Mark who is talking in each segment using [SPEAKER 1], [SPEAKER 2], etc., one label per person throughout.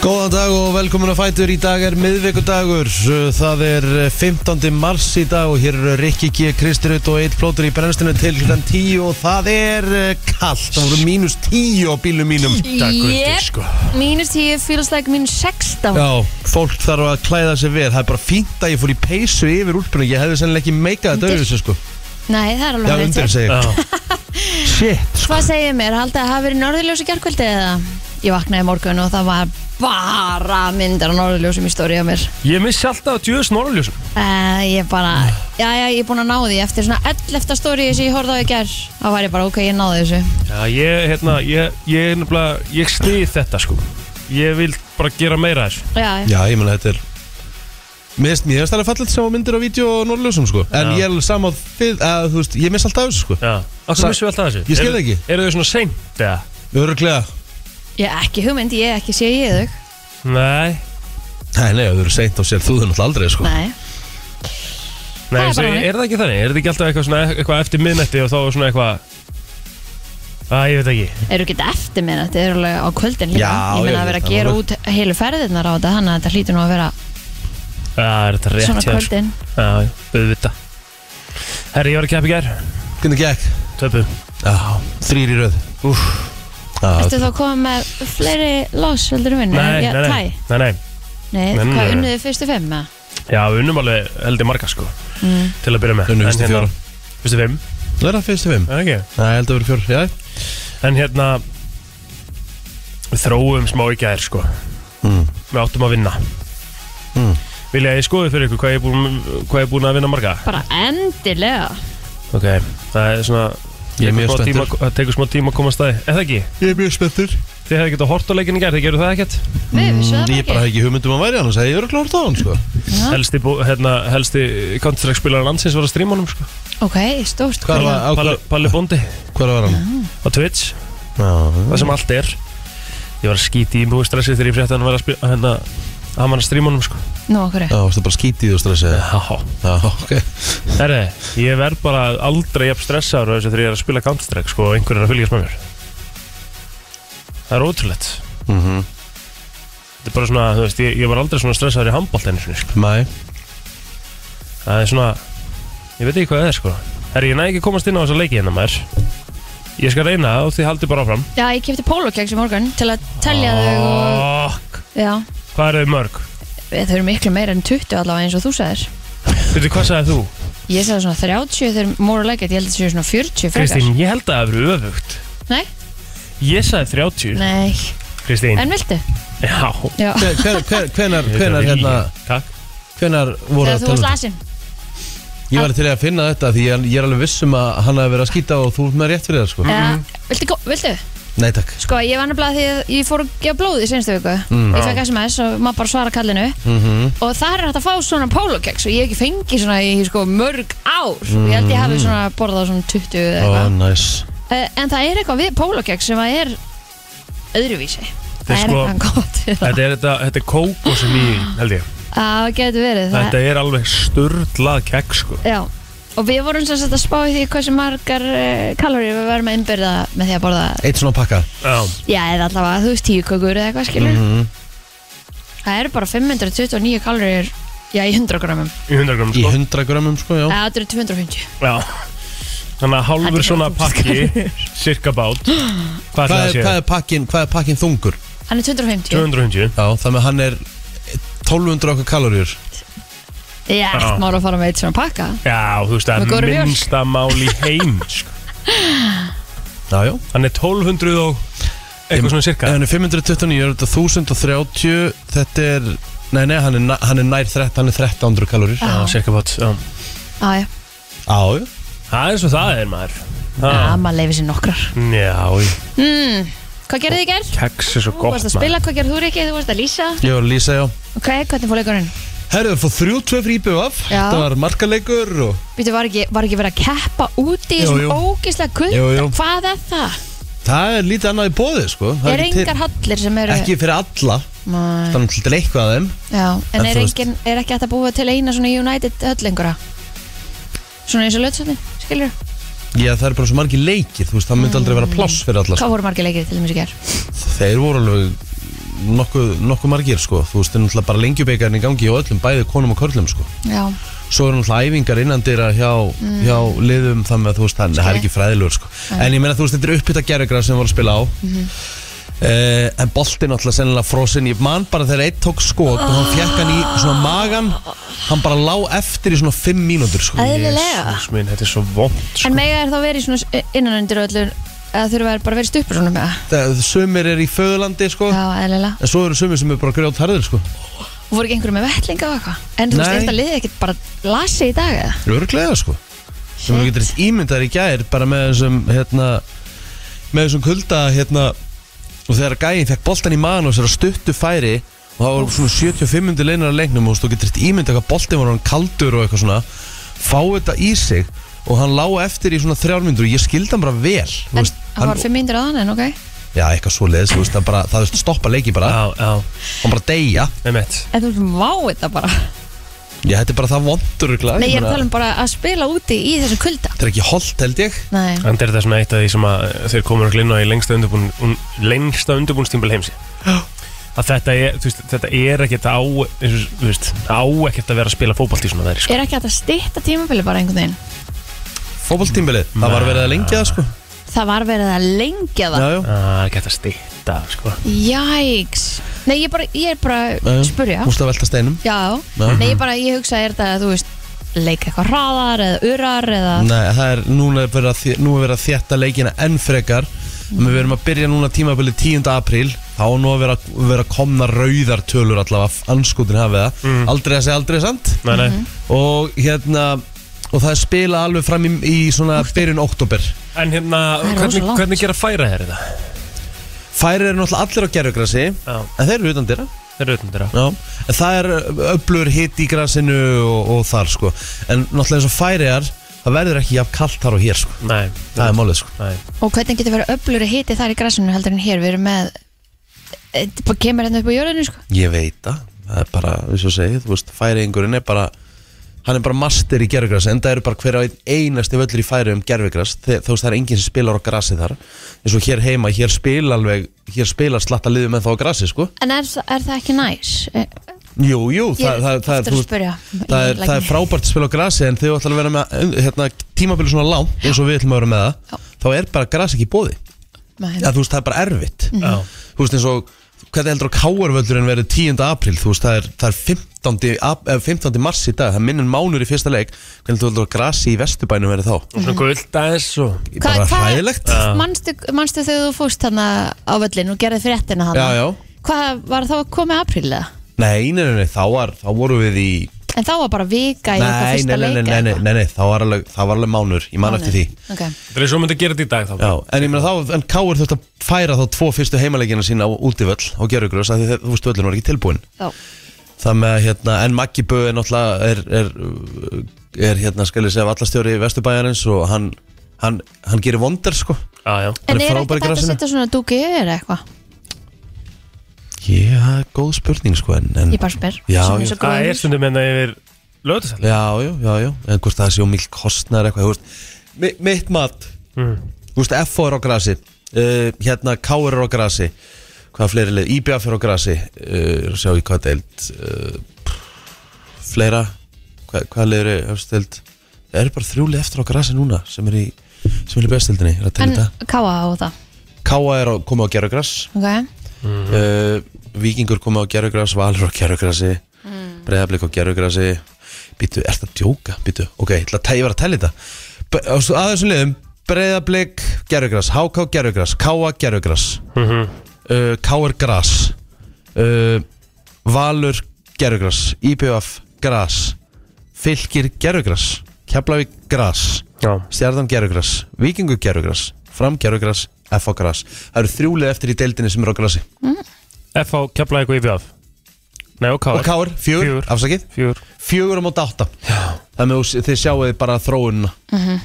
[SPEAKER 1] Góðan dag og velkomin að fætur. Í dag er miðvikudagur. Það er 15. mars í dag og hér eru Rikki G. Kristirut og Eitt Plótur í brennstinu til hlutan 10 og það er eh, kallt. Það voru mínus 10 á bílum mínum.
[SPEAKER 2] Jep, mínus 10 feels like mínus
[SPEAKER 1] sko.
[SPEAKER 2] 16
[SPEAKER 1] Já, fólk þarf að klæða sig vel. Það er bara fínt að ég fór í peysu yfir úlpunni. Ég hefði sennilega ekki meikað þetta
[SPEAKER 2] Undir.
[SPEAKER 1] auðvitað, sko.
[SPEAKER 2] Nei, það er alveg
[SPEAKER 1] Já,
[SPEAKER 2] rétt.
[SPEAKER 1] undir segir. Shit. sko.
[SPEAKER 2] Hvað segir mér, haldið að hafa verið norðurljósi gerkvöldi eða? Ég vaknaði í morgun og það var bara myndar á norðurljósum í stóri á mér
[SPEAKER 3] Ég missi alltaf djöðs norðljósum
[SPEAKER 2] uh, Ég bara, já, já, ég er búin að ná því eftir svona 11. stóri sem ég horfði á í ger þá var ég bara, ok, ég náði þessu
[SPEAKER 3] Já, ég, hérna, ég, ég, nefnilega, ég stið þetta sko Ég vil bara gera meira af þessu
[SPEAKER 2] Já, já,
[SPEAKER 1] Já, ég meina þetta er... Mér finnst- mér finnst það að falla sem á myndir á vídeo og norðljósum, sko. En
[SPEAKER 3] Já.
[SPEAKER 1] ég er alveg saman þið að, þú veist, ég miss alltaf þessu, sko.
[SPEAKER 3] Já, okkur
[SPEAKER 1] Sa-
[SPEAKER 3] missum við alltaf þessu
[SPEAKER 1] Ég skil það ekki.
[SPEAKER 3] Eru þau svona seint eða?
[SPEAKER 1] Öruglega.
[SPEAKER 2] ég ekki hugmynd, ég ekki sé ég þau
[SPEAKER 3] Nei,
[SPEAKER 1] Nei, nei, þú eru seint á sér, þú þau náttúrulega aldrei, sko.
[SPEAKER 2] Nei,
[SPEAKER 3] nei,
[SPEAKER 2] Það er
[SPEAKER 3] er,
[SPEAKER 2] bara þannig.
[SPEAKER 3] er það ekki þannig? Er það ekki alltaf eitthvað, svona, eitthvað eftir miðnætti og þá er svona eitthvað Æ, ég veit ekki
[SPEAKER 2] eru ekki eftir mér þetta er alveg á kvöldin líka
[SPEAKER 1] Já,
[SPEAKER 2] Ég
[SPEAKER 1] já,
[SPEAKER 2] meina
[SPEAKER 1] já,
[SPEAKER 2] að vera
[SPEAKER 1] það
[SPEAKER 2] að gera
[SPEAKER 1] var-
[SPEAKER 2] út heilu ferðirnar á þetta þannig að þetta hlýtur nú að vera
[SPEAKER 3] Já, er þetta rétt
[SPEAKER 2] svona
[SPEAKER 3] hjá þér, sko.
[SPEAKER 2] kvöldin
[SPEAKER 3] Já, já, auðvita Herri, ég var að keppa í gær
[SPEAKER 1] Hvernig gekk?
[SPEAKER 3] Töpu
[SPEAKER 1] Já, þrýr í röð.
[SPEAKER 3] Úff
[SPEAKER 2] Ertu
[SPEAKER 1] Já,
[SPEAKER 2] þá komið með fleiri loss heldur um vinni?
[SPEAKER 3] Nei, nei, nei,
[SPEAKER 2] Tæ?
[SPEAKER 3] nei, nei
[SPEAKER 2] Nei,
[SPEAKER 3] Nei, nei,
[SPEAKER 2] hvað
[SPEAKER 3] nei.
[SPEAKER 2] unnuðu fyrstu fimm með?
[SPEAKER 3] Já, við unnum alveg heldur marga sko
[SPEAKER 2] Mm.
[SPEAKER 3] Til að byrja með
[SPEAKER 1] Unnum
[SPEAKER 3] En
[SPEAKER 1] fyrstu
[SPEAKER 3] hérna-
[SPEAKER 1] fjóra.
[SPEAKER 3] Fyrstu fimm,
[SPEAKER 1] það er það fyrstu fimm.
[SPEAKER 3] er það ekki?
[SPEAKER 1] Nei, ég held að vera fjór, já.
[SPEAKER 3] En hérna Við þróum smá í gær sko
[SPEAKER 1] Mm.
[SPEAKER 3] Við áttum að vinna
[SPEAKER 1] Mm.
[SPEAKER 3] Vilja að ég skoði fyrir ykkur hvað ég er búinn- hvað ég er búin að vinna marga
[SPEAKER 2] Bara endilega
[SPEAKER 3] Ok, það er svona
[SPEAKER 1] Ég er
[SPEAKER 3] tekur
[SPEAKER 1] mjög
[SPEAKER 3] smá
[SPEAKER 1] spenntur.
[SPEAKER 3] tíma- Það tekur smá tíma að koma að staði Er það ekki?
[SPEAKER 1] Ég er mjög spettur.
[SPEAKER 3] Þið hefði getað hort á leikin í gær, þið gerðu það ekkert
[SPEAKER 2] Við vissum það
[SPEAKER 1] Mm, Ég bara hef ekki hugmyndum að væri annars, að ég eru klárt á hann, sko.
[SPEAKER 2] Já,
[SPEAKER 3] Helsti, bú- hérna, helsti Counter-Strike spilaran landsins var að stríma honum sko
[SPEAKER 2] Ok, stórt
[SPEAKER 1] Hvað var, á,
[SPEAKER 3] Palli, Palli Bondi
[SPEAKER 1] hvað var hann?
[SPEAKER 3] á Twitch
[SPEAKER 1] Já,
[SPEAKER 3] það sem allt er ég var að skíti í mjög stressið þegar ég frétti að hann var að spila hérna, hann var að stríma honum sko
[SPEAKER 2] Nú, okkur
[SPEAKER 1] já, varstu bara skítið og stressið. Já, ok.
[SPEAKER 3] Herre, ég verð bara aldrei jafn stressaður á þessu þegar ég er að spila Counter-Strike sko og einhverjir er að fylgjast með mér það er ótrúlegt
[SPEAKER 1] Mhm.
[SPEAKER 3] þetta er bara svona, þú veist, ég, ég var aldrei svona stressaður í handbólt enn sinni sko
[SPEAKER 1] Mæ.
[SPEAKER 3] það er svona, ég veit ekki hvað það er sko Herre, ég næ ekki að komast inn á þessa leiki hérna maður ég skal reyna það og þið haldið bara áfram
[SPEAKER 2] Já, ég kefti pólokeks í morgun til að telja
[SPEAKER 1] Ah.
[SPEAKER 2] þau og
[SPEAKER 3] Fuck,
[SPEAKER 2] Já,
[SPEAKER 3] hvað eru þau mörg?
[SPEAKER 2] þau eru miklu meira en 20 allavega eins og þú sagðir
[SPEAKER 3] Veitir, hvað sagði þú?
[SPEAKER 2] Ég sagði svona 30, þau eru more like it, ég held að þau séu svona 40 frekar
[SPEAKER 3] Kristín, ég held að það eru öfugt
[SPEAKER 2] Nei,
[SPEAKER 3] Ég sagði 30
[SPEAKER 2] nei,
[SPEAKER 3] Kristín
[SPEAKER 2] en viltu?
[SPEAKER 3] Já
[SPEAKER 2] Já,
[SPEAKER 1] Hvenar, hvenar, hérna,
[SPEAKER 3] Takk
[SPEAKER 1] hvenar voru
[SPEAKER 2] þegar
[SPEAKER 1] að
[SPEAKER 2] þú
[SPEAKER 3] um
[SPEAKER 1] tala?
[SPEAKER 2] varst
[SPEAKER 1] um-
[SPEAKER 2] lasin
[SPEAKER 1] Ég var til í að finna þetta því ég, ég er alveg vissum að hann hafi verið að skýta og þú ert með rétt fyrir það, sko.
[SPEAKER 2] Eða, viltu, gó- viltu?
[SPEAKER 1] Nei, takk.
[SPEAKER 2] Sko, ég var nefnilega því að ég fór að gefa blóð í senstu viku
[SPEAKER 3] Mm,
[SPEAKER 2] Ég fekk SMS og maður bara svara kallinu
[SPEAKER 1] Mhm.
[SPEAKER 2] Og það er hægt að fá svona pólokeks Og ég hef ekki fengið svona í sko, mörg ár Ég held ég hafi
[SPEAKER 3] Mm.
[SPEAKER 2] svona borðað svona 20 eða
[SPEAKER 1] Ó,
[SPEAKER 2] eitthvað
[SPEAKER 1] næs.
[SPEAKER 2] Eh, En það er eitthvað við pólokeks sem að er öðruvísi
[SPEAKER 3] Þeir
[SPEAKER 2] Það er
[SPEAKER 3] sko-
[SPEAKER 2] eitthvað gott við það
[SPEAKER 3] Þetta er, þetta, þetta er kóko sem ég held ég
[SPEAKER 2] Það getur verið það
[SPEAKER 3] Þetta er alveg sturlað kekk sko
[SPEAKER 2] Já Og við vorum sem sagt að spá í því hversu margar uh, kaloríur við verðum að innbyrða með því að borða
[SPEAKER 1] Eitt svona pakka.
[SPEAKER 3] Já Mm.
[SPEAKER 2] Já, eða allavega, þú veist, tíu kökur eða eitthvað skilur
[SPEAKER 1] Mhm.
[SPEAKER 2] Það eru bara 529 kaloríur Já, í 100 gramum
[SPEAKER 3] Í 100 gram
[SPEAKER 1] Í
[SPEAKER 3] sko
[SPEAKER 1] 100 grömmum, sko, já.
[SPEAKER 2] Eða, þetta eru 250
[SPEAKER 3] Já Þannig að
[SPEAKER 2] Þetta er
[SPEAKER 3] hálfur svona pakki
[SPEAKER 2] sko.
[SPEAKER 3] Cirka bát Hvað er það að
[SPEAKER 1] Hvað er,
[SPEAKER 3] sé?
[SPEAKER 1] hvað er pakkin, hvað er pakkin þungur?
[SPEAKER 2] Hann er 250
[SPEAKER 3] 250
[SPEAKER 1] Já, þannig að hann er 1200 okkar kaloríur
[SPEAKER 2] Ég er
[SPEAKER 3] Já.
[SPEAKER 2] allt mál að fara með eitt svona pakka
[SPEAKER 3] Já, þú veist,
[SPEAKER 2] Með
[SPEAKER 3] það
[SPEAKER 2] góðri
[SPEAKER 3] er
[SPEAKER 2] mjólk.
[SPEAKER 3] minnsta mál í heim sko.
[SPEAKER 1] Já, já
[SPEAKER 3] Hann er 1200 og Eitthvað svona cirka
[SPEAKER 1] Hann er 529, er þetta 1030 Þetta er, nei nei, hann er, na- hann er nær 13, hann er 1300 kaloríur Já,
[SPEAKER 3] Já, cirka bát Já
[SPEAKER 2] Já, já,
[SPEAKER 1] já
[SPEAKER 3] Það er svo það er maður
[SPEAKER 2] já,
[SPEAKER 3] Já,
[SPEAKER 2] maður leifir sér nokkrar
[SPEAKER 3] já
[SPEAKER 2] mm. Hvað gerði þið í gær?
[SPEAKER 3] Keks er svo
[SPEAKER 2] Þú varst
[SPEAKER 3] gott
[SPEAKER 2] að spila, hvað gerði þú Riki? Þú varst að lýsa
[SPEAKER 1] Ég var að lýsa, já
[SPEAKER 2] Ok, hvernig fór leikurinn?
[SPEAKER 1] Herðu, það fór 3-2 fyrir IBF
[SPEAKER 2] Já.
[SPEAKER 1] Þetta var markaleikur og
[SPEAKER 2] Býtu, var ekki, var ekki verið að keppa úti í
[SPEAKER 1] Jú, jú.
[SPEAKER 2] svona ógislega
[SPEAKER 1] Jú, jú.
[SPEAKER 2] kutt? Hvað er það?
[SPEAKER 1] Það er lítið annað í bóði, sko Það
[SPEAKER 2] Er
[SPEAKER 1] ekki til-
[SPEAKER 2] engar hallir sem eru
[SPEAKER 1] Ekki fyrir alla,
[SPEAKER 2] Nei.
[SPEAKER 1] þannig til eitthvað af þeim
[SPEAKER 2] Já, en
[SPEAKER 1] En
[SPEAKER 2] er,
[SPEAKER 1] þú veist-
[SPEAKER 2] engin, er ekki hægt að búa til eina svona United höll einhverja? Svona eins og lötsöndin, skilur
[SPEAKER 1] Já, það er bara svo margir
[SPEAKER 2] Mm.
[SPEAKER 1] leikir, þú veist, það myndi aldrei vera pláss fyrir alla sko.
[SPEAKER 2] Hvað voru margir leikir til þess að mér sér?
[SPEAKER 1] Þeir voru alveg nokkuð, nokkuð margir sko Þú veist, það er náttúrulega bara lengjubikarinn í gangi hjá öllum, bæði konum og körlum sko
[SPEAKER 2] já,
[SPEAKER 1] Svo er náttúrulega æfingar innandira hjá,
[SPEAKER 2] Mm.
[SPEAKER 1] hjá liðum þannig að þú veist, hann það er ekki fræðilegur sko En ég meina þú veist, þetta er uppbytta gerðugrað sem við vorum að spila á
[SPEAKER 2] Mhm.
[SPEAKER 1] Eh, en boltinn alltaf sennilega frosinn ég man bara þegar einn tók skot og hann fjekk hann í svona magan hann bara lá eftir í svona 5 mínútur sko.
[SPEAKER 2] eðlilega
[SPEAKER 3] Jesús minn, þetta er svo vond sko.
[SPEAKER 2] En mega er þá verið svona innanundir öllu eða þurfa þær bara að vera stupur svona með það
[SPEAKER 1] Það- sumir er í föðurlandi sko.
[SPEAKER 2] Já, eðlilega
[SPEAKER 1] en svo eru sumir sem er bara grjót harðir sko.
[SPEAKER 2] Og voru ekki einhverju með vettlinga og eitthvað En þú veist,
[SPEAKER 1] Nei.
[SPEAKER 2] er þetta liðið ekkert bara lasi í dag eða?
[SPEAKER 1] örglega sko. sem þú getur ímyndar í gær bara með þessum hérna, með þessum kulda hérna, og þegar gæinn fekk boltan í magan og þessar stuttu færi og það var svona 75 myndir leinar að leiknum og þú getur ímyndar hvað boltin var hann kaldur og eitthvað svona fá þetta í sig og hann lá eftir í svona þrjármyndur og ég skildi hann bara vel þú
[SPEAKER 2] En
[SPEAKER 1] veist,
[SPEAKER 2] það var fimm myndir á þannig, en ok
[SPEAKER 1] Já, eitthvað svo leiðis, þú veist, það bara, það veist, stoppa leiki bara,
[SPEAKER 3] Já, já,
[SPEAKER 1] hann bara deyja
[SPEAKER 3] með mitt
[SPEAKER 2] En þú veist, vá þetta bara
[SPEAKER 1] Já, þetta er bara það vondur
[SPEAKER 2] Nei, ég er að tala um bara að spila úti í þessum kulda Sko.
[SPEAKER 1] Þetta er ekki holdt, held ég
[SPEAKER 2] Nei,
[SPEAKER 3] En þetta er svona eitt af því sem að þeir komur að glinna í lengsta, undirbúin, un, lengsta undirbúinstímbil heimsi að þetta er, þú veist, þetta er ekkert á, eins og- þú veist, á ekkert að vera að spila fótbolt í svona veðri sko.
[SPEAKER 2] er ekki hægt að stitta tímabili bara einhvern veginn
[SPEAKER 1] Fótboltímbilið, það var verið að lengja það, sko
[SPEAKER 2] Það var verið að lengja það
[SPEAKER 1] Já, já
[SPEAKER 3] Það er ekkert að stýta sko.
[SPEAKER 2] Jæks Nei, ég, bara, ég er bara að spurja
[SPEAKER 1] Múst að velta steinum
[SPEAKER 2] Já,
[SPEAKER 1] Já.
[SPEAKER 2] nei, ég bara, ég hugsa er þetta að þú veist leika eitthvað hraðar eða urar eða
[SPEAKER 1] Nei, það er, núna er verið að, þé- nú er verið að þétta leikina enn frekar
[SPEAKER 2] Mm.
[SPEAKER 1] En Við verum að byrja núna tímabilið 10. apríl Þá á nú að vera, vera komna rauðar tölur allavega Anskotin hafið það Aldrei að segja aldrei samt
[SPEAKER 3] Mm. Nei, nei,
[SPEAKER 1] Og hérna, og það er spila alveg fram í, í svona byrjun oktober
[SPEAKER 3] En hérna,
[SPEAKER 2] Það er rosa
[SPEAKER 3] hvernig,
[SPEAKER 2] langt.
[SPEAKER 3] hvernig gera færa þér þetta?
[SPEAKER 1] Færir eru náttúrulega allir á gerðugrasi
[SPEAKER 3] Já.
[SPEAKER 1] En þeir eru utan dyrra
[SPEAKER 3] Þeir eru utan þeirra
[SPEAKER 1] Já, en það er öflur hitt í grasinu og, og þar sko En náttúrulega eins og færiðar Það verður ekki jafn kallt þar og hér sko
[SPEAKER 3] Nei,
[SPEAKER 1] Það er málið sko
[SPEAKER 3] Nei,
[SPEAKER 2] og hvernig getur verið öflur að hiti þar í græsunu heldur en hér, við erum með e, bara kemur hérna upp á jörðinu sko
[SPEAKER 1] Ég veit það, það er bara, eins og segið Þú veist, færiðingurinn er bara Hann er bara master í gerfigras En það eru bara hver á einn einasti völlur í færiðum gerfigras Þú veist, það er enginn sem spilar á grasi þar Eins og hér heima, hér spila alveg Hér spila slatta liðum en þá á grasi sko
[SPEAKER 2] en er, þa- er það ekki næs? E,
[SPEAKER 1] Jú, jú,
[SPEAKER 2] Ég
[SPEAKER 1] það,
[SPEAKER 2] er
[SPEAKER 1] það, það,
[SPEAKER 2] aftur
[SPEAKER 1] þú
[SPEAKER 2] að
[SPEAKER 1] veist,
[SPEAKER 2] spyrja.
[SPEAKER 1] það, er,
[SPEAKER 2] Ég læt
[SPEAKER 1] það er
[SPEAKER 2] mig.
[SPEAKER 1] frábært að spila á grasi en þegar þú ætlar að vera með hérna, tímabili svona langt eins og við ætlum að vera með það þá er bara gras ekki í bóði
[SPEAKER 2] með,
[SPEAKER 1] ja, þú veist, það er bara erfitt
[SPEAKER 2] Mhm.
[SPEAKER 3] Já.
[SPEAKER 1] þú veist eins og hvernig heldur að káarvöldurinn verið 10. april þú veist, það er, það er 15. Ap, eh, 15. mars í dag, það minnum mánur í fyrsta leik hvernig heldur að grasi í vesturbænum verið þá
[SPEAKER 2] Mhm.
[SPEAKER 3] og svona guld aðeins og
[SPEAKER 1] bara hræðilegt
[SPEAKER 2] manstu, manstu þegar þú fórst þarna á völlin og gerði fréttina
[SPEAKER 1] já,
[SPEAKER 2] þarna
[SPEAKER 1] já.
[SPEAKER 2] hvað var þá að koma apríl eða?
[SPEAKER 1] Nei, nei, nei, nei, þá, var, þá voru við í
[SPEAKER 2] en þá var bara vika í okkar
[SPEAKER 1] Nei, nei,
[SPEAKER 2] fyrsta
[SPEAKER 1] nei, nei,
[SPEAKER 2] leika
[SPEAKER 1] nei, nei, nei, nei, þá var alveg, þá var alveg mánur, ég man eftir því
[SPEAKER 2] okay.
[SPEAKER 3] Það er svo myndi að gera þetta í dag þá
[SPEAKER 1] Já, en ég meina þá, en Káur þurft að færa þá tvo fyrstu heimalegina sína á útivöll á Gjörugros af því þeir- þú veist völlin var ekki tilbúin
[SPEAKER 2] Þá.
[SPEAKER 1] Það með að hérna, en Maggi Bö er náttúrulega er, er, uh, er hérna, skal ég segja vallastjóri Vesturbæjarins og hann, hann, hann gerir vondar sko
[SPEAKER 3] Já, já
[SPEAKER 2] en
[SPEAKER 1] Hann er
[SPEAKER 2] er
[SPEAKER 1] frábær í
[SPEAKER 2] ekki þetta að
[SPEAKER 1] grasinu.
[SPEAKER 2] setja svona dúki eða eitthvað?
[SPEAKER 1] Já, það er góð spurning sko en, en
[SPEAKER 2] ég bara spyr
[SPEAKER 1] Já, já.
[SPEAKER 2] Svona eins og
[SPEAKER 3] Það
[SPEAKER 2] góður.
[SPEAKER 3] er stundum hérna yfir lögutasal
[SPEAKER 1] Já, já, já, já, en hvort það sé um mill kostnar eitthvað, þú veist Mi, Mitt mat Þú veist, FO er á grasi uh, Hérna, K er á grasi Hvað fleiri leið, IBF er á grasi uh, Sjá í hvað deild uh, pff, Fleira Hvað, hvað leiður er efst deild Það eru bara þrjúli eftir á grasi núna sem er í, sem er í bestildinni, er að
[SPEAKER 2] En
[SPEAKER 1] telja þetta
[SPEAKER 2] káa á það
[SPEAKER 1] Káa er að koma á gerugras
[SPEAKER 2] okay.
[SPEAKER 1] uh, Víkingur komið á gerugras Valur á gerugrasi mm. Breiðablik á gerugrasi Býtu, er þetta djóka? Býtu, ok, ég, ætla að te- ég var að tella þetta Be- á s- Að þessum liðum Breiðablik, gerugras, HK gerugras Káa gerugras uh, Káar gras uh, Valur gerugras IPF gras Fylkir gerugras Keflavík gras
[SPEAKER 3] Já
[SPEAKER 1] Stjarnan gerugras, Víkingur gerugras Fram gerugras, FH gras Það eru þrjúlið eftir í deildinni sem eru á grasi
[SPEAKER 3] FH keflaði eitthvað yfir af Nei, og
[SPEAKER 1] Og
[SPEAKER 3] Káur
[SPEAKER 1] Káur, fjögur,
[SPEAKER 3] Fjögur.
[SPEAKER 1] afsakið
[SPEAKER 3] Fjúr
[SPEAKER 1] Fjögur á móti átta Þannig að þú- þið sjáuð bara þróunina
[SPEAKER 2] Mhm.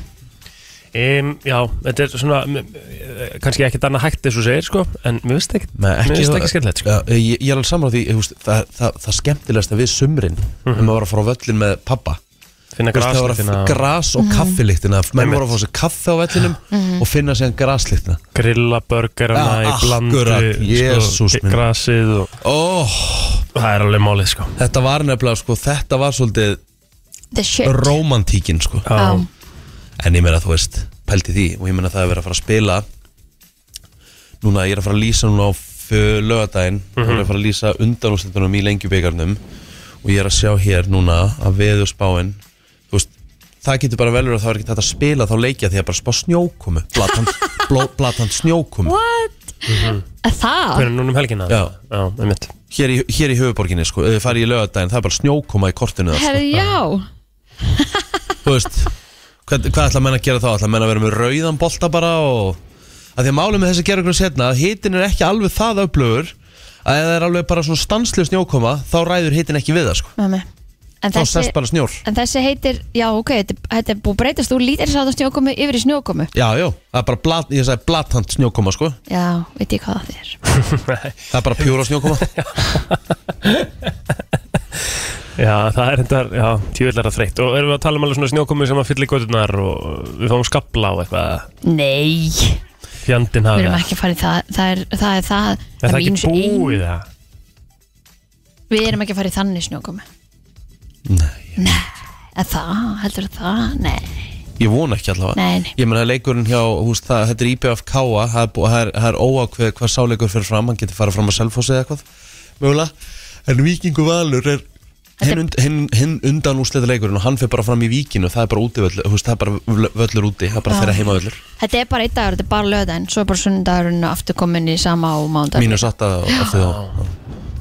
[SPEAKER 3] Um, já, þetta er svona m- eh, kannski ekkert annað hægt eins og segir sko, en mér finnst ekki, mér finnst ekki skemmtilegt sko.
[SPEAKER 1] Já, ég, ég er alveg samar á því þú veist, það, það, það, það skemmtilegast að við sumrin mm -hmm. að fara á völlin með pappa
[SPEAKER 3] Mhm. finna
[SPEAKER 1] Þú veist, það var
[SPEAKER 3] graslítina
[SPEAKER 1] að gras og kaffilíktina menn
[SPEAKER 3] Einmitt.
[SPEAKER 1] voru að fá sér kaffe á vellinum og finna sér graslíktina
[SPEAKER 3] grilla börgarana
[SPEAKER 1] Ja,
[SPEAKER 3] í blandu
[SPEAKER 1] akkurat, Jesús
[SPEAKER 3] sko,
[SPEAKER 1] minn.
[SPEAKER 3] grasið og
[SPEAKER 1] oh,
[SPEAKER 3] það er alveg málið sko
[SPEAKER 1] þetta var nefnilega sko, þetta var svolítið
[SPEAKER 2] The shit
[SPEAKER 1] romantíkin sko.
[SPEAKER 2] Já.
[SPEAKER 1] en ég meina þú veist, pælti því og ég meina það er verið að fara að spila núna ég er að fara að lýsa núna á lögadaginn, mm -hmm. ég er
[SPEAKER 3] Mhm.
[SPEAKER 1] að fara að lýsa undanústendunum í lengjubikarnum og ég er að sjá hér núna að veður spáin þú veist, það getur bara velur að það er ekki þetta að spila þá leikja því að bara spá snjókomu blatant, bló, blatant snjókomu
[SPEAKER 2] What? Það?
[SPEAKER 3] hvernig núna um helgina
[SPEAKER 1] Já.
[SPEAKER 3] já einmitt
[SPEAKER 1] hér í, hér í höfuborginni sko, ef þið farið í lögadaginn það er bara snjókoma í kortinu þar,
[SPEAKER 2] Herri, já
[SPEAKER 1] sko. þú veist hvað, hvað ætla menn að gera þá, ætla menn að vera með rauðan bolta bara og að því að málum með þessi gera ykkur setna að hitin er ekki alveg það öflugur að ef það er alveg bara svona stanslu snjókoma þá ræður hitin ekki við það sko
[SPEAKER 2] Með mig En
[SPEAKER 1] þá
[SPEAKER 2] þessi,
[SPEAKER 1] sest bara snjór
[SPEAKER 2] en þessi heitir, já ok, þetta, þetta er búið að breytast úr lítir sátt á snjókomu yfir í snjókomu.
[SPEAKER 1] já, já, það er bara blat, ég sagði blatant snjókoma sko
[SPEAKER 2] Já, veit ég hvað það er.
[SPEAKER 1] það er bara pjúra snjókoma
[SPEAKER 3] já það er þetta já tjóðlega þreytt og erum við að tala um alveg svona snjókomi sem að fylla í gödunar og við fáum skabla og eitthvað
[SPEAKER 2] Nei,
[SPEAKER 3] fjandinn
[SPEAKER 2] við
[SPEAKER 3] hafi
[SPEAKER 2] erum ekki að fara í það. Það er það. Er, það,
[SPEAKER 3] er það
[SPEAKER 2] mín
[SPEAKER 3] ekki
[SPEAKER 2] svo ein-
[SPEAKER 3] búið það
[SPEAKER 2] Við erum ekki að fara í þannig snjókomu. Nei. Nei, en það, heldur það? Nei,
[SPEAKER 1] ég vona ekki allavega
[SPEAKER 2] Nei, nei.
[SPEAKER 1] ég meina leikurinn hjá, húst, það, þetta er IBF Káa það er, bú- það er, það er óákveð hvað sáleikur fyrir fram hann getur farið fram að selfósi eða eitthvað mögulega en Víkingu Valur er hinn, und, hinn, hinn undan úsleita leikurinn og hann fyrir bara fram í Víkinu það er bara úti völlur, húst, það er bara völl- völlur úti það er bara
[SPEAKER 2] Já.
[SPEAKER 1] þeirra heimavöllur
[SPEAKER 2] þetta er bara einn dagur, þetta er bara löðan, svo er bara sundagurinn og aftur komin í sama á mándag.
[SPEAKER 1] mínus atta eftir þá Já.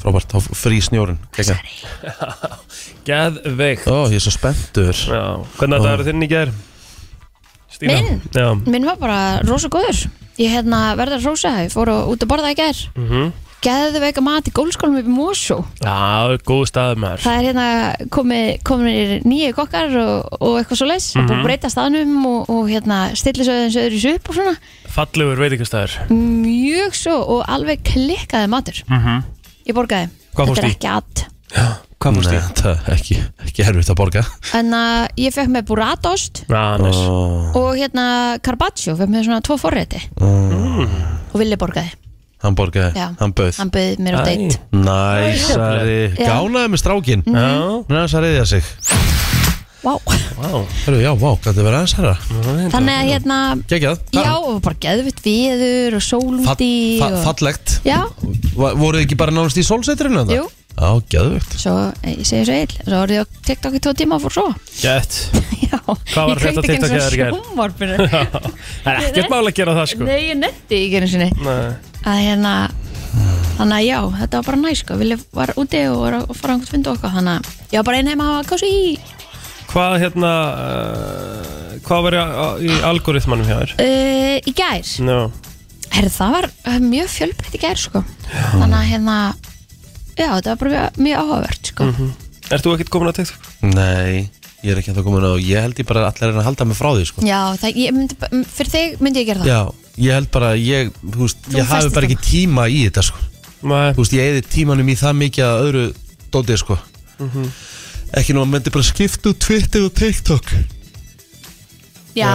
[SPEAKER 1] frábært, þá frí snjórin Kekja.
[SPEAKER 3] geðveikt
[SPEAKER 1] ó, ég er svo spenntur
[SPEAKER 3] já hvernig þetta eru þinn í ger Stína
[SPEAKER 2] Minn?
[SPEAKER 3] já
[SPEAKER 2] Minn var bara rosa góður. Ég hérna verður að rosa, ég fór á- út að borða í gær. Mm
[SPEAKER 3] Mhm.
[SPEAKER 2] Geðveika mat í gólskólum upp í Mosó.
[SPEAKER 3] já góð staður maður
[SPEAKER 2] Það er hérna komið, komið nýju kokkar og, og eitthvað svo leis mm -hmm.
[SPEAKER 3] Mhm.
[SPEAKER 2] og breyta staðnum og, og hérna stilla svo aðeins öðru upp og svona
[SPEAKER 3] fallegur veitingastæður
[SPEAKER 2] mjög svo og alveg klikkaði matur Ég borgaði,
[SPEAKER 3] Hvað
[SPEAKER 2] þetta er
[SPEAKER 3] fórstu í?
[SPEAKER 2] ekki allt
[SPEAKER 3] hvað
[SPEAKER 1] Nei, það er ekki, ekki herfitt að borga
[SPEAKER 2] En að ég fekk með burratost
[SPEAKER 3] næs
[SPEAKER 1] Ó,
[SPEAKER 2] og hérna carpaccio, fekk með svona tvo forrétti
[SPEAKER 3] Mm.
[SPEAKER 2] og villi borgaði
[SPEAKER 1] hann borgaði,
[SPEAKER 2] Já.
[SPEAKER 1] hann bauð
[SPEAKER 2] Hann bauð mér á
[SPEAKER 3] Æ.
[SPEAKER 2] deitt
[SPEAKER 1] Næsari,
[SPEAKER 2] Já. Mhm.
[SPEAKER 1] gánaði með strákin Hún
[SPEAKER 3] já
[SPEAKER 1] er aðeins að reyðja sig
[SPEAKER 2] Vá,
[SPEAKER 3] Vá,
[SPEAKER 1] Hörru, já, vá, gæti verið aðeins herra
[SPEAKER 2] þannig að hérna
[SPEAKER 1] Gekjað,
[SPEAKER 2] Já, og bara geðvitt viður og sólúti
[SPEAKER 1] fa
[SPEAKER 2] og...
[SPEAKER 1] Fallegt
[SPEAKER 2] Já,
[SPEAKER 1] Va- Voruð þið ekki bara nánast í solsetrinu þetta?
[SPEAKER 2] Jú.
[SPEAKER 1] Já, geðvögt
[SPEAKER 2] svo eh, ég segi svo eil svo var ég á TikTok í tvo tíma og fór svo
[SPEAKER 3] gett
[SPEAKER 2] já,
[SPEAKER 3] Hvað var
[SPEAKER 2] ég kveikti
[SPEAKER 3] þetta
[SPEAKER 2] ekki einu
[SPEAKER 3] TikTok hjá
[SPEAKER 2] sinni
[SPEAKER 3] þér í gær?
[SPEAKER 2] á sjónvarpinu
[SPEAKER 3] Það er ekkert mál að gera það sko
[SPEAKER 2] nei, ég netti ekki einu sinni
[SPEAKER 3] Nei.
[SPEAKER 2] að hérna þannig að já, þetta var bara næ sko Vilja var úti og var að fara á einhvern fund og okkar þannig að ég var bara einn heima að hafa kási í
[SPEAKER 3] Hvað hérna uh, Hvað var í, í algoritmanum hjá þér?
[SPEAKER 2] uh, í gær
[SPEAKER 3] No.
[SPEAKER 2] Her, það var eh, mjög fjölbreytt í gær sko þannig að hérna já, þetta var bara mjög, mjög áhugavert sko
[SPEAKER 3] Mhm. Ert þú ekkert komin að TikTok?
[SPEAKER 1] Nei, ég er ekki að það komin á Ég held ég bara að allir er að halda mig frá því sko.
[SPEAKER 2] já, það, ég myndi, bara- m- fyrir þig myndi ég gera það
[SPEAKER 1] Já, ég held bara að Ég, þú veist, ég hafi
[SPEAKER 2] festist
[SPEAKER 1] bara ekki
[SPEAKER 2] þarna.
[SPEAKER 1] tíma í þetta sko.
[SPEAKER 3] Nei,
[SPEAKER 1] Þú veist, ég eði tímanum í það mikið að öðru dótið sko.
[SPEAKER 3] Mhm.
[SPEAKER 1] Ekki nú að myndi bara skipta út Twitter og TikTok
[SPEAKER 2] já,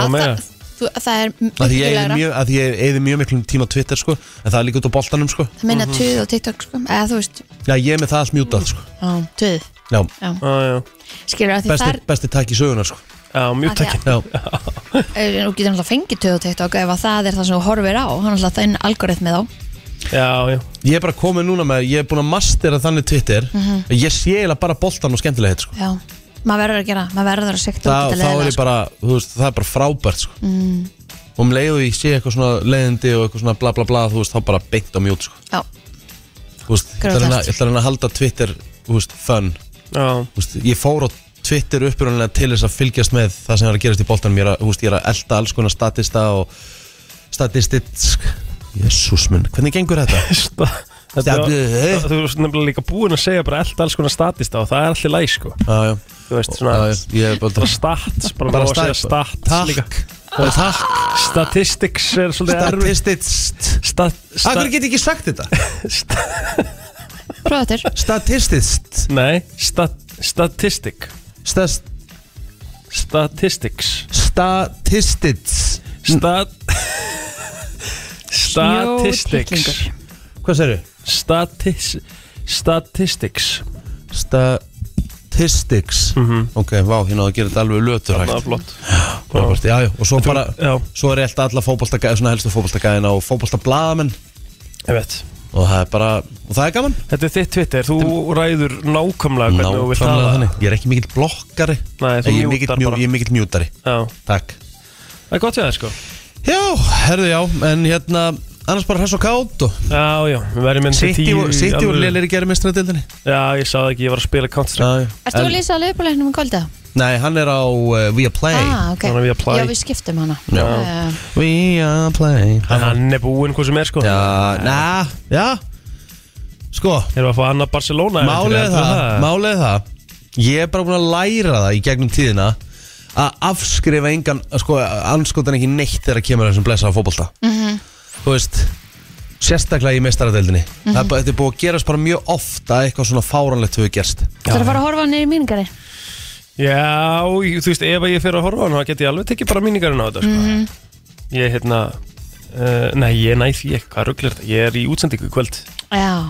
[SPEAKER 3] Já, meira.
[SPEAKER 2] það, þú, það er
[SPEAKER 1] Af því ég
[SPEAKER 2] uppbyggilegra.
[SPEAKER 1] eyði mjög- af því ég eði mjög miklum tíma á Twitter sko, En það er líka út á boltanum sko.
[SPEAKER 2] Það
[SPEAKER 3] Mhm.
[SPEAKER 2] minna tuð og TikTok sko Eða þú veist,
[SPEAKER 1] Já, ég er með það allt mjútað sko.
[SPEAKER 2] á, tuð
[SPEAKER 1] Já,
[SPEAKER 3] ah, já.
[SPEAKER 2] Skilur að því
[SPEAKER 1] besti,
[SPEAKER 2] þar
[SPEAKER 1] besti takk í söguna sko.
[SPEAKER 3] Já, mjög
[SPEAKER 2] Af því að-
[SPEAKER 3] tekið
[SPEAKER 1] Já,
[SPEAKER 2] eh, Nú getur náttúrulega fengið tuð og TikTok Ef að það er það sem þú horfir á Hann náttúrulega þenn algoritmi þá
[SPEAKER 3] Já, já
[SPEAKER 1] ég er bara komin núna með Ég er búin að mastera þannig Twitter mm
[SPEAKER 2] Mhm.
[SPEAKER 1] Ég sé eiginlega bara boltan og skemmtilega sko.
[SPEAKER 2] Já, maður verður að gera Maður verður að sekta
[SPEAKER 1] Þa,
[SPEAKER 2] út
[SPEAKER 1] Þá er
[SPEAKER 2] þetta
[SPEAKER 1] ég bara, þú veist, það er bara frábært sko. mm. Og um leiðu ég sé eitthvað svona leiðindi Og eitthvað svona bla bla bla Þú veist, þá bara beint á mjút sko.
[SPEAKER 2] Já,
[SPEAKER 1] Þú veist, Ég ætla að reyna- ég ætla að reyna að halda Twitter þú veist, fun
[SPEAKER 3] Já,
[SPEAKER 1] Þú veist, Ég fór á Twitter upprunnilega til þess að fylgjast með það sem er að gerast í boltanum Ég er að, þú veist, ég er að elda alls konar statista og statistisk Jésús minn, hvernig gengur þetta?
[SPEAKER 3] Sta- þetta var-
[SPEAKER 1] Stefnið, hei.
[SPEAKER 3] Þú þú varst nefnilega líka búin að segja bara allt alls konar statista og það er allir læg sko
[SPEAKER 1] Já, já,
[SPEAKER 3] Þú veist
[SPEAKER 1] já,
[SPEAKER 3] svona
[SPEAKER 1] já, ég er bara
[SPEAKER 3] bara stats, bara,
[SPEAKER 1] Bara
[SPEAKER 3] bara má að segja
[SPEAKER 1] stat-
[SPEAKER 3] stats
[SPEAKER 1] Takk.
[SPEAKER 3] líka
[SPEAKER 1] Bara takk,
[SPEAKER 3] Statistics er svolítið erfið
[SPEAKER 1] statistist
[SPEAKER 3] Stat,
[SPEAKER 1] Akkur
[SPEAKER 3] stat,
[SPEAKER 1] get ég ekki sagt þetta?
[SPEAKER 3] stat,
[SPEAKER 2] prófa þetta
[SPEAKER 1] Statistist
[SPEAKER 3] nei, stat, statistik
[SPEAKER 1] Stast
[SPEAKER 3] Statistics
[SPEAKER 1] Statistics
[SPEAKER 3] Stat
[SPEAKER 2] Snjótittlingur.
[SPEAKER 3] Statistics
[SPEAKER 1] Hvað segir þau?
[SPEAKER 3] Statis Statistics
[SPEAKER 1] Statistics Ok, vá, hérna á að gera þetta alveg lötur
[SPEAKER 3] Það er
[SPEAKER 1] hægt
[SPEAKER 3] flott
[SPEAKER 1] Frábært, já, já, og svo bara
[SPEAKER 3] Já,
[SPEAKER 1] Svo er ég alltaf alla fótboltagæði, svona helstu fótboltagæðina og fótboltablaðamenn
[SPEAKER 3] ég veit
[SPEAKER 1] og það er bara, og það er gaman
[SPEAKER 3] Þetta er þitt Twitter, þú ræður nákvæmlega hvernig þú vilt
[SPEAKER 1] Nákvæmlega
[SPEAKER 3] hafa
[SPEAKER 1] þannig, ég er ekki mikill blokkari
[SPEAKER 3] Nei,
[SPEAKER 1] en
[SPEAKER 3] þú
[SPEAKER 1] ég er mikill,
[SPEAKER 3] mjútar
[SPEAKER 1] mjú,
[SPEAKER 3] bara.
[SPEAKER 1] ég er mikill mjútari
[SPEAKER 3] Já,
[SPEAKER 1] Takk
[SPEAKER 3] það er gott við það sko
[SPEAKER 1] Já, herðu já, en hérna annars bara hress og kátt og
[SPEAKER 3] Já, já, við verðum inn til
[SPEAKER 1] City
[SPEAKER 3] tíu
[SPEAKER 1] og-
[SPEAKER 3] í
[SPEAKER 1] City og
[SPEAKER 3] alvöru.
[SPEAKER 1] Lélir í gera mistræðildinni
[SPEAKER 3] Já, ég sá það ekki, ég var að spila Counter-Strike
[SPEAKER 2] Erstu að lýsa að löpulegnum í kvölda?
[SPEAKER 1] Nei, hann er á uh, We Are Play
[SPEAKER 2] Ah, ok.
[SPEAKER 3] Þannig að við apply.
[SPEAKER 2] Já, við skiptum hana.
[SPEAKER 1] Já.
[SPEAKER 2] Eh,
[SPEAKER 1] We Are Play
[SPEAKER 3] En hann er búinn hvað sem er sko
[SPEAKER 1] Já, na, já Sko,
[SPEAKER 3] Erum við að fá annað Barcelona
[SPEAKER 1] málið er það, málið er það Ég er bara búin að læra það í gegnum tíðina að afskrifa engan, sko, anskotan ekki neitt þegar að kemur að þessum blessaða fótbolta
[SPEAKER 2] Mhm.
[SPEAKER 1] Þú veist, sérstaklega í mestaradeildinni
[SPEAKER 2] Mhm.
[SPEAKER 1] Það er bara, þetta er búið að gerast bara mjög ofta eitthvað svona fáranlegt hefur gerst
[SPEAKER 2] Þú ætlar að fara að horfa niður í míningari?
[SPEAKER 3] Já, ég- þú veist, ef ég fyrir að horfa á hann þá get ég alveg tekið bara míningarinn á þetta sko. Ég, hérna uh, Nei, ég næ því ekki, hvað rugglir þetta Ég er í útsendingu í kvöld
[SPEAKER 2] Já,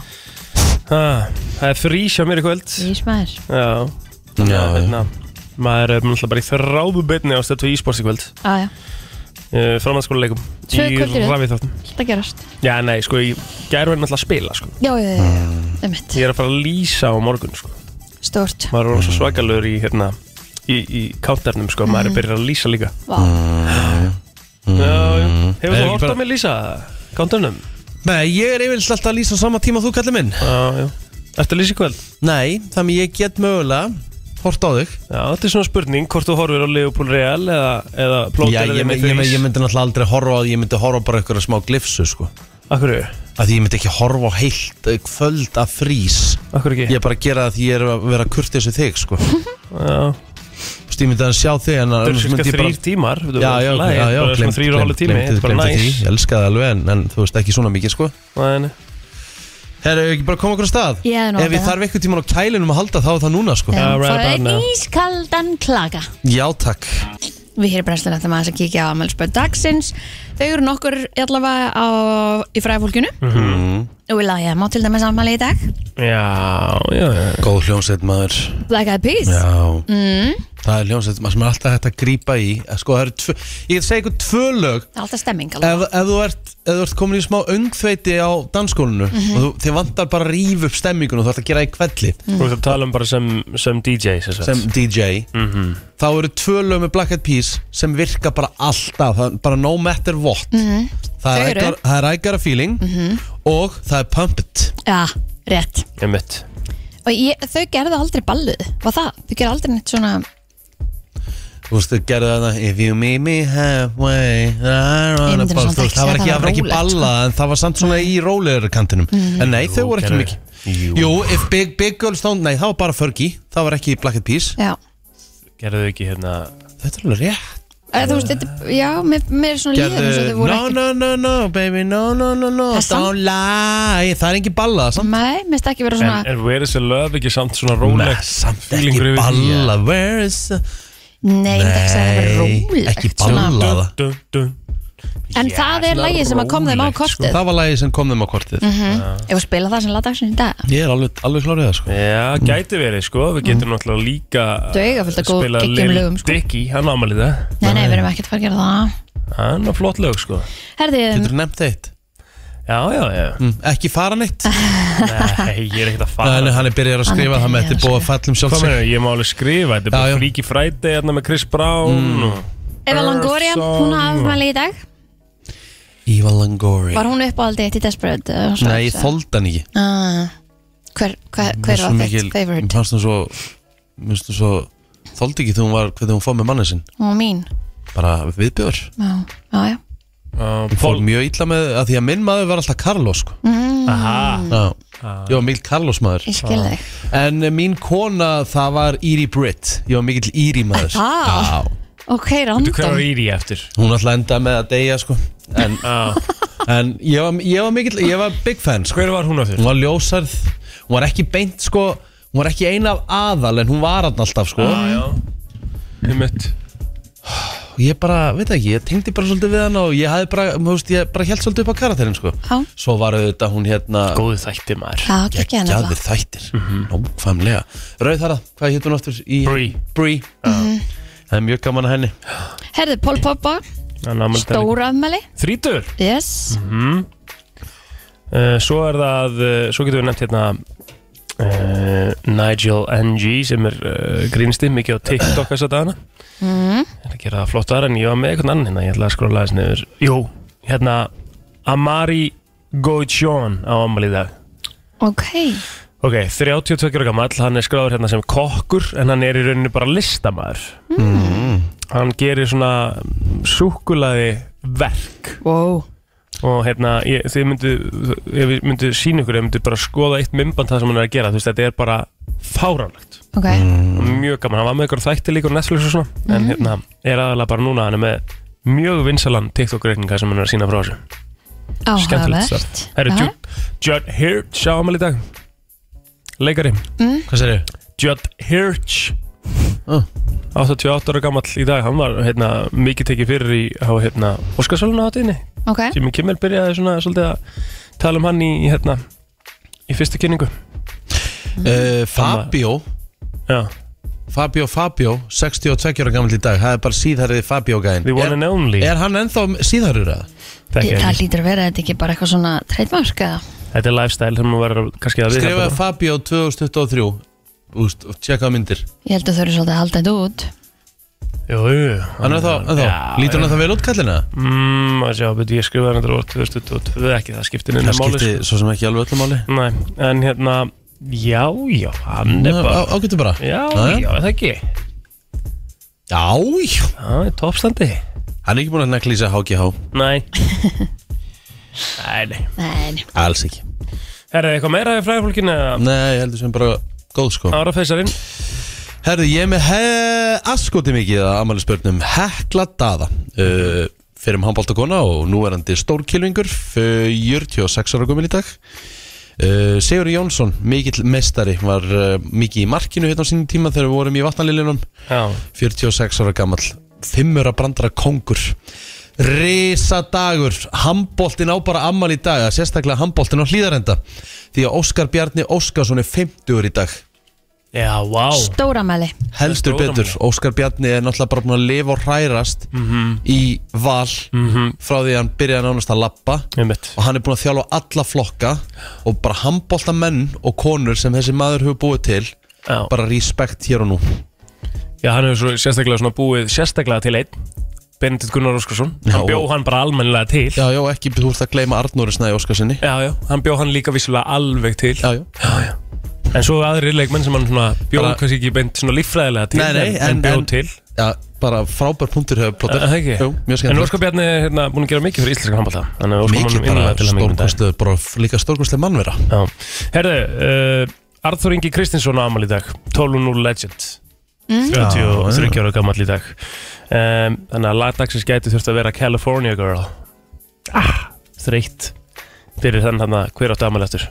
[SPEAKER 3] ha, Það er frís hjá mér í kvöld
[SPEAKER 2] ég smæður.
[SPEAKER 3] Já,
[SPEAKER 1] Já,
[SPEAKER 3] já hérna, Maður er náttúrulega bara í þrábu beinni á stöðtu e-sports í kvöld
[SPEAKER 2] Ah, Já, já,
[SPEAKER 3] uh, Framhanskóla leikum
[SPEAKER 2] Tvö
[SPEAKER 3] Í
[SPEAKER 2] kvöld í röð.
[SPEAKER 3] rafið þáttum
[SPEAKER 2] alltaf gerast.
[SPEAKER 3] Já, nei, sko, ég gæru henni alltaf að spila sko.
[SPEAKER 2] Já, já, já, já, um mitt.
[SPEAKER 3] Ég er að fara að lýsa á morgun sko.
[SPEAKER 2] Stort.
[SPEAKER 3] Maður er orðinn svo svakalur í, hérna, í, í counternum sko. Maður er byrjað að lýsa líka
[SPEAKER 2] Mhm. Vá.
[SPEAKER 3] Já, já. Hefur
[SPEAKER 1] Er
[SPEAKER 3] þú
[SPEAKER 1] ekki
[SPEAKER 3] hort
[SPEAKER 1] bara-
[SPEAKER 3] á mig lýsa counternum?
[SPEAKER 1] Nei, ég er yfirlega alltaf að lýsa á sama tíma og þú kallir minn
[SPEAKER 3] Já, já Ertu að lýsa í kvöld?
[SPEAKER 1] Nei, þannig ég get mögulega hort á þig
[SPEAKER 3] Já, þetta er svona spurning hvort þú horfir á Leopold Real eða, eða
[SPEAKER 1] Já,
[SPEAKER 3] plótar
[SPEAKER 1] ég,
[SPEAKER 3] eða
[SPEAKER 1] ég, ég, ég myndi náttúrulega aldrei horfa á því, ég myndi horfa bara ykkur að smá glifsu, sko
[SPEAKER 3] Akkur,
[SPEAKER 1] að því ég myndi ekki horfa á heilt eh, kvöld að frís
[SPEAKER 3] akkur ekki?
[SPEAKER 1] Ég er bara að gera það því ég er að vera kurtis við þig sko Þú
[SPEAKER 3] Já,
[SPEAKER 1] veist, ég myndi að sjá þig en
[SPEAKER 3] þetta
[SPEAKER 1] annars
[SPEAKER 3] eru cirka
[SPEAKER 1] myndi ég bara
[SPEAKER 3] þrýr tímar veitum,
[SPEAKER 1] Já, já,
[SPEAKER 3] lagi,
[SPEAKER 1] já, já,
[SPEAKER 3] bara svona þrýr og hálf tími, þetta er bara
[SPEAKER 1] glemt
[SPEAKER 3] næs
[SPEAKER 1] því, ég elska það alveg en, en þú veist ekki svona mikið sko
[SPEAKER 3] Nei, nei.
[SPEAKER 1] Herra, hefur ekki bara koma okkur á stað?
[SPEAKER 2] Ég hefði
[SPEAKER 1] Ef
[SPEAKER 2] nú haldið
[SPEAKER 1] ég
[SPEAKER 2] það.
[SPEAKER 1] þarf eitthvað tíman á kælinum að halda þá er það núna sko
[SPEAKER 2] Já,
[SPEAKER 1] Já,
[SPEAKER 3] Yeah, right
[SPEAKER 2] Það
[SPEAKER 3] about
[SPEAKER 2] er
[SPEAKER 3] now.
[SPEAKER 2] ískaldan klaga.
[SPEAKER 1] takk
[SPEAKER 2] Við hér í brennslunni ætlum aðeins að kíkja á afmælisböð dagsins. Þau eru nokkur allavega á, í fræðfólkinu
[SPEAKER 1] Mm.
[SPEAKER 3] Mhm.
[SPEAKER 2] og við lagja má til dæmis afmæli í dag.
[SPEAKER 3] Já, já, já
[SPEAKER 1] Góð hljómsveit maður
[SPEAKER 2] Black Eyed Peas.
[SPEAKER 1] Já
[SPEAKER 3] Mm.
[SPEAKER 2] Mm.
[SPEAKER 1] Það er hljómsveit maður sem er alltaf hægt að grípa í Eh, Sko, það eru tvö Ég get segja ykkur tvö lög
[SPEAKER 2] Það er alltaf stemming alveg.
[SPEAKER 1] Ef, ef, þú ert, ef þú ert komin í smá öngþveiti á dansskólinu
[SPEAKER 3] Mhm.
[SPEAKER 1] og þú, þið vantar bara að rífa upp stemmingun og þú ert að gera það í kvelli
[SPEAKER 3] Þú ert að tala um bara sem, sem DJ sem sagt. Mhm.
[SPEAKER 1] sem DJ þá eru tvö lög með Black Eyed Peas sem virka bara alltaf það, er bara no matter what það,
[SPEAKER 2] Þau
[SPEAKER 1] er
[SPEAKER 2] eru?
[SPEAKER 1] ægar, það er I Got a Feeling
[SPEAKER 3] Mhm.
[SPEAKER 1] og það er Pump It
[SPEAKER 2] Já, rétt.
[SPEAKER 3] Einmitt.
[SPEAKER 2] Og ég, þau gerðu aldrei ballið, var það? Þau gerðu aldrei neitt svona
[SPEAKER 1] Þú veist, þau gerðu þarna If you meet me halfway I
[SPEAKER 2] Ég
[SPEAKER 1] run
[SPEAKER 2] myndi nú
[SPEAKER 1] about
[SPEAKER 2] samt
[SPEAKER 1] þú
[SPEAKER 2] ekki
[SPEAKER 1] veist, Það var
[SPEAKER 2] segja
[SPEAKER 1] ekki,
[SPEAKER 2] það
[SPEAKER 1] það var ekki
[SPEAKER 2] var rólegt,
[SPEAKER 1] balla en það var samt svona í rólegur kantinum en nei, þau voru ekki
[SPEAKER 3] gerðu-
[SPEAKER 1] mikið Jú, if big, big Girls Don't Nei, það var bara Fergie það var ekki Black Eyed Peas
[SPEAKER 2] Já,
[SPEAKER 3] Gerðu þau ekki hérna
[SPEAKER 1] Þetta er alveg rétt
[SPEAKER 2] Eða, þú veist, þetta, já, mér, mér er svona líður eins og þau
[SPEAKER 1] Gerðu,
[SPEAKER 2] voru
[SPEAKER 1] no,
[SPEAKER 2] ekki
[SPEAKER 1] no, no, no, baby, no, no, no, no
[SPEAKER 2] Það er samt-
[SPEAKER 1] Don't lie, það er engin balla samt
[SPEAKER 2] Nei, mér finnst ekki vera
[SPEAKER 3] En
[SPEAKER 2] svona
[SPEAKER 3] er Where is the Love ekki samt svona
[SPEAKER 1] Nei,
[SPEAKER 3] róleg
[SPEAKER 1] samt
[SPEAKER 3] feelingur yfir
[SPEAKER 1] ekki
[SPEAKER 3] því?
[SPEAKER 1] balla Where is the
[SPEAKER 2] Nei, ég myndi ekki segja það vera rólegt
[SPEAKER 1] ekki
[SPEAKER 2] svona.
[SPEAKER 1] balla það
[SPEAKER 3] Dun, dun.
[SPEAKER 2] En
[SPEAKER 3] Já,
[SPEAKER 2] það er
[SPEAKER 3] svona
[SPEAKER 2] lagið sem að kom þeim á
[SPEAKER 3] rólegt, sko.
[SPEAKER 2] kortið
[SPEAKER 1] Það var lagið sem kom þeim á kortið
[SPEAKER 2] Ég var að spila það sem lagdagsinn í dag
[SPEAKER 1] Ég er alveg, alveg klárið það sko Mm.
[SPEAKER 3] Já, gæti verið sko, við getum náttúrulega líka uh,
[SPEAKER 2] Þau eiga fullt af góð-
[SPEAKER 3] spilað
[SPEAKER 2] geggjum
[SPEAKER 3] Lil
[SPEAKER 2] lögum, sko.
[SPEAKER 3] Dicky, hann ámalið það
[SPEAKER 2] Nei, nei, við erum ekkert að fara að gera það
[SPEAKER 3] Hann var flott lög sko
[SPEAKER 2] Herði,
[SPEAKER 1] Getur nefnt eitt
[SPEAKER 3] Já, já, já
[SPEAKER 1] mm, Ekki fara neitt
[SPEAKER 3] Nei, ég er ekkert að fara
[SPEAKER 1] Þannig hann er byrjar að
[SPEAKER 2] Hann er
[SPEAKER 1] skrifa það með
[SPEAKER 2] byrjaður
[SPEAKER 1] þetta
[SPEAKER 2] að
[SPEAKER 1] er búið að falla um
[SPEAKER 3] Hvað
[SPEAKER 1] sjálf sig
[SPEAKER 3] meina, ég má alveg skrifa, þetta er
[SPEAKER 1] Já, Mm. já.
[SPEAKER 3] bara Freaky Friday hérna með Chris Brown og...
[SPEAKER 2] Eva Longoria, hún hafði afmæli í dag
[SPEAKER 1] Eva Langori
[SPEAKER 2] Var hún uppáhaldið eitt í Desperate? eh, Housewives,
[SPEAKER 1] Nei, ég
[SPEAKER 2] eða?
[SPEAKER 1] þóldi hann ekki
[SPEAKER 2] Ah, Hver, hver, hver var þitt
[SPEAKER 1] Mér
[SPEAKER 2] favorite?
[SPEAKER 1] fannst hún svo Mér fannst hún svo Þóldi ekki þegar hún var Hvernig hún fóð með manni sinn
[SPEAKER 2] Hún var mín
[SPEAKER 1] Bara viðbjör
[SPEAKER 2] Já, já, já
[SPEAKER 3] Uh,
[SPEAKER 1] Fóð
[SPEAKER 3] Paul,
[SPEAKER 1] mjög illa með að Því að minn maður var alltaf Carlos sko.
[SPEAKER 2] Mm.
[SPEAKER 3] aha,
[SPEAKER 1] Já. Ég var mikill Carlos maður
[SPEAKER 2] Ég skil þig
[SPEAKER 1] En eh, mín kona, það var Íri Britt Ég var mikill Íri maður
[SPEAKER 2] Ah.
[SPEAKER 1] Já.
[SPEAKER 2] Ok,
[SPEAKER 3] þú hver var
[SPEAKER 2] random
[SPEAKER 3] Íri eftir?
[SPEAKER 1] Hún alltaf endaði með að deyja sko En,
[SPEAKER 3] Ah.
[SPEAKER 1] en ég, var, ég var mikill, ég var big fan sko
[SPEAKER 3] Hver var hún eftir?
[SPEAKER 1] Hún var ljósarð, hún var ekki beint sko Hún var ekki eina af aðal en hún var hann alltaf sko
[SPEAKER 3] Ah, Já, já einmitt
[SPEAKER 1] Ég bara, veit ekki, ég tengdi bara svolítið við hana og ég hafði bara, þú veist, ég bara held svolítið upp á karakterinn, sko
[SPEAKER 2] Já,
[SPEAKER 1] Svo var auðvitað hún hérna
[SPEAKER 3] Góðu þætti maður Mhm.
[SPEAKER 2] já, geggja henni
[SPEAKER 1] Gekkjaðir þættir, nákvæmlega Rauðhara, hvað hétt hún aftur? Í...
[SPEAKER 3] Bree.
[SPEAKER 1] Bree
[SPEAKER 2] Mhm.
[SPEAKER 1] Það er mjög gaman að henni
[SPEAKER 2] Herðu, Pól Poppa, stóra afmæli
[SPEAKER 3] Þrítur
[SPEAKER 2] Yes,
[SPEAKER 3] uh, Mhm. Svo er það, uh, svo getum við nefnt hérna uh, Nigel NG sem er uh, grínstið mikið á TikTok þess að dagana mm.
[SPEAKER 2] Mhm.
[SPEAKER 3] Ég ætla að gera það flott aðra en ég var með eitthvað annan hérna Ég ætla að skrolla þess nefnir Jú, hérna Amari Goichon á ammali í dag
[SPEAKER 2] ok
[SPEAKER 3] Ok, 32 ára gamall, hann er skráður hérna sem kokkur en hann er í rauninu bara listamaður Mm. Hann gerir svona súkulaði verk
[SPEAKER 2] Wow
[SPEAKER 3] og hérna, ég, þið myndu ég myndu sína ykkur, ég myndu bara skoða eitt mymband það sem hann er að gera, þú veist, þetta er bara fáránlegt,
[SPEAKER 2] Ok,
[SPEAKER 3] og mjög gaman hann var með ykkur þætti líka og Netflix og svona en hérna, er aðalega bara núna, hann er með mjög vinsalan TikTok-reikninga sem hann er að sína frá þessu skemmtilegt
[SPEAKER 2] áhugavert
[SPEAKER 3] starf Herru,
[SPEAKER 2] Já.
[SPEAKER 3] Judd- Judd Hirsch á amal í dag leikari
[SPEAKER 1] Hvað sér ég?
[SPEAKER 3] Judd Hirsch
[SPEAKER 1] Ah.
[SPEAKER 3] 88 ára gamall í dag hann var hérna, mikið tekið fyrir í á, hérna, Óskarsvölinu átíðinni
[SPEAKER 1] Eh?
[SPEAKER 2] Ok,
[SPEAKER 3] Jimmy Kimmel byrjaði svona svolítið að tala um hann í, í, hérna, í fyrstu kynningu
[SPEAKER 1] Uh, Fabio
[SPEAKER 3] Já,
[SPEAKER 1] Fabio Fabio, 62 ára gammal í dag Það er bara síðhærið Fabio gæðin
[SPEAKER 3] The One and Only
[SPEAKER 1] Er hann ennþá síðhærið það?
[SPEAKER 3] Þekki
[SPEAKER 2] Ég-
[SPEAKER 3] ekki.
[SPEAKER 2] það lítur að vera þetta ekki bara eitthvað svona treytmark eða
[SPEAKER 3] Þetta er lifestyle sem hún verður kannski að viðhalda
[SPEAKER 1] Skrifaði
[SPEAKER 3] bara.
[SPEAKER 1] Fabio 2023 Úst, og tjekkaði myndir
[SPEAKER 2] Ég held að þau eru svolítið að halda þetta út
[SPEAKER 3] Jú, jú
[SPEAKER 1] Hann er þá, ennþá,
[SPEAKER 3] Já,
[SPEAKER 1] lítur hann
[SPEAKER 3] já.
[SPEAKER 1] að það vel út kallina?
[SPEAKER 3] Mm, að sjá, betur ég skrifaði hann þetta voru 2022 ekki, það skiptir neina
[SPEAKER 1] Það
[SPEAKER 3] máli
[SPEAKER 1] skipti
[SPEAKER 3] sko.
[SPEAKER 1] svo sem ekki alveg öllu máli
[SPEAKER 3] Nei, en hérna, já, já, hann er bara
[SPEAKER 1] Á- Ágættu bara
[SPEAKER 3] Já,
[SPEAKER 1] Jæja.
[SPEAKER 3] já, er það ekki
[SPEAKER 1] Já, já.
[SPEAKER 3] Það er toppstandi
[SPEAKER 1] hann er ekki búin að nekla í sig HGH
[SPEAKER 3] Nei Nei, nei
[SPEAKER 2] Nei, nei.
[SPEAKER 1] Alls ekki
[SPEAKER 3] Er það eitthvað meira í fræðfólkinu?
[SPEAKER 1] Nei, ég heldur sem bara góð sko
[SPEAKER 3] Ára feysarinn
[SPEAKER 1] Herðu, ég er með he- askoti mikið að amali spörnum Hekla Dada
[SPEAKER 3] Mhm.
[SPEAKER 1] uh, Fyrir um handbóltakona og eh, nú er hann til stórkilvingur 46 ára komin í dag uh, Sigur Jónsson, mikill mestari Var uh, mikið í markinu hérna á sínum tíma Þegar við vorum í vatnalilunum
[SPEAKER 3] Já,
[SPEAKER 1] 46 ára gamall Fimmur að brandara kongur Risa dagur Hamboltin á bara ammal í dag eða Sérstaklega hamboltin á hlýðarenda Því að Óskar Bjarni Óskarsson er 50 í dag
[SPEAKER 3] já, vá
[SPEAKER 2] Stóra afmæli
[SPEAKER 1] heldur
[SPEAKER 3] Stóra
[SPEAKER 1] betur Óskar Bjarni er náttúrulega bara búin að lifa og hrærast
[SPEAKER 3] Mhm.
[SPEAKER 1] í val frá því að hann byrjaði nánast að lappa
[SPEAKER 3] Einmitt.
[SPEAKER 1] og hann er búin að þjálfa alla flokka og bara handbólta menn og konur sem þessi maður hefur búið til
[SPEAKER 3] Já.
[SPEAKER 1] bara respekt hér og nú
[SPEAKER 3] Já, hann hefur svo sérstaklega svona búið sérstaklega til einn Benedikt Gunnar Óskarsson
[SPEAKER 1] Já.
[SPEAKER 3] Hann bjó hann bara almennilega til Já,
[SPEAKER 1] Já, já, ekki þú ert að gleyma Arnóri Snæði Óskarsinni
[SPEAKER 3] já, hann bjó hann líka vissulega alveg til
[SPEAKER 1] Já, já
[SPEAKER 3] En svo aðrir leikmenn sem hann svona bjó
[SPEAKER 1] Bara-
[SPEAKER 3] kannski ekki beint svona líffræðilega til
[SPEAKER 1] Nei, nei,
[SPEAKER 3] en, en
[SPEAKER 1] en-
[SPEAKER 3] bjó
[SPEAKER 1] en-
[SPEAKER 3] til
[SPEAKER 1] Já, bara frábær punktur
[SPEAKER 3] Er
[SPEAKER 1] hefur plóttir
[SPEAKER 3] Það ekki?
[SPEAKER 1] Jú, mjög
[SPEAKER 3] en
[SPEAKER 1] skemmt
[SPEAKER 3] Óskar Bjarni er hérna búin að gera mikið fyrir íslenska handbólta Þannig að Óskar
[SPEAKER 1] Mikið
[SPEAKER 3] mannum
[SPEAKER 1] bara
[SPEAKER 3] innlega til að mikið
[SPEAKER 1] stórkostlega, bara líka stórkostlega mannvera
[SPEAKER 3] Já. Herðu, uh, Arþór Ingi Kristinsson á amal í dag 12.0 Legend
[SPEAKER 2] Mm.
[SPEAKER 3] 33 ára gammal í dag um, Þannig að lagdagsins gæti þurft að vera California Girl ah, Þreytt fyrir þann hann að hver átti amal eftir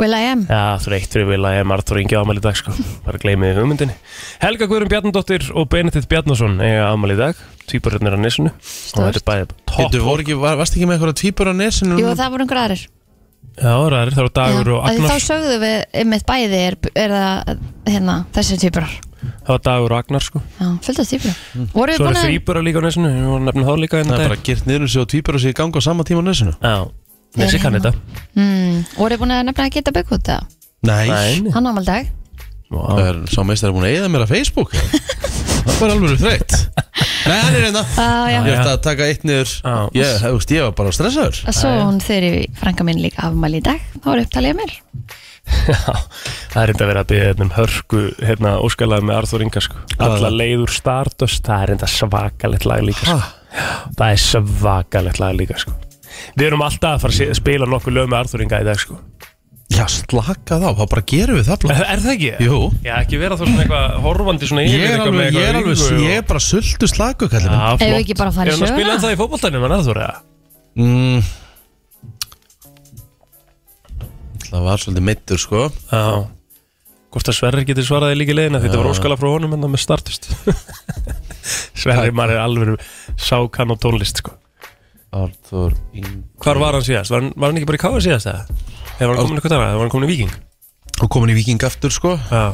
[SPEAKER 2] Will I am
[SPEAKER 3] Já, þreytt fyrir vil að ég Arþór Ingi amal í dag sko. bara gleymiði hugmyndinni Helga Guðrun Bjarnadóttir og Benedikt Bjarnason eiga amal í dag, týparöðnir á nesunu og þetta er bæði topp
[SPEAKER 1] Þú voru ekki, var- varstu ekki með eitthvað tvíbur á nesinu?
[SPEAKER 2] Jú, það voru einhver aðrir
[SPEAKER 3] Já, það er það dagur
[SPEAKER 2] Já,
[SPEAKER 3] og
[SPEAKER 2] af því
[SPEAKER 3] Agnar sko.
[SPEAKER 2] Þá sögðu við einmitt bæði er, er það hérna, þessi týpurar
[SPEAKER 3] það var dagur og Agnar sko
[SPEAKER 2] Já, fullt af týpurar mm. Voru við
[SPEAKER 3] Svo
[SPEAKER 2] búin
[SPEAKER 3] er
[SPEAKER 2] að
[SPEAKER 3] þrýbara líka á nesinu, við vorum nefnir þá líka
[SPEAKER 1] Það
[SPEAKER 3] hérna
[SPEAKER 1] er bara girt niður um sig og tvíbur á sig í ganga á sama tíma á nesinu
[SPEAKER 3] Já, þessi kann þetta
[SPEAKER 2] mm, Voru við búin að nefna að geta byggkvot
[SPEAKER 1] Nei,
[SPEAKER 3] Nei,
[SPEAKER 2] Hann ámæl dag
[SPEAKER 1] það
[SPEAKER 3] Vá.
[SPEAKER 1] er sá meistar er búin að eyða mér að Facebook Það var alveg þreytt Nei, hann er hérna. einna
[SPEAKER 2] ah, já.
[SPEAKER 1] Ég ætti að taka eitt niður
[SPEAKER 3] Já.
[SPEAKER 1] Ég, þú veist, ég var bara stressaður
[SPEAKER 2] Svo hún þeirri frænka minn líka afmæli í dag Þá voru upptalið mér
[SPEAKER 3] Já, það er enda verið að byggja hérna um hörku hérna óskalag með Arþór Inga sko. alla leiður Stardust, það er enda svakalegt lag líka sko. það er svakalegt lag líka sko. við erum alltaf að fara að se- spila nokkuð lög með Arþór Inga í dag sko.
[SPEAKER 1] Já, slaka þá, þá bara gerum við það blá.
[SPEAKER 3] er, er það ekki?
[SPEAKER 1] Jú,
[SPEAKER 3] Já, ekki vera þá svona eitthvað horfandi svona
[SPEAKER 1] ég er
[SPEAKER 3] eitthvað með
[SPEAKER 1] alveg, ég er
[SPEAKER 3] eitthvað
[SPEAKER 1] alveg,
[SPEAKER 3] augu og-
[SPEAKER 1] ég er bara sultu slaku kallið
[SPEAKER 3] Já,
[SPEAKER 1] minn
[SPEAKER 3] flott.
[SPEAKER 2] Eigum við ekki bara að fara í
[SPEAKER 3] Er hann að
[SPEAKER 2] söguna?
[SPEAKER 3] spila það í fótboltanum en Arþór eða?
[SPEAKER 1] Mm. Það var svolítið meittur, sko
[SPEAKER 3] Já Hvort að hérna Sverrir getur svaraði líka í leiðina því þetta var óskala frá honum en það með startist Sverri maður er alveg sákan og tólist sko.
[SPEAKER 1] Arthur Ingi
[SPEAKER 3] Hvar var hann síðast? Var hann, var hann ekki bara í káða síðast eða? Eða var hann komin eitthvað annað? Var hann komin í Viking?
[SPEAKER 1] Og komin í Viking aftur sko
[SPEAKER 3] Já,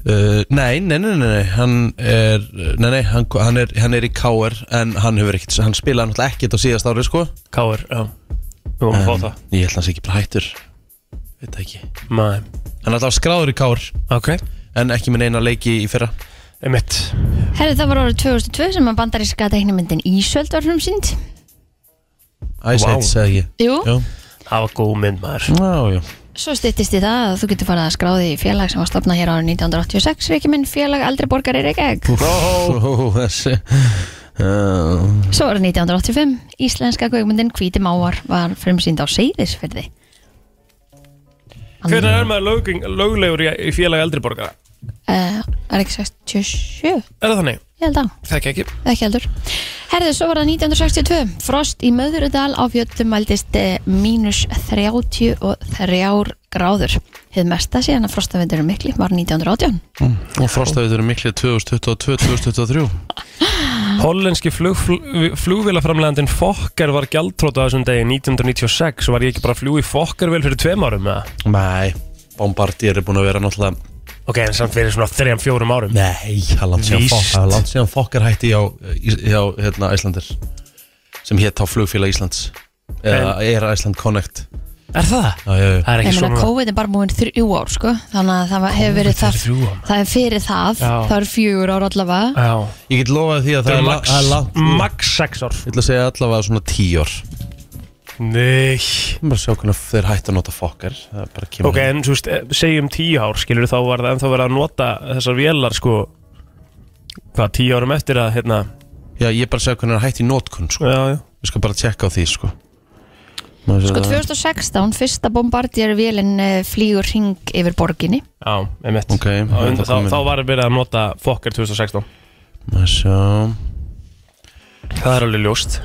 [SPEAKER 1] Uh, nei, nei, nei, nei, nei, hann er, nei, nei, hann, hann, er, hann er í KR en hann hefur ekkert, hann spilaði náttúrulega ekkert á síðast ári, sko
[SPEAKER 3] káður, já Við vorum að fá það
[SPEAKER 1] Ég held að hann sé ekki bara hættur, veit það ekki
[SPEAKER 3] Nei,
[SPEAKER 1] Hann er alltaf skráður í KR
[SPEAKER 3] ok
[SPEAKER 1] en ekki með neina leiki í fyrra
[SPEAKER 3] Emitt
[SPEAKER 2] Herði það var árið 2002 sem að bandaríska teiknumyndin Ísöld var frum sínd
[SPEAKER 1] Ice
[SPEAKER 3] Vá.
[SPEAKER 1] Age, segði ekki
[SPEAKER 2] Jú,
[SPEAKER 1] Já,
[SPEAKER 3] Það var góð mynd maður
[SPEAKER 1] já, já
[SPEAKER 2] svo styttist í það að þú getur farið að skráði í félag sem var stopnað hér árið 1986 Riki minn félag aldrei borgar er ekki
[SPEAKER 1] Úff, ó, Þessi uh,
[SPEAKER 2] Svo var það 1985 Íslenska kveikmyndin Hvíti Mávar var frumsýnd á Seyðisferði Hann-
[SPEAKER 3] Hvernig er maður löging, löglegur í, í félagi eldri borgara?
[SPEAKER 2] Eh, Það er ekki 67
[SPEAKER 3] Er það þannig?
[SPEAKER 2] Ég held að,
[SPEAKER 3] Þekki ekki
[SPEAKER 2] ekki heldur Herðu, svo var það 1962 Frost í Möðurudal á fjöllum mældist eh, mínus 33 gráður Hefð mesta síðan að frostavendurum mikli var 1918
[SPEAKER 1] Og frostaðið eru miklið 2022-2023
[SPEAKER 3] Hollenski flug, flug, flugvélaframlegandin Fokker var gjaldtróta þessum degi 1996 og var ég ekki bara að fljúi Fokkervél fyrir tveim árum eða?
[SPEAKER 1] Nei, Bombardier er búin að vera náttúrulega
[SPEAKER 3] Ok, en samt fyrir svona þrejum, fjórum árum
[SPEAKER 1] Nei, það er langt síðan
[SPEAKER 3] Víst.
[SPEAKER 1] fokk- það er langt síðan eh, fokkar hætti hjá, eh, hjá hérna, Æslandir sem hétt á flugfélag Íslands eða Air Iceland Connect
[SPEAKER 3] Er það?
[SPEAKER 1] já, já, já.
[SPEAKER 3] Það er
[SPEAKER 2] Ég
[SPEAKER 3] ekki
[SPEAKER 2] meina,
[SPEAKER 3] svona
[SPEAKER 2] COVID er bara múin þrjú ár, sko Þannig að það var- hefur verið það
[SPEAKER 3] Þrjú árum
[SPEAKER 2] Það er fyrir það,
[SPEAKER 3] Já.
[SPEAKER 2] það er fjögur ár allavega
[SPEAKER 3] Já
[SPEAKER 1] Ég get lofað því að
[SPEAKER 3] Það er
[SPEAKER 1] það er, la-
[SPEAKER 3] max,
[SPEAKER 1] það er langt Mm.
[SPEAKER 3] max 6 ár
[SPEAKER 1] Ég ætla að segja allavega svona tíor Ég
[SPEAKER 3] Nei
[SPEAKER 1] er bara að sjá hvernig þeir hættu að nota fokkar Það er bara að kemur
[SPEAKER 3] Ok, en svo veist, eh, segjum 10 ár skilur þá var það ennþá verið að nota þessar vélar sko Hvað, 10 árum eftir að hérna
[SPEAKER 1] Já, ég er bara að sjá hvernig það hætti í notkun sko.
[SPEAKER 3] Já, já
[SPEAKER 1] Ég skal bara tjekka á því sko.
[SPEAKER 2] Sko 2016, fyrsta bombardier vélinn flýgur hring yfir borginni
[SPEAKER 3] Já, emitt
[SPEAKER 1] Ok, það er
[SPEAKER 3] þá, þá,
[SPEAKER 1] komin.
[SPEAKER 3] þá var verið að nota Fokker 2016
[SPEAKER 1] Má sjá
[SPEAKER 3] Það er alveg ljóst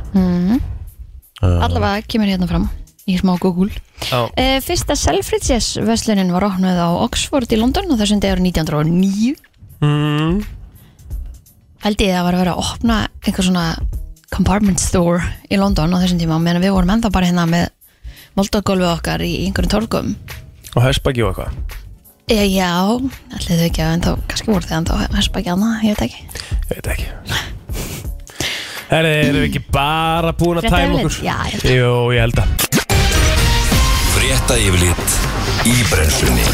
[SPEAKER 2] Allavega kemur hérna fram í smá Google
[SPEAKER 3] Já
[SPEAKER 2] e, Fyrsta Selfridges veslunin var opnuð á Oxford í London og þessum degur 1909
[SPEAKER 3] mm.
[SPEAKER 2] Held ég að var að vera að opna einhver svona compartment store í London á þessum tíma meðan við vorum ennþá bara hérna með moldagolfið okkar í einhverjum torgum
[SPEAKER 3] Og hespagi og eitthvað
[SPEAKER 2] e, Já, allir þau ekki að ennþá kannski voru þau ennþá hespækja hana, ég veit ekki
[SPEAKER 3] Ég veit ekki Herri, erum við ekki bara búin að
[SPEAKER 2] Frétta
[SPEAKER 3] tæma
[SPEAKER 2] yfirlit?
[SPEAKER 3] okkur?
[SPEAKER 2] Já, ég held
[SPEAKER 3] Jú, ég held að
[SPEAKER 4] Frétta yfirlit í brennslunni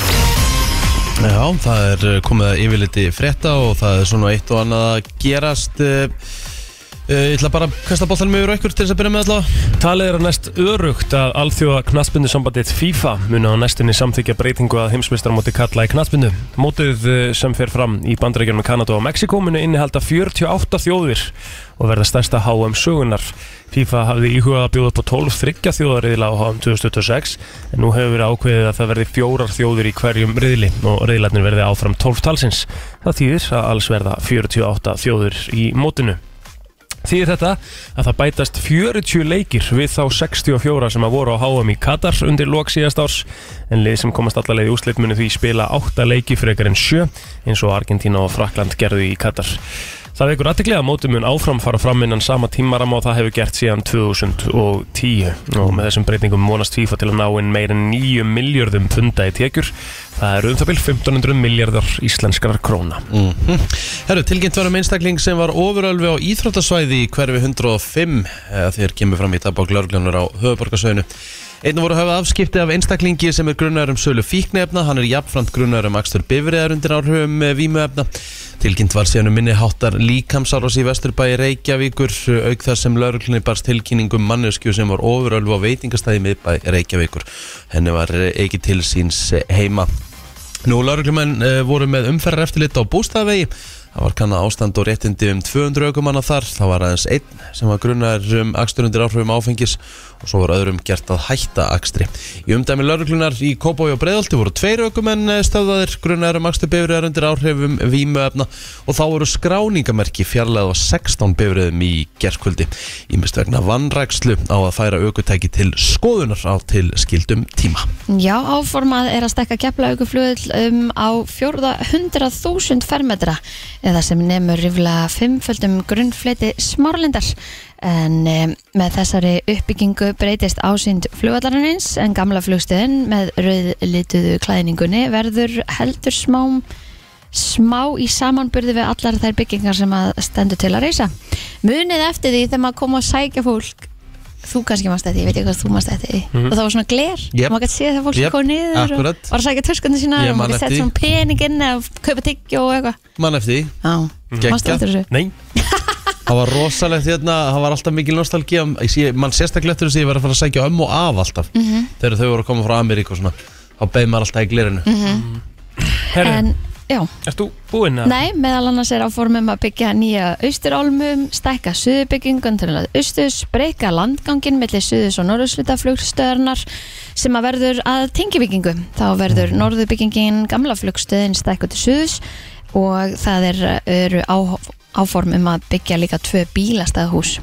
[SPEAKER 1] Já, það er uh, komið að yfirliti frétta og það er svona eitt og annað að gerast uh, uh, Ég ætla bara að kasta boltanum yfir á ykkur til þess að byrja með allavega
[SPEAKER 3] Talið er að næst örugt að alþjóða knaspindusambandið FIFA muna á næstunni samþykja breytingu að heimsmeistaramóti kalla í knaspindu. Mótið eh, sem fer fram í bandarækjörnum Kanada og Mexiko muni innihalda 48 þjóðir og verða stærsta HM sögunar. FIFA hafði íhugað að bjóða upp á 12 þryggja þjóðarriðla á HM 2026 en nú hefur verið ákveðið að það verði fjórar þjóðir í hverjum riðli og riðlarnir verði áfram 12 talsins. Það þýðir að alls verða 48 þjóðir í mótinu. Þýðir þetta að það bætast 40 leikir við þá 64 sem að voru á HM í Katar undir lok síðast árs en lið sem komast allarleið í úslit muni því spila 8 leiki frekar en 7 eins og Argentína og Frakland gerðu í Katar. Það vekur aðteklega að mótum mun áfram fara fram innan sama tímaram og það hefur gert síðan 2010 og með þessum breytingum vonast FIFA til að ná inn meira en 9 miljörðum punda í tekjur. Það eru um það byrj 1500 miljardar íslenskrar króna.
[SPEAKER 1] Mhm. Herru, tilgjönd var um einstakling sem var ofurölfi á íþróttasvæði í hverfi 105 eða þegar kemur fram í dagbók lörgljónur á höfuborgarsvæðinu. Einn voru hafa afskipti af einstaklingi sem er grunnar um sölu fíknefna, hann er jafnframt grunnar um akstur bifriðar undir áhrifum eh, vímuefna. Tilgjönd var síðan um minni háttar líkamsáros í Vesturbæi Reykjavíkur eh, auk þar sem lörglunni barst tilkynningum manneskju sem var ofurölfi á veitingastæði miðbæ Reykjavíkur. Henni var eh, ekki til síns eh, heima. Nú, lauruglumenn uh, voru með umferðar eftirlit á bústafegi. Það var kannan ástand og réttindi um 200 aukumanna þar. Það var aðeins einn sem var grunnar um akstur undir áhrifum áfengis og svo var öðrum gert að hætta akstri. Í umdæmi lauruglunar í Kópói og Breiðalti voru tveir aukumenn eh, stöðvaðir grunnar um akstur bifriðar undir áhrifum vímuefna og þá voru skráningamerki fjarlæð á 16 bifriðum í gerkvöldi. Ímest vegna vannrækslu á að færa aukutæki til skoðunar á til skildum tíma.
[SPEAKER 2] Já, áformað er að stekka keflauguflugl um, á fjórða 100.000 fermetra eða sem nefnur ríflega fimmföldum grunnfleti smárlindar en um, með þessari uppbyggingu breytist ásýnd flugvallarins en gamla flugstöðin með rauðlituðu klæðningunni verður heldur smám smá í samanburði við allar þær byggingar sem að stendur til að reysa munið eftir því þegar maður kom að sækja fólk þú kannski mannst eftir, því, ég veit ekki hvað þú mannst eftir því og það var svona gler,
[SPEAKER 1] Mhm. Jep.
[SPEAKER 2] maður gæti séð þegar fólk
[SPEAKER 1] Jep,
[SPEAKER 2] yep. kom niður
[SPEAKER 1] akkurat.
[SPEAKER 2] og var að sækja töskunni sína
[SPEAKER 1] Ég
[SPEAKER 2] og
[SPEAKER 1] man
[SPEAKER 2] maður gæti
[SPEAKER 1] eftir
[SPEAKER 2] sett
[SPEAKER 1] því.
[SPEAKER 2] svona pening inn eða kaupa tyggjó og eitthvað
[SPEAKER 1] mann eftir því
[SPEAKER 2] Já,
[SPEAKER 1] Geggjað.
[SPEAKER 2] mannst eftir þessu
[SPEAKER 3] Nei,
[SPEAKER 1] Það var rosalegt hérna, það var alltaf mikil nostalgía Ég sé- Man sérstaklega eftir þess að ég var að fara að sækja ömmu og af alltaf Þegar þau voru að koma frá Ameríku og svona Þá beði maður alltaf í glirinu
[SPEAKER 3] herri,
[SPEAKER 2] Mhm. en já,
[SPEAKER 3] ert þú búinn að
[SPEAKER 2] nei, meðal annars er áformum að byggja nýja austurálmum stækka suðubyggingun til að austus breyka landgangin millir suðus og norðusluta flugstöðarnar sem að verður að tengjubyggingu þá
[SPEAKER 3] Mhm.
[SPEAKER 2] verður norðubyggingin gamla flugstöðin stækka til suðus og það er, eru á, áform um að byggja líka tvö bílastæðhús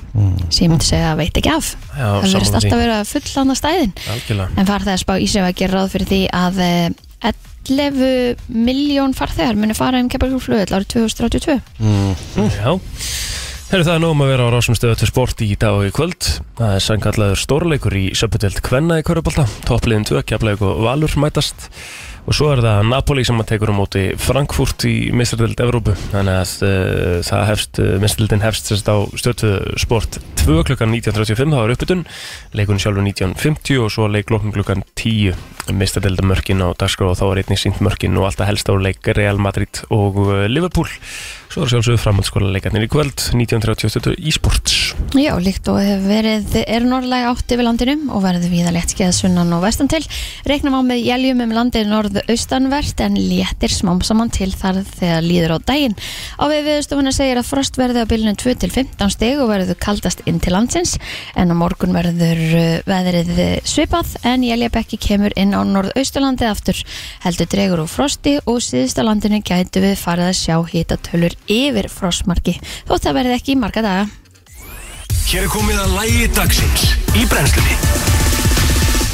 [SPEAKER 2] sem ég myndi segja að veit ekki af
[SPEAKER 3] Mhm. Já,
[SPEAKER 2] það verðist
[SPEAKER 3] sammála því.
[SPEAKER 2] alltaf vera fullana stæðin
[SPEAKER 3] Algjörlega
[SPEAKER 2] En farþæðarspá Ísef að gera ráð fyrir því að eh, 11 miljón farþæðar muni fara um Keflavíkurflugvöll árið 2032.
[SPEAKER 3] Já Herru það er nóg um að vera á rásum stöðu til sport í dag og í kvöld Það er sannkallaður stórleikur í söpudeld Kvenna í Körubalda Toppliðin 2, Keflavík og Valur mætast Og svo er það Napoli sem að tekur á móti Frankfurt í mistradeld Evrópu Þannig að uh, það hefst, uh, mistradildin hefst sérst á stöðu sport 2 klukkan 19.35, þá er uppbytun Leikunni sjálfur 19.50 og svo leiklokkum klukkan 10 Mistradeld mörkin á dagskráð og þá er einnig sínt mörkin og alltaf helst á leik Real Madrid og uh, Liverpool Svo er sjálfsögðu framhaldsskóla leikarnir í kvöld 19.30 í sports
[SPEAKER 2] Já, líkt og hefur verið er norðlæg átt yfir landinu og verður víða léttskeiða sunnan og vestan til. Reknum á með jæljum um landið norðaustanvert en léttir smám saman til þar þegar líður á daginn. Á við viðstofuna segir að frost verði á bylunum 2 til 15 stig og verður kaldast inn til landsins en á morgun verður eh, veðrið svipað en jæljabekki kemur inn á norðaustalandi aftur. Heldur dregur úr frosti og síðustalandinu gætu við farið að sjá hitatölur yfir frostmarki þótt það verði ekki í marga daga.
[SPEAKER 4] Hér er komið að lægi dagsins í brennslunni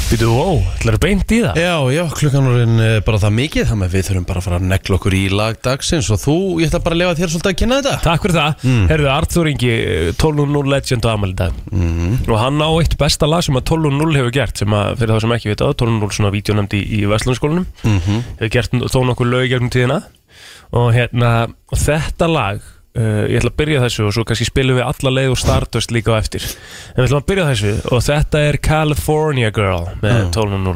[SPEAKER 3] Býtu, ó, ætlar beint í það?
[SPEAKER 1] Já, já, klukkan orðin eh, bara það mikið Þannig að við þurfum bara að fara að negla okkur í lag dagsins Og þú, ég ætla bara að lefa þér svolítið að kynna þetta
[SPEAKER 3] Takk fyrir það, mm. herðu Arthur Ingi eh, 12.0 Legend á Amalí dag mm. og hann á eitt besta lag sem að 12.0 hefur gert sem að fyrir þá sem ekki vita á 12.0 svona vídjónemdi í Vestlundsskólanum
[SPEAKER 1] Mhm.
[SPEAKER 3] -hmm. hefur gert þó nokkuð lög í gegnum tíðina og hérna, og þetta lag uh, ég ætla að byrja þessu og svo kannski spilum við alla leið og Stardust líka á eftir en við ætlum að byrja þessu og þetta er California Girl
[SPEAKER 1] Mm.
[SPEAKER 3] með 12.0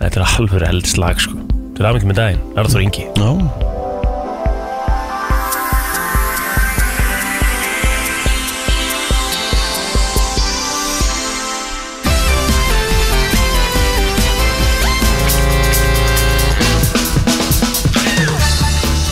[SPEAKER 3] þetta er alveg eldslag sko þetta er aðmyggum með daginn, Arthur Ingi
[SPEAKER 1] Já,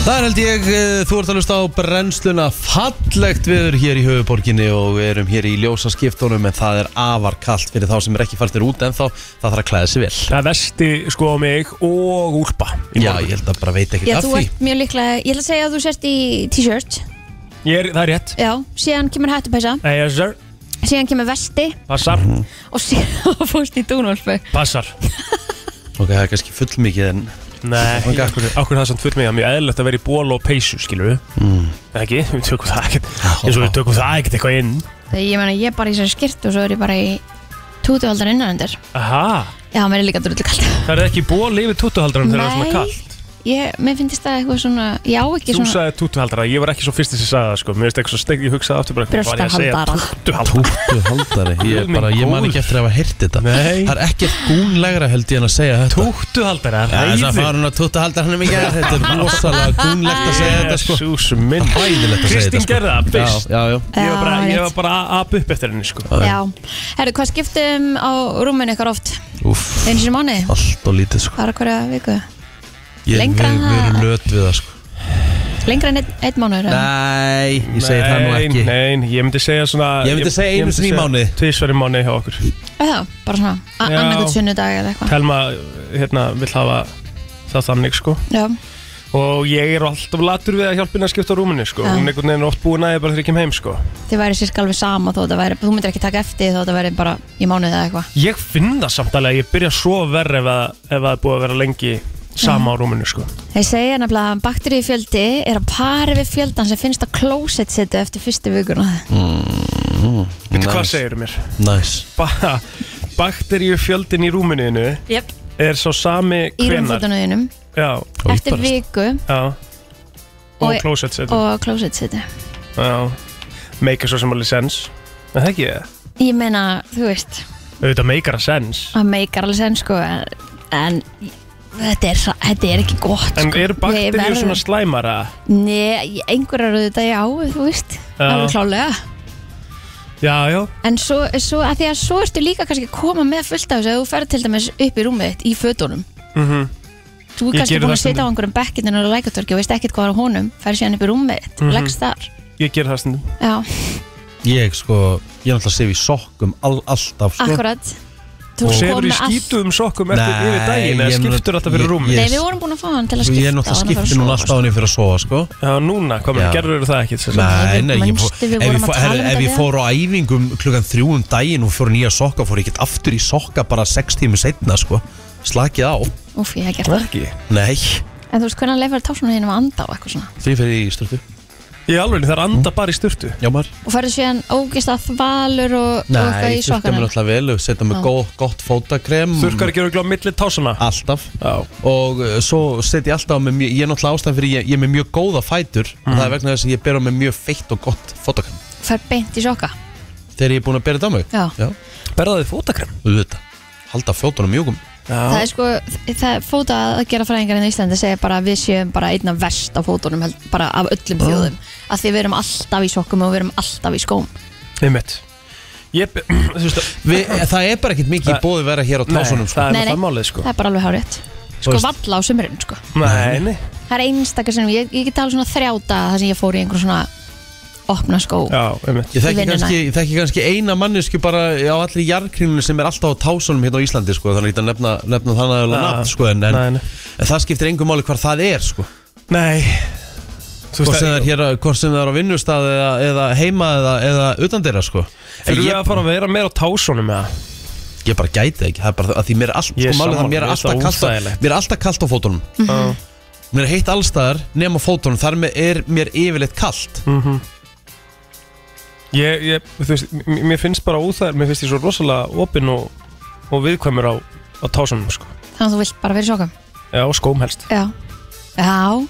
[SPEAKER 1] Það er held ég, eh, þú ert að hlusta á brennsluna fallegt viður hér í höfuborginni og við erum hér í ljósa skiptunum en það er afar kallt fyrir þá sem er ekki fartir út en þá það þarf að klæða sig vel.
[SPEAKER 3] Það vesti sko á mig og úlpa í
[SPEAKER 1] Já,
[SPEAKER 3] morgun.
[SPEAKER 1] ég held að bara veit ekki
[SPEAKER 2] Já,
[SPEAKER 1] af
[SPEAKER 2] þú
[SPEAKER 1] því.
[SPEAKER 2] ert mjög líklega, ég ætla að segja að þú sért í t-shirt
[SPEAKER 3] ég er, Það er rétt
[SPEAKER 2] Já, síðan kemur hættupæsa
[SPEAKER 3] Nei, yes, sir.
[SPEAKER 2] Síðan kemur vesti
[SPEAKER 3] Passar,
[SPEAKER 1] Mhm.
[SPEAKER 2] Og síðan fórst í dúnvölfu
[SPEAKER 3] passar
[SPEAKER 1] Ok, það er kannski fullmikið en
[SPEAKER 3] Nei,
[SPEAKER 1] Ok.
[SPEAKER 3] okkur, okkur það samt full mig að mjög eðlilegt að vera í ból og peysu, skilur við mm. Ekki, við tökum það ekkert eins og við tökum það ekkert eitthvað inn
[SPEAKER 2] Þegar ég meina, ég er bara í sér skýrt og svo er ég bara í tútuhaldar innanendur
[SPEAKER 3] Aha,
[SPEAKER 2] Já, mér er líka drullu kallt
[SPEAKER 3] það er ekki ból yfir tútuhaldarum þegar það er svona
[SPEAKER 2] Nei,
[SPEAKER 3] kallt
[SPEAKER 2] ég, mér finnst það eitthvað svona Já, ekki
[SPEAKER 3] Þú
[SPEAKER 2] svona
[SPEAKER 3] sagði tútuhaldara, ég var ekki svo fyrst þess að sagði það sko Mér veist eitthvað svo steg, ég hugsaði aftur bara hvað var ég að segja?
[SPEAKER 2] Brjóstahaldara.
[SPEAKER 3] Tútuhaldara
[SPEAKER 1] Túttu haldari, ég, bara, ég man ekki eftir að hafa heyrt þetta
[SPEAKER 3] Nei.
[SPEAKER 1] Það er ekkert gúnlegra held ég en að segja þetta
[SPEAKER 3] Tútuhaldara,
[SPEAKER 1] Það er að
[SPEAKER 3] reyður
[SPEAKER 1] fara hún að túttu haldaranum í gerð Þetta er rosalega gúnlegt að segja þetta sko
[SPEAKER 3] Jésús minn
[SPEAKER 1] Hæðilegt að segja þetta sko.
[SPEAKER 3] Kristín gerði það, fyrst
[SPEAKER 1] Já, já, já
[SPEAKER 3] Ég var bara,
[SPEAKER 2] Já,
[SPEAKER 3] ég var
[SPEAKER 2] rétt.
[SPEAKER 3] bara að apa upp eftir henni sko
[SPEAKER 2] Já, herru, hvað skiptum á rúminu ykkar oft?
[SPEAKER 1] Úff,
[SPEAKER 2] Einu sinni í mánuði?
[SPEAKER 1] allt og lítið sko
[SPEAKER 2] Hvað er hverja viku?
[SPEAKER 1] ég, við,
[SPEAKER 2] Lengra en
[SPEAKER 1] við erum
[SPEAKER 2] það-
[SPEAKER 1] nöt við það sko
[SPEAKER 2] Lengra en einn ein mánuður? eða?
[SPEAKER 1] Nei, ég segi það nú
[SPEAKER 3] Nei,
[SPEAKER 1] ekki
[SPEAKER 3] Nei, ég myndi segja svona
[SPEAKER 1] Ég myndi segja einu sinni í mánuði.
[SPEAKER 3] Tvísverði mánuði hjá okkur
[SPEAKER 2] Já, bara svona,
[SPEAKER 3] Já.
[SPEAKER 2] annarkvæmt sunnudag eða eitthvað
[SPEAKER 3] Telma, hérna, vill hafa það þannig sko
[SPEAKER 2] Já,
[SPEAKER 3] Og ég er alltaf latur við að hjálpa henni að skipta á rúminni sko
[SPEAKER 2] Já.
[SPEAKER 3] Hún einhvern veginn er oft búin að ég bara þegar ég kem heim sko
[SPEAKER 2] þið væri sérst alveg sama þó þetta væri, þú myndir ekki taka eftir þó þetta væri bara í mánuðið eða eitthvað
[SPEAKER 3] Ég finn það samt alveg að ég byrja svo verð ef að, ef að það er búið að vera lengi sama á rúminu sko
[SPEAKER 2] Þeir segja nefnilega að bakteríufjöldi er að pari við fjöldan sem finnst á klósett setu eftir fyrstu vikuna.
[SPEAKER 1] Mm,
[SPEAKER 3] Veitu hvað segirðu mér?
[SPEAKER 1] Næs
[SPEAKER 3] Ba Bakteríufjöldin í rúminuðinu
[SPEAKER 2] Jöp.
[SPEAKER 3] er svo sami
[SPEAKER 2] Í
[SPEAKER 3] hvenar
[SPEAKER 2] rúmfótunuðinum,
[SPEAKER 3] Já,
[SPEAKER 2] eftir viku
[SPEAKER 3] já Og
[SPEAKER 2] Og-
[SPEAKER 3] klósett setu
[SPEAKER 2] og klósett setu.
[SPEAKER 3] Já, make svo sem alveg sens En það ekki ég
[SPEAKER 2] Ég meina, þú veist,
[SPEAKER 3] Auðvitað meikar að sens
[SPEAKER 2] að meikar alveg senn sko, en, en þetta, er, þetta er ekki gott.
[SPEAKER 3] En
[SPEAKER 2] sko.
[SPEAKER 3] eru
[SPEAKER 2] Við
[SPEAKER 3] bakteríur
[SPEAKER 2] verðum-
[SPEAKER 3] svona slæmara?
[SPEAKER 2] Nei, einhverjar eru þetta já, þú veist,
[SPEAKER 3] Já.
[SPEAKER 2] alveg klálega.
[SPEAKER 3] Já, já
[SPEAKER 2] En svo, svo, að því að svo ertu líka kannski að koma með fullt af þessu að þú ferð til dæmis upp í rúmið þitt í fötunum.
[SPEAKER 3] mm Ég
[SPEAKER 2] Þú er kannski
[SPEAKER 3] geri
[SPEAKER 2] búin
[SPEAKER 3] það
[SPEAKER 2] að sitja á
[SPEAKER 3] stundum.
[SPEAKER 2] einhverjum bekkinu og lækartorki og veist ekkert hvað er á honum, ferð síðan upp í rúmið þitt,
[SPEAKER 3] Mhm.
[SPEAKER 2] leggst þar.
[SPEAKER 3] Ég ger það stundum
[SPEAKER 2] Já,
[SPEAKER 1] Ég sko, ég er alltaf að sefa í sokkum all, alltaf sko.
[SPEAKER 2] akkurat. Þú
[SPEAKER 3] Og
[SPEAKER 2] ert
[SPEAKER 3] sefur í
[SPEAKER 2] komin að-
[SPEAKER 3] skítuðum sokkum eftir
[SPEAKER 1] Nei,
[SPEAKER 3] yfir daginn eða
[SPEAKER 1] ég meina-
[SPEAKER 3] skiptur alltaf fyrir
[SPEAKER 1] ég-
[SPEAKER 3] rúmi
[SPEAKER 2] Nei,
[SPEAKER 1] Yes.
[SPEAKER 2] við vorum búin að fá hann til að skipta.
[SPEAKER 1] Ég er náttúrulega skipti núna alltaf á henni fyrir að sofa sko.
[SPEAKER 3] Já, núna, hvað
[SPEAKER 1] Já.
[SPEAKER 3] með gerður eru það ekki sem sagt?
[SPEAKER 1] Nei,
[SPEAKER 2] við-
[SPEAKER 1] nei, ég fór,
[SPEAKER 2] manstu, við
[SPEAKER 1] ef, ég
[SPEAKER 2] vorum að
[SPEAKER 1] fór,
[SPEAKER 2] tala um
[SPEAKER 1] herri, ef
[SPEAKER 2] þetta
[SPEAKER 1] ég fór á æfingum klukkan þrjú um daginn og fór í nýja sokka fór ég ekkert aftur í sokka bara sex tími setna sko. slakið á
[SPEAKER 2] Úf, ég hef gert
[SPEAKER 3] Það
[SPEAKER 2] það.
[SPEAKER 3] er ekki
[SPEAKER 1] Nei,
[SPEAKER 2] En þú veist hvernig hann leifar tásunum þínum að anda á eitthvað svona.
[SPEAKER 1] því fer ég í stöldu
[SPEAKER 3] Ég alveg, það er anda bara í sturtu
[SPEAKER 1] Já maður
[SPEAKER 2] Og ferðu síðan ógist að þvalur og, og eitthvað
[SPEAKER 1] Nei, ég
[SPEAKER 2] í
[SPEAKER 1] þurfti mér
[SPEAKER 2] sokkanum.
[SPEAKER 1] alltaf vel setja mig
[SPEAKER 2] Já.
[SPEAKER 1] gott, gott fótakrem
[SPEAKER 3] Þurkar ekki örgulega á milli tásana
[SPEAKER 1] Alltaf
[SPEAKER 3] Já,
[SPEAKER 1] og uh, svo set ég alltaf á mig mjög, ég er náttúrulega ástæðan fyrir ég, ég er með mjög góða fætur og
[SPEAKER 3] Mm.
[SPEAKER 1] það er vegna þess að ég ber á mig mjög feitt og gott fótakrem
[SPEAKER 2] Ferð beint í sokka.
[SPEAKER 1] þegar ég er búin að bera þetta á mig
[SPEAKER 2] Já.
[SPEAKER 1] Já,
[SPEAKER 3] berða þið fótakrem
[SPEAKER 1] auðvitað, halda fjótunum mjögum
[SPEAKER 2] Það
[SPEAKER 3] Já,
[SPEAKER 2] er sko, það fóta að gera fræðingarinn í Íslandi segja bara að við séum bara einna verst á fótunum held, bara af öllum þjóðum að því við erum alltaf í sokkum og við erum alltaf í skóm
[SPEAKER 3] einmitt Ég, be- þú veist að
[SPEAKER 1] Vi, Það er bara ekkert mikið í
[SPEAKER 3] Það-
[SPEAKER 1] bóði vera hér á
[SPEAKER 3] Nei,
[SPEAKER 1] tásunum sko.
[SPEAKER 3] það er
[SPEAKER 2] Nei, nei.
[SPEAKER 3] það málið sko
[SPEAKER 2] það er bara alveg hárétt
[SPEAKER 1] Þú
[SPEAKER 2] sko
[SPEAKER 1] veist-
[SPEAKER 2] valla á sumurinn sko
[SPEAKER 3] Nei, nei
[SPEAKER 2] það er einstakar sem ég, ég get talað svona þrjáta það sem ég fór í einhver svona opna skó
[SPEAKER 3] Já, einmitt
[SPEAKER 1] Ég
[SPEAKER 2] í
[SPEAKER 1] þekki
[SPEAKER 2] vinnuna.
[SPEAKER 1] kannski, ég þekki kannski eina mannesku bara á allir jarkrínunni sem er alltaf á tásunum hérna á Íslandi sko, þannig að ég get að nefna, nefna þannig að
[SPEAKER 3] Já.
[SPEAKER 1] nafn sko, en, en,
[SPEAKER 3] Nei, nei.
[SPEAKER 1] en það skiptir engum máli hvar það er sko.
[SPEAKER 3] Nei Þú
[SPEAKER 1] hvort
[SPEAKER 3] veist
[SPEAKER 1] sem það
[SPEAKER 3] að
[SPEAKER 1] er hér að- hvort sem það er á vinnustad eða, eða heima eða, eða utan þeirra sko. En
[SPEAKER 3] Þurfum við að fara að vera meira á tásunum með það
[SPEAKER 1] ég bara gæti það ekki það er bara að því mér er, allt,
[SPEAKER 3] Ég er
[SPEAKER 1] sko, málið, það,
[SPEAKER 3] sammála,
[SPEAKER 1] mér er
[SPEAKER 3] mér finnst
[SPEAKER 1] alltaf
[SPEAKER 3] það
[SPEAKER 1] kalt á,
[SPEAKER 3] óþægilegt.
[SPEAKER 1] mér er alltaf kalt á fótunum mér er heitt allstaðar nema á fótunum þar með er mér yfirleitt kalt
[SPEAKER 3] Mhm. Ég, ég, þú veist, m- mér finnst bara óþægir Mér finnst ég svo rosalega opinn og, og viðkvæmur á, á tásunum sko.
[SPEAKER 2] þannig að þú vilt bara vera í sokkum
[SPEAKER 3] Já, og skóm helst
[SPEAKER 2] já, já.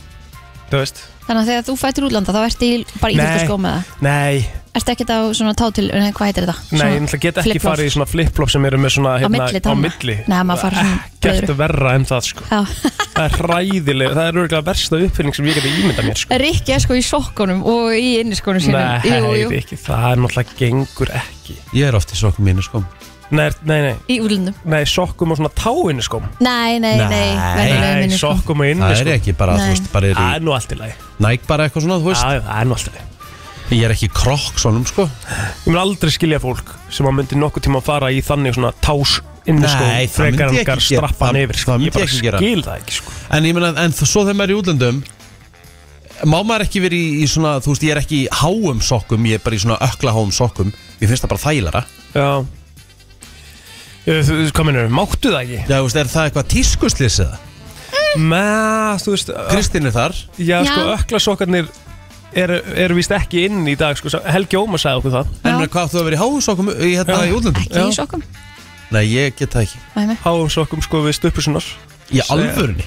[SPEAKER 3] Þú veist
[SPEAKER 2] þannig að þegar þú fættir útlanda þá ertu í, bara í
[SPEAKER 3] Nei.
[SPEAKER 2] íþjóðskó með það
[SPEAKER 3] Nei,
[SPEAKER 2] ertu ekkert á svona tátil, nei, hvað heitir þetta?
[SPEAKER 3] nei, ég
[SPEAKER 2] Svona-
[SPEAKER 3] náttúrulega get ekki
[SPEAKER 2] flip-flop.
[SPEAKER 3] farið í svona flip-flop sem eru með svona hérna,
[SPEAKER 2] milli
[SPEAKER 3] á
[SPEAKER 2] tánna.
[SPEAKER 3] milli.
[SPEAKER 2] Nei, maður farir svona
[SPEAKER 3] Gert
[SPEAKER 2] blöðru.
[SPEAKER 3] verra en það sko
[SPEAKER 2] Já.
[SPEAKER 3] Það er hræðileg, það er örgulega versta uppfinning sem ég geti ímyndað mér sko
[SPEAKER 2] Rikki er sko í sokkunum og í inniskónum
[SPEAKER 3] Nei,
[SPEAKER 2] sínum jú, jú,
[SPEAKER 3] ekki, það er náttúrulega gengur ekki
[SPEAKER 1] ég er oft í sokkum mínu sko
[SPEAKER 3] Nei, nei, nei,
[SPEAKER 2] í útlundum
[SPEAKER 3] nei sokkum og svona táinni skóm
[SPEAKER 2] Nei, nei,
[SPEAKER 1] Nei.
[SPEAKER 2] nei, venjulegum
[SPEAKER 3] Nei,
[SPEAKER 2] inniskóm.
[SPEAKER 3] sokkum og inni
[SPEAKER 1] það er
[SPEAKER 3] skóm
[SPEAKER 1] ekki bara, þú
[SPEAKER 2] sko. Nei.
[SPEAKER 1] veist, bara er
[SPEAKER 3] Það
[SPEAKER 1] í
[SPEAKER 3] er nú allt í lagi
[SPEAKER 1] næk bara eitthvað svona, þú veist
[SPEAKER 3] Já, já, Það er nú allt í lagi
[SPEAKER 1] ég er ekki í krokk svonum sko
[SPEAKER 3] Ég mun aldrei skilja fólk sem að myndi nokkuð tíma að fara í þannig svona tás inni
[SPEAKER 1] Nei,
[SPEAKER 3] skóm
[SPEAKER 1] það myndi
[SPEAKER 3] frekar
[SPEAKER 1] ég
[SPEAKER 3] en
[SPEAKER 1] ekki
[SPEAKER 3] gar
[SPEAKER 1] gera.
[SPEAKER 3] strappan
[SPEAKER 1] Það-
[SPEAKER 3] yfir sko.
[SPEAKER 1] það myndi
[SPEAKER 3] Ég bara
[SPEAKER 1] ég ekki gera.
[SPEAKER 3] skil það ekki sko.
[SPEAKER 1] en ég meina, en þ- svo þegar maður er í útlöndum má maður ekki verið í, í svona þú veist, ég er ekki í háum sokkum ég er bara í svona ökla háum sokkum ég finnst það bara þægilega
[SPEAKER 3] Já Ég, þú veist, Hvað minnur, máttu það ekki?
[SPEAKER 1] já, þú veist, er það eitthvað tískuslýs eða?
[SPEAKER 3] Mæ, Ah, þú veist ö-
[SPEAKER 1] Kristinn er þar
[SPEAKER 3] Já,
[SPEAKER 2] Já.
[SPEAKER 3] sko, öklasokkarnir eru er vist ekki inn í dag sko. Sa- Helgi Óma sagði okkur það
[SPEAKER 1] en
[SPEAKER 2] Já.
[SPEAKER 1] meina, hvað áttu að vera í háum sokkum í, hérna,
[SPEAKER 3] Já.
[SPEAKER 1] í útlöndum?
[SPEAKER 2] Ekki
[SPEAKER 3] Já.
[SPEAKER 2] í sokkum
[SPEAKER 1] Nei, ég get það ekki
[SPEAKER 2] Nei, nei.
[SPEAKER 3] Háum sokkum sko við stuppusunar
[SPEAKER 1] Í alvörunni?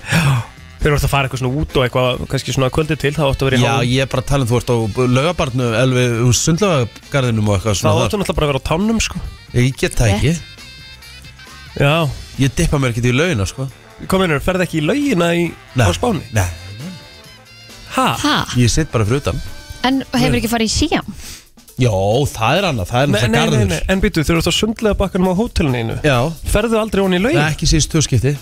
[SPEAKER 3] Þeir eru að fara eitthvað svona út og eitthvað kannski svona kvöldi til, þá áttu að vera í
[SPEAKER 1] Já,
[SPEAKER 3] háum
[SPEAKER 1] ég er bara að tala um þú ert á laugabarnu Elvið úr sundlaugargarðinum og eitthvað
[SPEAKER 3] Þá
[SPEAKER 1] svona
[SPEAKER 3] áttu náttúrulega bara að vera á tánum sko.
[SPEAKER 1] þar Ég get það ekki
[SPEAKER 3] Já,
[SPEAKER 1] Ég dippa mér ekkert í laugina, sko
[SPEAKER 3] hvað minnur, ferð ekki í laugina í, á Spáni?
[SPEAKER 1] Nei,
[SPEAKER 3] Ha?
[SPEAKER 2] Ha?
[SPEAKER 1] ég sitt bara fyrir utan
[SPEAKER 2] sko. En hefur ekki farið í síam?
[SPEAKER 1] Jó, það er annað, það er
[SPEAKER 3] Nei, nei,
[SPEAKER 1] náttúrulega
[SPEAKER 3] nei,
[SPEAKER 1] garður
[SPEAKER 3] nei, en býtu, þeir eru á sundlega bakkanum á hótelinu einu
[SPEAKER 1] Já,
[SPEAKER 3] Ferðu aldrei honi í
[SPEAKER 1] nei,
[SPEAKER 3] laugin?
[SPEAKER 1] ekki síðust töskipti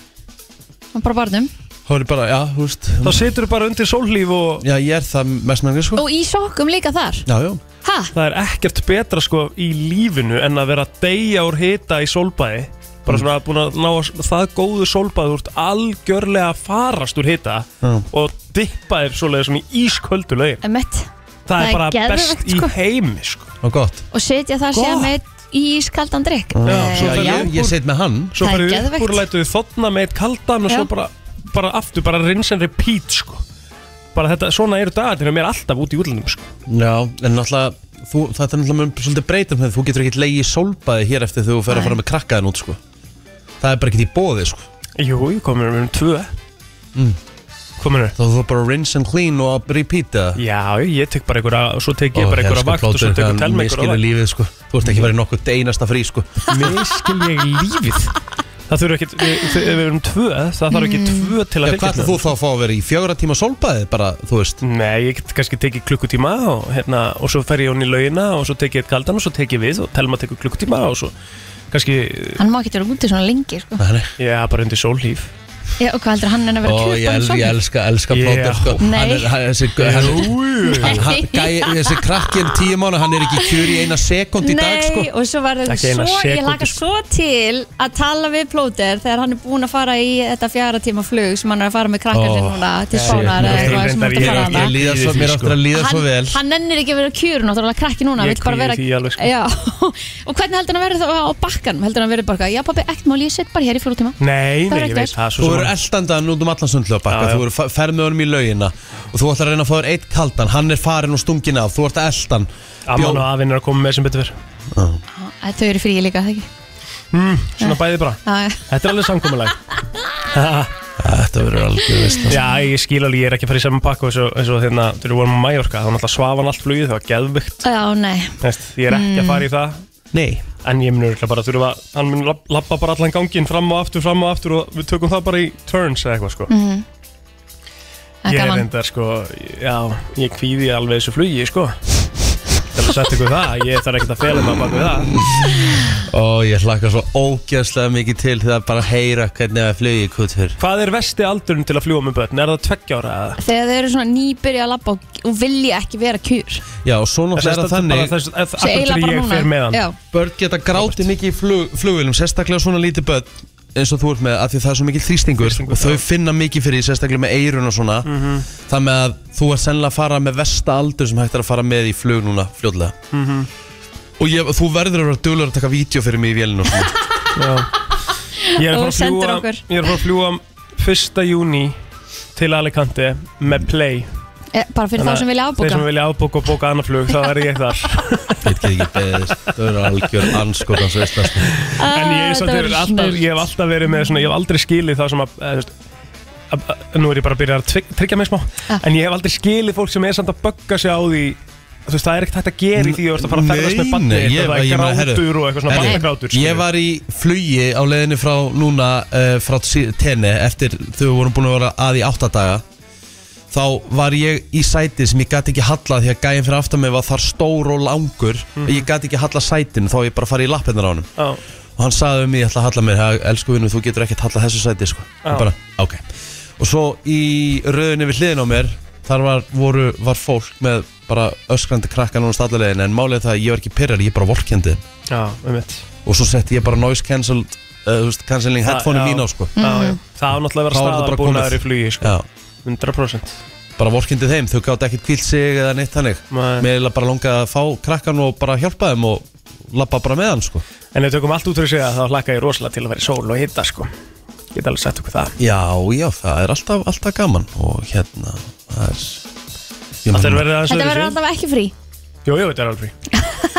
[SPEAKER 2] Og bara barnum
[SPEAKER 1] Það er bara, já, þú veist
[SPEAKER 3] Þá situr bara undir sóllíf og
[SPEAKER 1] Já, ég er það mest með mér, sko
[SPEAKER 2] Og í sokkum líka þar
[SPEAKER 1] Já, já
[SPEAKER 2] Ha?
[SPEAKER 3] það er ekkert betra sko í lífinu en að vera að deyja úr hita í sólbæði
[SPEAKER 1] Mm.
[SPEAKER 3] bara svona búin að ná að- það góðu sólbæði úr algjörlega farast úr hita
[SPEAKER 1] Já.
[SPEAKER 3] og dippa þér svoleiði svona í ísköldu laugin
[SPEAKER 2] Emmett
[SPEAKER 3] Það
[SPEAKER 2] Það er
[SPEAKER 3] er bara
[SPEAKER 2] geðveikt,
[SPEAKER 3] best í
[SPEAKER 2] sko.
[SPEAKER 3] heimi sko
[SPEAKER 1] Og gott
[SPEAKER 2] Og setja þar
[SPEAKER 3] Gott.
[SPEAKER 2] síðan með í Eh, skaldan drikk
[SPEAKER 3] Já, svo
[SPEAKER 1] Já,
[SPEAKER 3] fer
[SPEAKER 1] ég,
[SPEAKER 3] ég-
[SPEAKER 1] ég sitt með hann
[SPEAKER 3] Svo
[SPEAKER 2] Það er
[SPEAKER 3] farið upp
[SPEAKER 2] geðveikt.
[SPEAKER 3] úr, lætuðu þotna með eitt kaldan og
[SPEAKER 2] Já.
[SPEAKER 3] svo bara bara aftur, bara rinse and repeat sko. bara þetta, svona eru dagarnir mér alltaf út í útlendum sko.
[SPEAKER 1] Já, en náttúrulega þú, þetta er náttúrulega mun svolítið breytum þegar þú getur ekkert leið í sólbaði hér eftir þegar þú fer
[SPEAKER 2] Nei.
[SPEAKER 1] að fara með krakkaðin út sko. Það er bara ekkert í bóði sko.
[SPEAKER 3] Jú, ég komur um tvö mm. komur
[SPEAKER 1] Þá þú bara rinse and clean og að repeata
[SPEAKER 3] Já, ég tek bara einhverja, og svo tek ég
[SPEAKER 1] Ó,
[SPEAKER 3] bara einhverja
[SPEAKER 1] elsku
[SPEAKER 3] vakt og svo
[SPEAKER 1] plóter,
[SPEAKER 3] tekur
[SPEAKER 1] hvað
[SPEAKER 3] telma einhverja
[SPEAKER 1] misskilur
[SPEAKER 3] vakt
[SPEAKER 1] lífið sko. Þú ert ekki verið nokkuð einasta frí sko.
[SPEAKER 3] Miskil ég lífið Það þurfa ekki, ef við erum tvö, það þarf
[SPEAKER 2] Mm.
[SPEAKER 3] ekki tvö til að
[SPEAKER 1] Já, hvað ætlar þú þá að fá að vera í fjögra tíma sólbaði bara, þú veist
[SPEAKER 3] Nei, ég get kannski tekið klukkutíma og, hérna, og svo fer ég hún í laugina og svo tekið ég kaldan og svo tekið við og telma tekur klukkutíma og svo kannski,
[SPEAKER 2] Hann má ekki vera úti svona lengi sko.
[SPEAKER 1] Nei, nei.
[SPEAKER 3] já, bara undir sólhíf
[SPEAKER 2] Já, og hvað heldur hann en að vera
[SPEAKER 1] Ó,
[SPEAKER 2] kjöp
[SPEAKER 1] ég, el, ég elska, elska
[SPEAKER 3] Já.
[SPEAKER 1] plóter sko.
[SPEAKER 2] Nei.
[SPEAKER 1] Hann er, hann er, þessi, gau- hann er, hann, hann,
[SPEAKER 2] Nei.
[SPEAKER 1] gæi, þessi krakkinn tíu mánu Hann er ekki í kjör í eina sekund í dag sko.
[SPEAKER 2] Nei, og svo var þetta
[SPEAKER 3] Ekki eina
[SPEAKER 2] svo, ég
[SPEAKER 3] sekúndu. sko.
[SPEAKER 2] laka svo til að tala við plóter þegar hann er búinn að fara í þetta fjara tíma flug sem hann er að fara með krakkar
[SPEAKER 1] Ó,
[SPEAKER 2] sinni núna til
[SPEAKER 3] shit, mér
[SPEAKER 2] spánar eða
[SPEAKER 3] er
[SPEAKER 2] eitthvað sem
[SPEAKER 3] reyndar-
[SPEAKER 2] hann
[SPEAKER 3] ég-
[SPEAKER 1] Mér
[SPEAKER 2] er að fara hana.
[SPEAKER 3] ég-
[SPEAKER 1] líður
[SPEAKER 3] Líður
[SPEAKER 1] svo-
[SPEAKER 5] sko.
[SPEAKER 1] mér
[SPEAKER 3] því,
[SPEAKER 1] áttur að líða svo vel
[SPEAKER 2] Hann, hann nennir ekki að vera kjur náttúrulega krakki
[SPEAKER 3] Ég
[SPEAKER 2] núna, hann vill bara
[SPEAKER 3] kvíði
[SPEAKER 2] vera
[SPEAKER 3] því alveg, sko.
[SPEAKER 2] Já, og hvernig heldur hann að vera þá á bakkanum heldur hann að vera bara, já pabbi, ekkert mál, ég sitt bara hér í fjóra tíma
[SPEAKER 3] Nei, nei,
[SPEAKER 2] Það er
[SPEAKER 3] ég veit
[SPEAKER 2] ekki verst.
[SPEAKER 3] það svo sem
[SPEAKER 1] Þú eru
[SPEAKER 3] að-
[SPEAKER 1] eldandan út um allan sundlöfbakka
[SPEAKER 3] Já, já.
[SPEAKER 1] Þú eru ferð með honum í laugina Og þú ætlar að reyna að fá þér eitt kaldan Hann er farin og stungin af, þú ert að eldan
[SPEAKER 3] Amman og afinn er að koma með sem betur verð
[SPEAKER 2] Æ, Þau eru frí líka, það ekki
[SPEAKER 3] mm, Svona bæði bara
[SPEAKER 2] Já, já.
[SPEAKER 3] Þetta er alveg samkomulag
[SPEAKER 1] Ah, Þetta verður algjör veist
[SPEAKER 3] Já, ég skil alveg, ég er ekki að fara í saman pakka eins og, eins og þeirna, þegar við vorum á Mallorca þá náttúrulega svafan allt flugið, það var geðvikt
[SPEAKER 2] Já, nei
[SPEAKER 3] Ég er ekki að fara í
[SPEAKER 2] Mm.
[SPEAKER 3] það
[SPEAKER 1] Nei,
[SPEAKER 3] En ég mun örgulega bara þurfa að, hann mun lab- labba bara allan ganginn fram og aftur, fram og aftur og við tökum það bara í turns eða eitthvað sko.
[SPEAKER 2] Mhm.
[SPEAKER 3] ég
[SPEAKER 2] Það Mm, er
[SPEAKER 3] er
[SPEAKER 2] gaman
[SPEAKER 3] reyndar sko, já, ég kvíði alveg þessu flugi sko. Það er að setja ykkur það, ég þarf ekkert að fela mig að baka við það.
[SPEAKER 1] ó ég hlakka svo ógeðslega mikið til Þegar bara að heyra hvernig að flugi kutur
[SPEAKER 3] Hvað er vesti aldurinn til að fljúa með börn? Er það tveggja ára eða?
[SPEAKER 2] Þegar þau eru svona nýbyrja að labba og, og vilja ekki vera kjur
[SPEAKER 1] Já, og svo náttúrulega er það þannig
[SPEAKER 3] Þess að
[SPEAKER 2] Svo
[SPEAKER 3] akkur
[SPEAKER 2] eiginlega bara
[SPEAKER 3] til ég
[SPEAKER 2] núna.
[SPEAKER 3] fer með hann.
[SPEAKER 2] Já.
[SPEAKER 1] Börn geta grátið mikið í flug, flugvilum Sérstaklega svona lítið börn eins og þú ert með, af því það er svo mikið þrýstingur,
[SPEAKER 3] Þrýstingur,
[SPEAKER 1] og
[SPEAKER 3] já. Mhm.
[SPEAKER 1] þau finna mikið fyrir, því, sérstaklega með eirun og svona mm það með að þú ert sennilega að fara með versta aldur sem hægt er að fara með í flug núna fljóðlega
[SPEAKER 3] Mhm.
[SPEAKER 1] og ég, þú verður að vera dölur að taka vídeo fyrir mig í vélinu og svona
[SPEAKER 3] Já. Ég er að
[SPEAKER 2] Og
[SPEAKER 3] fara að
[SPEAKER 2] sendir
[SPEAKER 3] fljúa-
[SPEAKER 2] okkur.
[SPEAKER 3] ég er að fara að fljúa 1. júni til Alicante með Play.
[SPEAKER 2] Eh, Bara fyrir þá sem vilja
[SPEAKER 3] Þeir
[SPEAKER 2] afbúka
[SPEAKER 3] sem vilja afbúka og bóka annað flug, þá er ég þar.
[SPEAKER 1] ég get ekki beðist, þau eru algjör anskotans veist það sko.
[SPEAKER 3] En ég, samt, er alltaf, ég hef alltaf verið með svona, ég hef aldrei skilið þá sem að, að, að, að nú er ég bara að byrja að tryg- tryggja mig smá,
[SPEAKER 2] Ah.
[SPEAKER 3] en ég hef aldrei skilið fólk sem er samt að bögga sig á því, þú veist, það er ekkert hægt að gera í því að þú ert að fara að ferðast með
[SPEAKER 1] Nei,
[SPEAKER 3] banni,
[SPEAKER 1] nei,
[SPEAKER 3] þitt
[SPEAKER 1] ég-
[SPEAKER 3] og það
[SPEAKER 1] ég
[SPEAKER 3] er
[SPEAKER 1] meina, herru,
[SPEAKER 3] grátur og eitthvað svona
[SPEAKER 1] herru,
[SPEAKER 3] bannagrátur.
[SPEAKER 1] Ég var í flugi á leiðinni frá núna uh, frá sí- tenni eftir þau vorum búin að vera að í áttadaga þá var ég í sæti sem ég gæti ekki hallað því að gæin fyrir aftan mig var þar stór og langur
[SPEAKER 3] Mhm.
[SPEAKER 1] ég gæti ekki hallað sætinu þá ég bara farið í lappinnar á hann
[SPEAKER 3] Já,
[SPEAKER 1] og hann sagði um mig ég ætla að halla mér "Ha, elsku vinnu þú getur ekkert hallað þessu sæti sko.
[SPEAKER 3] Já.
[SPEAKER 1] Ég bara, ok og svo í rauðinni við hliðin á mér þar var, voru, var fólk með bara öskrandi krakka núna stallalegin en málið er það að ég var ekki pyrrar, ég bara vorkendi þeim
[SPEAKER 3] já, um mitt.
[SPEAKER 1] og svo setti ég bara noise cancelled uh, þú veist, cancelling headphone
[SPEAKER 3] Já,
[SPEAKER 1] mín
[SPEAKER 3] já.
[SPEAKER 1] á sko
[SPEAKER 3] Já, já. Það á náttúrulega að vera
[SPEAKER 1] Þá er þetta bara
[SPEAKER 3] staðar búin að
[SPEAKER 1] komið.
[SPEAKER 3] vera í flugi, sko,
[SPEAKER 1] já,
[SPEAKER 3] 100%.
[SPEAKER 1] bara vorkindi þeim, þau gátt ekkert kvílt sig eða neitt þannig
[SPEAKER 3] Nei.
[SPEAKER 1] mér er bara langað að fá krakkan og bara hjálpa þeim og labba bara með hann sko
[SPEAKER 3] En ef við tökum allt út fyrir sig að þá hlakka ég rosalega til að vera í sól og hitta, sko. Ég get alveg sett okkur það.
[SPEAKER 1] já, já, það er alltaf, alltaf gaman og hérna, það er ég
[SPEAKER 3] Þetta
[SPEAKER 1] meina,
[SPEAKER 3] verður aðeins
[SPEAKER 2] Þetta verður
[SPEAKER 3] öðruvísi.
[SPEAKER 2] alltaf ekki frí
[SPEAKER 3] Jú, jú, þetta er alveg frí.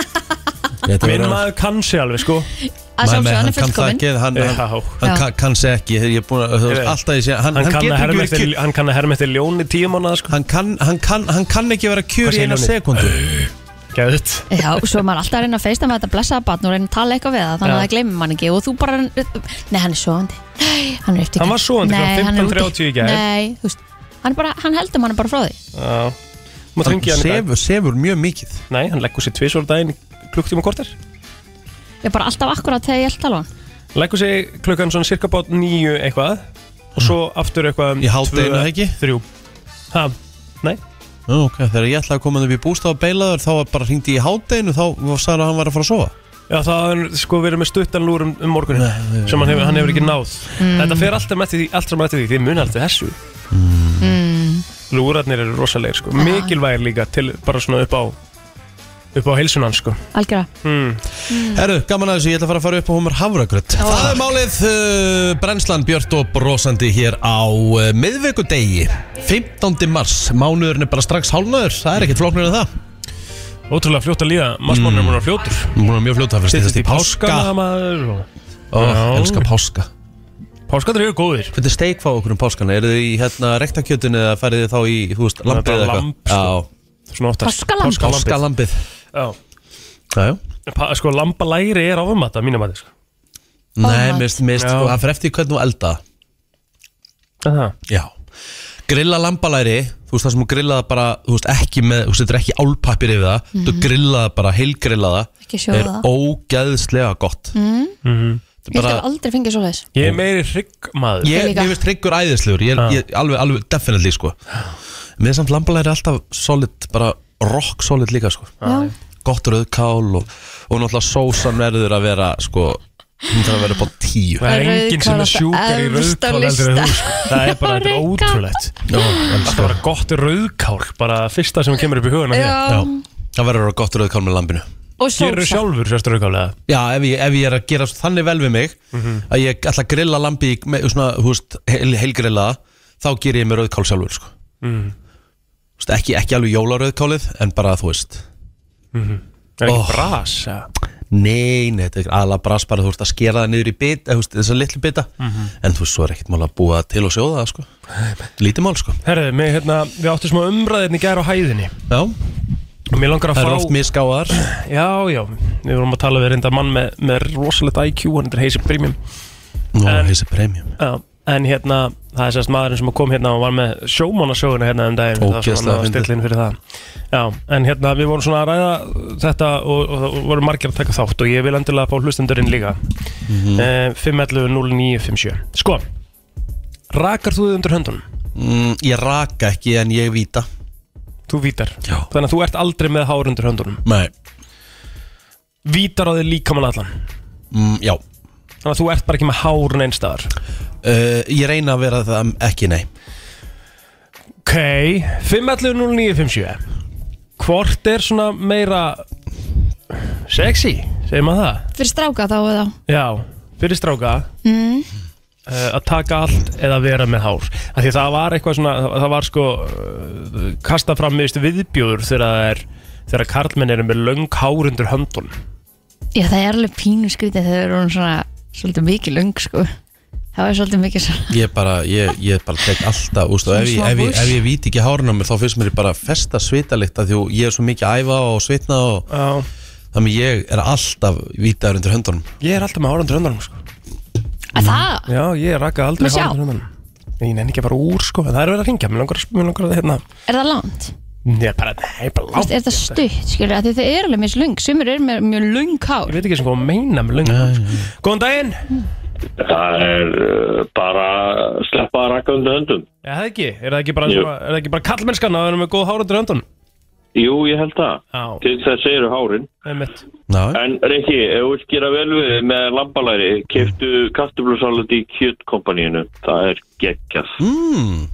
[SPEAKER 1] þetta
[SPEAKER 3] Minn
[SPEAKER 1] verður-
[SPEAKER 3] maður kann sig alveg, sko.
[SPEAKER 2] Að
[SPEAKER 1] Nei, nei,
[SPEAKER 2] sjálfsög, hann er
[SPEAKER 1] kann það
[SPEAKER 2] fullkominn
[SPEAKER 1] ekki, hann,
[SPEAKER 3] Já.
[SPEAKER 1] hann, hann
[SPEAKER 2] Já.
[SPEAKER 1] kann, kann seg ekki ég er búin að, þú
[SPEAKER 3] Ég
[SPEAKER 1] veist,
[SPEAKER 3] veit.
[SPEAKER 1] alltaf ég sé hann,
[SPEAKER 3] Hann, kann að
[SPEAKER 1] hann, getur
[SPEAKER 3] herma
[SPEAKER 1] ekki
[SPEAKER 3] eftir-
[SPEAKER 1] verið kjur
[SPEAKER 3] hann kann að herma eftir ljón í tíu mánuða, sko.
[SPEAKER 1] hann kann, hann, kann, hann kann ekki vera
[SPEAKER 3] Hvað
[SPEAKER 1] kjur í
[SPEAKER 3] segir
[SPEAKER 1] eina
[SPEAKER 3] Ljóni?
[SPEAKER 1] sekundu
[SPEAKER 3] Gæðut.
[SPEAKER 2] Já, svo er maður alltaf að reyna að feista með þetta blessaða batn og reyna að tala eitthvað við það þannig
[SPEAKER 3] Já.
[SPEAKER 2] að það gleymir mann ekki og þú bara Nei, hann er sofandi Nei, hann er eftir
[SPEAKER 3] Hann var sofandi klukkan 15:30 í gær.
[SPEAKER 2] Nei, þú veist Hann, er bara, hann heldur mann bara frá því
[SPEAKER 3] Já Mátt
[SPEAKER 1] hann
[SPEAKER 3] ringja hann í dag?
[SPEAKER 1] sefur, sefur mjög mikið
[SPEAKER 3] Nei, hann leggur sér tvisvar á daginn í klukktíma og korter
[SPEAKER 2] Ég er bara alltaf akkurat þegar ég held tala á hann
[SPEAKER 3] Leggur sér klukkan svona cirka bát nýju eitthvað Og svo aftur eitthvað um
[SPEAKER 1] Hmm. Í hádeginu,
[SPEAKER 3] tvö,
[SPEAKER 1] það ekki?
[SPEAKER 3] Þrjú Ha, nei
[SPEAKER 1] Nú, ok, þegar ég ætlaði að koma upp í bústað og beilaður þá var bara hringdi ég í hádeginu þá sagði að hann var að fara að sofa
[SPEAKER 3] Já, það er sko verið með stuttan lúr um, um morgunin Sem hann hefur, hann hefur ekki náð Þetta fer alltaf með því, alltaf með því Þið muni alltaf þessu mm.
[SPEAKER 2] Mm.
[SPEAKER 3] Lúrarnir eru rosalegir sko Mikilvægir líka til bara svona upp á upp á heilsunan sko
[SPEAKER 2] algjörða
[SPEAKER 3] mm.
[SPEAKER 1] Herru, gaman að þessu, ég ætla að fara að fara upp á humar havragröð Það er málið uh, brennslan Björn og brosandi hér á uh, miðvikudegi 15. mars, mánuðurinn er bara strax hálnaður Það er ekkert flóknir en það Mm,
[SPEAKER 3] Ótrúlega fljótt að líða, massmónur er múin að fljótur
[SPEAKER 1] Múna mjög fljóta fyrir stýttast í páska
[SPEAKER 3] páskana, maður og...
[SPEAKER 1] Ó,
[SPEAKER 3] Já.
[SPEAKER 1] elska páska
[SPEAKER 3] Páskanar eru góðir
[SPEAKER 1] Hvernig steik fá okkur um páskana? Er þið í hérna rektakjötun eða farið þið þá í, þú veist,
[SPEAKER 3] er
[SPEAKER 1] lambið
[SPEAKER 3] bara
[SPEAKER 1] eða eitthvað?
[SPEAKER 3] lamb, sko. Svona oftast
[SPEAKER 2] Páskalamb.
[SPEAKER 1] Páska
[SPEAKER 3] Páskalambið
[SPEAKER 1] lambið
[SPEAKER 3] Já.
[SPEAKER 1] Já, já
[SPEAKER 3] Pa- Sko lambalæri er ofumata mínum að sko.
[SPEAKER 1] Nei,
[SPEAKER 2] Ofmat.
[SPEAKER 1] mist, mist,
[SPEAKER 3] Já.
[SPEAKER 1] sko, það fyrir eftir hvernig þú elda það.
[SPEAKER 3] Aha.
[SPEAKER 1] Já Grilla lambalæri, þú veist það sem þú grillaða bara Þú veist ekki með, þú setur ekki álpappir yfir það Þú grillaða bara, heilgrillaða
[SPEAKER 2] Mhm. Ekki sjóða
[SPEAKER 1] Er
[SPEAKER 2] það.
[SPEAKER 1] ógæðslega gott mm.
[SPEAKER 2] Ég hef aldrei fengið svo leiðis
[SPEAKER 3] Mhm. Ég er meiri hryggmaður
[SPEAKER 1] Ég,
[SPEAKER 2] Ég líka.
[SPEAKER 1] ég veist hryggur æðislegur Ég er ég, alveg, alveg definitely sko Mér er samt lambalæri alltaf solid Bara rock solid líka sko
[SPEAKER 2] Já.
[SPEAKER 1] Gott rauðkál og, og náttúrulega sósan verður að vera sko Hún þarf að vera upp á tíu
[SPEAKER 3] Það er enginn sem
[SPEAKER 2] Rauðkál
[SPEAKER 3] er sjúkar í
[SPEAKER 2] alltaf
[SPEAKER 3] rauðkál heldur
[SPEAKER 2] efst á
[SPEAKER 3] en
[SPEAKER 2] lista.
[SPEAKER 3] þú sko. Það er bara, þetta er
[SPEAKER 2] Rauðkál.
[SPEAKER 3] ótrúlegt
[SPEAKER 1] sko.
[SPEAKER 3] Það var gott rauðkál Bara fyrsta sem kemur upp í huguna hér
[SPEAKER 1] Já, það verður að vera gott rauðkál með lambinu
[SPEAKER 2] Og
[SPEAKER 3] Gerur
[SPEAKER 2] sósa
[SPEAKER 3] sjálfur sérstu rauðkál eða?
[SPEAKER 1] Já, ef ég, ef ég er að gera þannig vel við mig
[SPEAKER 3] Mhm.
[SPEAKER 1] að ég ætla að grilla lambi í- með, svona, þú veist, heil, heilgrilla þá ger ég mér rauðkál sjálfur sko. Þú veist, ekki, ekki alveg jólarauðkálið en bara þú veist
[SPEAKER 3] Mhm. Er
[SPEAKER 1] Oh.
[SPEAKER 3] ekki bras? eða?
[SPEAKER 1] Nei, nei, þetta er aðla bras bara þú veist að skera það niður í bit, eða, þú veist, þessa litlu bita
[SPEAKER 3] Mhm.
[SPEAKER 1] en þú veist, svo er ekkert mál að búa það til og sjóða það sko. lítið mál sko.
[SPEAKER 3] Herðu, mig, hérna, við áttum smá umræðin í gær á hæðinni
[SPEAKER 1] Já,
[SPEAKER 3] og mér langar að
[SPEAKER 1] það
[SPEAKER 3] fá
[SPEAKER 1] eru oft misgáðar
[SPEAKER 3] Já, já, við vorum að tala við reynda mann með, með rosalegt IQ, hann er heisi premium
[SPEAKER 1] Nú,
[SPEAKER 3] En-
[SPEAKER 1] þessi premium
[SPEAKER 3] Já, en hérna, það er sérst maðurinn sem kom hérna og var með sjómannasöguna hérna um daginn það sem hann
[SPEAKER 1] Ógeðslega
[SPEAKER 3] var
[SPEAKER 1] fyndið.
[SPEAKER 3] stillinn fyrir það Já, en hérna, við vorum svona að ræða þetta og, og, og vorum margir að taka þátt og ég vil endilega fá hlustendurinn líka mm
[SPEAKER 1] Mhm.
[SPEAKER 3] -hmm. 511-0957 Sko, rakar þú þið undir höndunum?
[SPEAKER 1] mm, Ég raka ekki en ég víta
[SPEAKER 3] Þú vítar
[SPEAKER 1] Já.
[SPEAKER 3] Þannig að þú ert aldrei með hár undir höndunum
[SPEAKER 1] Nei,
[SPEAKER 3] Vítar á þig líkamann allan
[SPEAKER 1] mm, já
[SPEAKER 3] Þannig að þú ert bara ekki með hár neinstaðar
[SPEAKER 1] uh, Ég reyna að vera það ekki nei
[SPEAKER 3] Ok, 5.11.09.57 Hvort er svona meira sexy, segir maður það?
[SPEAKER 2] Fyrir stráka þá eða
[SPEAKER 3] Já, fyrir stráka
[SPEAKER 2] Mm.
[SPEAKER 3] eh, að taka allt eða vera með hár af því það var eitthvað svona það það var sko eh, kastað fram með viðbjóður þegar það er þegar karlmenn eru með löng hár undir höndun
[SPEAKER 2] Já, það er alveg pínu skrítið þegar það eru orðin svona svolítið mikið löng sko. Það er svolítið mikið svona
[SPEAKER 1] Ég bara, ég, ég bara tek alltaf úst, og ef, ég,
[SPEAKER 2] Svona
[SPEAKER 1] ef, ég,
[SPEAKER 2] bush.
[SPEAKER 1] ef ég víti ekki hárun á mér þá finnst mér ég bara festa svitalikt af því að ég er svo mikið að æfa og svitna og
[SPEAKER 3] Já,
[SPEAKER 1] þannig að ég er alltaf vítaður undir höndunum
[SPEAKER 3] ég er alltaf með hár undir höndunum sko.
[SPEAKER 2] að Það,
[SPEAKER 3] Já, ég rakaði aldrei
[SPEAKER 2] Má sjá.
[SPEAKER 3] hár undir höndunum Ég nenni ekki að fara úr sko, en það er verið að ringja Mér langar, að- mig langar að hérna
[SPEAKER 2] er það langt?
[SPEAKER 3] Nei, bara, nei, bara
[SPEAKER 2] Þú veist,
[SPEAKER 3] langt
[SPEAKER 2] Er það stutt, skilur, af því það er alveg mjög löng Sumur er með mjög löng
[SPEAKER 3] Ég
[SPEAKER 2] hár
[SPEAKER 3] veit ekki sem hvað að meina með löngum Góðan daginn
[SPEAKER 6] Það er uh, bara að sleppa að raka undir höndum.
[SPEAKER 3] Er það ekki? Er það ekki bara,
[SPEAKER 6] Jú.
[SPEAKER 3] svona, er það ekki bara kallmennskan að vera með góð hárundur höndun?
[SPEAKER 6] Jú, ég held það.
[SPEAKER 3] Já,
[SPEAKER 6] Til þess eru hárin.
[SPEAKER 3] einmitt Já,
[SPEAKER 1] Ná,
[SPEAKER 6] En Rikki, ef þú vilt gera vel við með lambalæri, keiftu kartublusalat í kjötkompaníinu. Það er geggjað.
[SPEAKER 1] mm,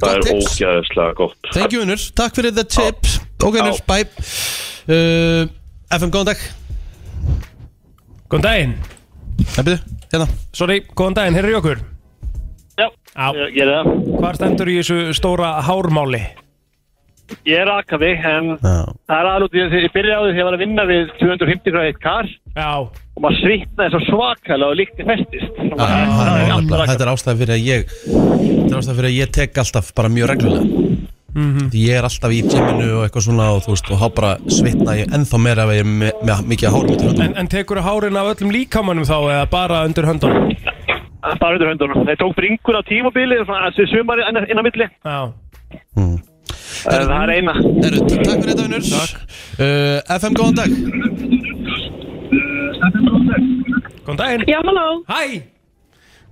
[SPEAKER 6] Það
[SPEAKER 1] gott
[SPEAKER 6] er
[SPEAKER 1] tips.
[SPEAKER 6] ógæðislega gott.
[SPEAKER 1] Thank you unnur, takk fyrir the tip Ok unnur,
[SPEAKER 6] Já.
[SPEAKER 1] bye uh, FM, góðan dag
[SPEAKER 3] Góðan daginn
[SPEAKER 1] Nei, byrju, hérna
[SPEAKER 3] Sorry, góðan daginn, heyrðu í okkur
[SPEAKER 6] Já,
[SPEAKER 3] Já,
[SPEAKER 6] ég er það.
[SPEAKER 3] hvað stendur í þessu stóra hármáli?
[SPEAKER 6] Ég er rakaði, en
[SPEAKER 1] Já.
[SPEAKER 6] það er alveg, ég, ég byrjaði á því að ég var að vinna við 250 gráði eitt kar
[SPEAKER 3] Já,
[SPEAKER 6] og maður svitnaði svo svakalega og líkti festist.
[SPEAKER 1] Já, Ah, það er nefnilega- Þetta er ástæði fyrir að ég Þetta er ástæði fyrir að ég tek alltaf bara mjög reglulega
[SPEAKER 5] Mhm.
[SPEAKER 1] Því ég er alltaf í gyminu og eitthvað svona og þú veist og þá bara svitna ég ennþá meira ef ég er með, með mikið hárun undir höndunum
[SPEAKER 3] en, en tekur hárin af öllum líkamannum þá eða bara undir höndunum?
[SPEAKER 6] Bara undir höndunum. Það tók bringur á tímabili, svona sumari inn á milli.
[SPEAKER 3] Já,
[SPEAKER 6] Það er eina.
[SPEAKER 1] Eru, takk fyrir þetta vinnur uh, FM, góðan dag
[SPEAKER 6] Mm,
[SPEAKER 3] góðan daginn
[SPEAKER 7] Já, halló.
[SPEAKER 3] Hæ,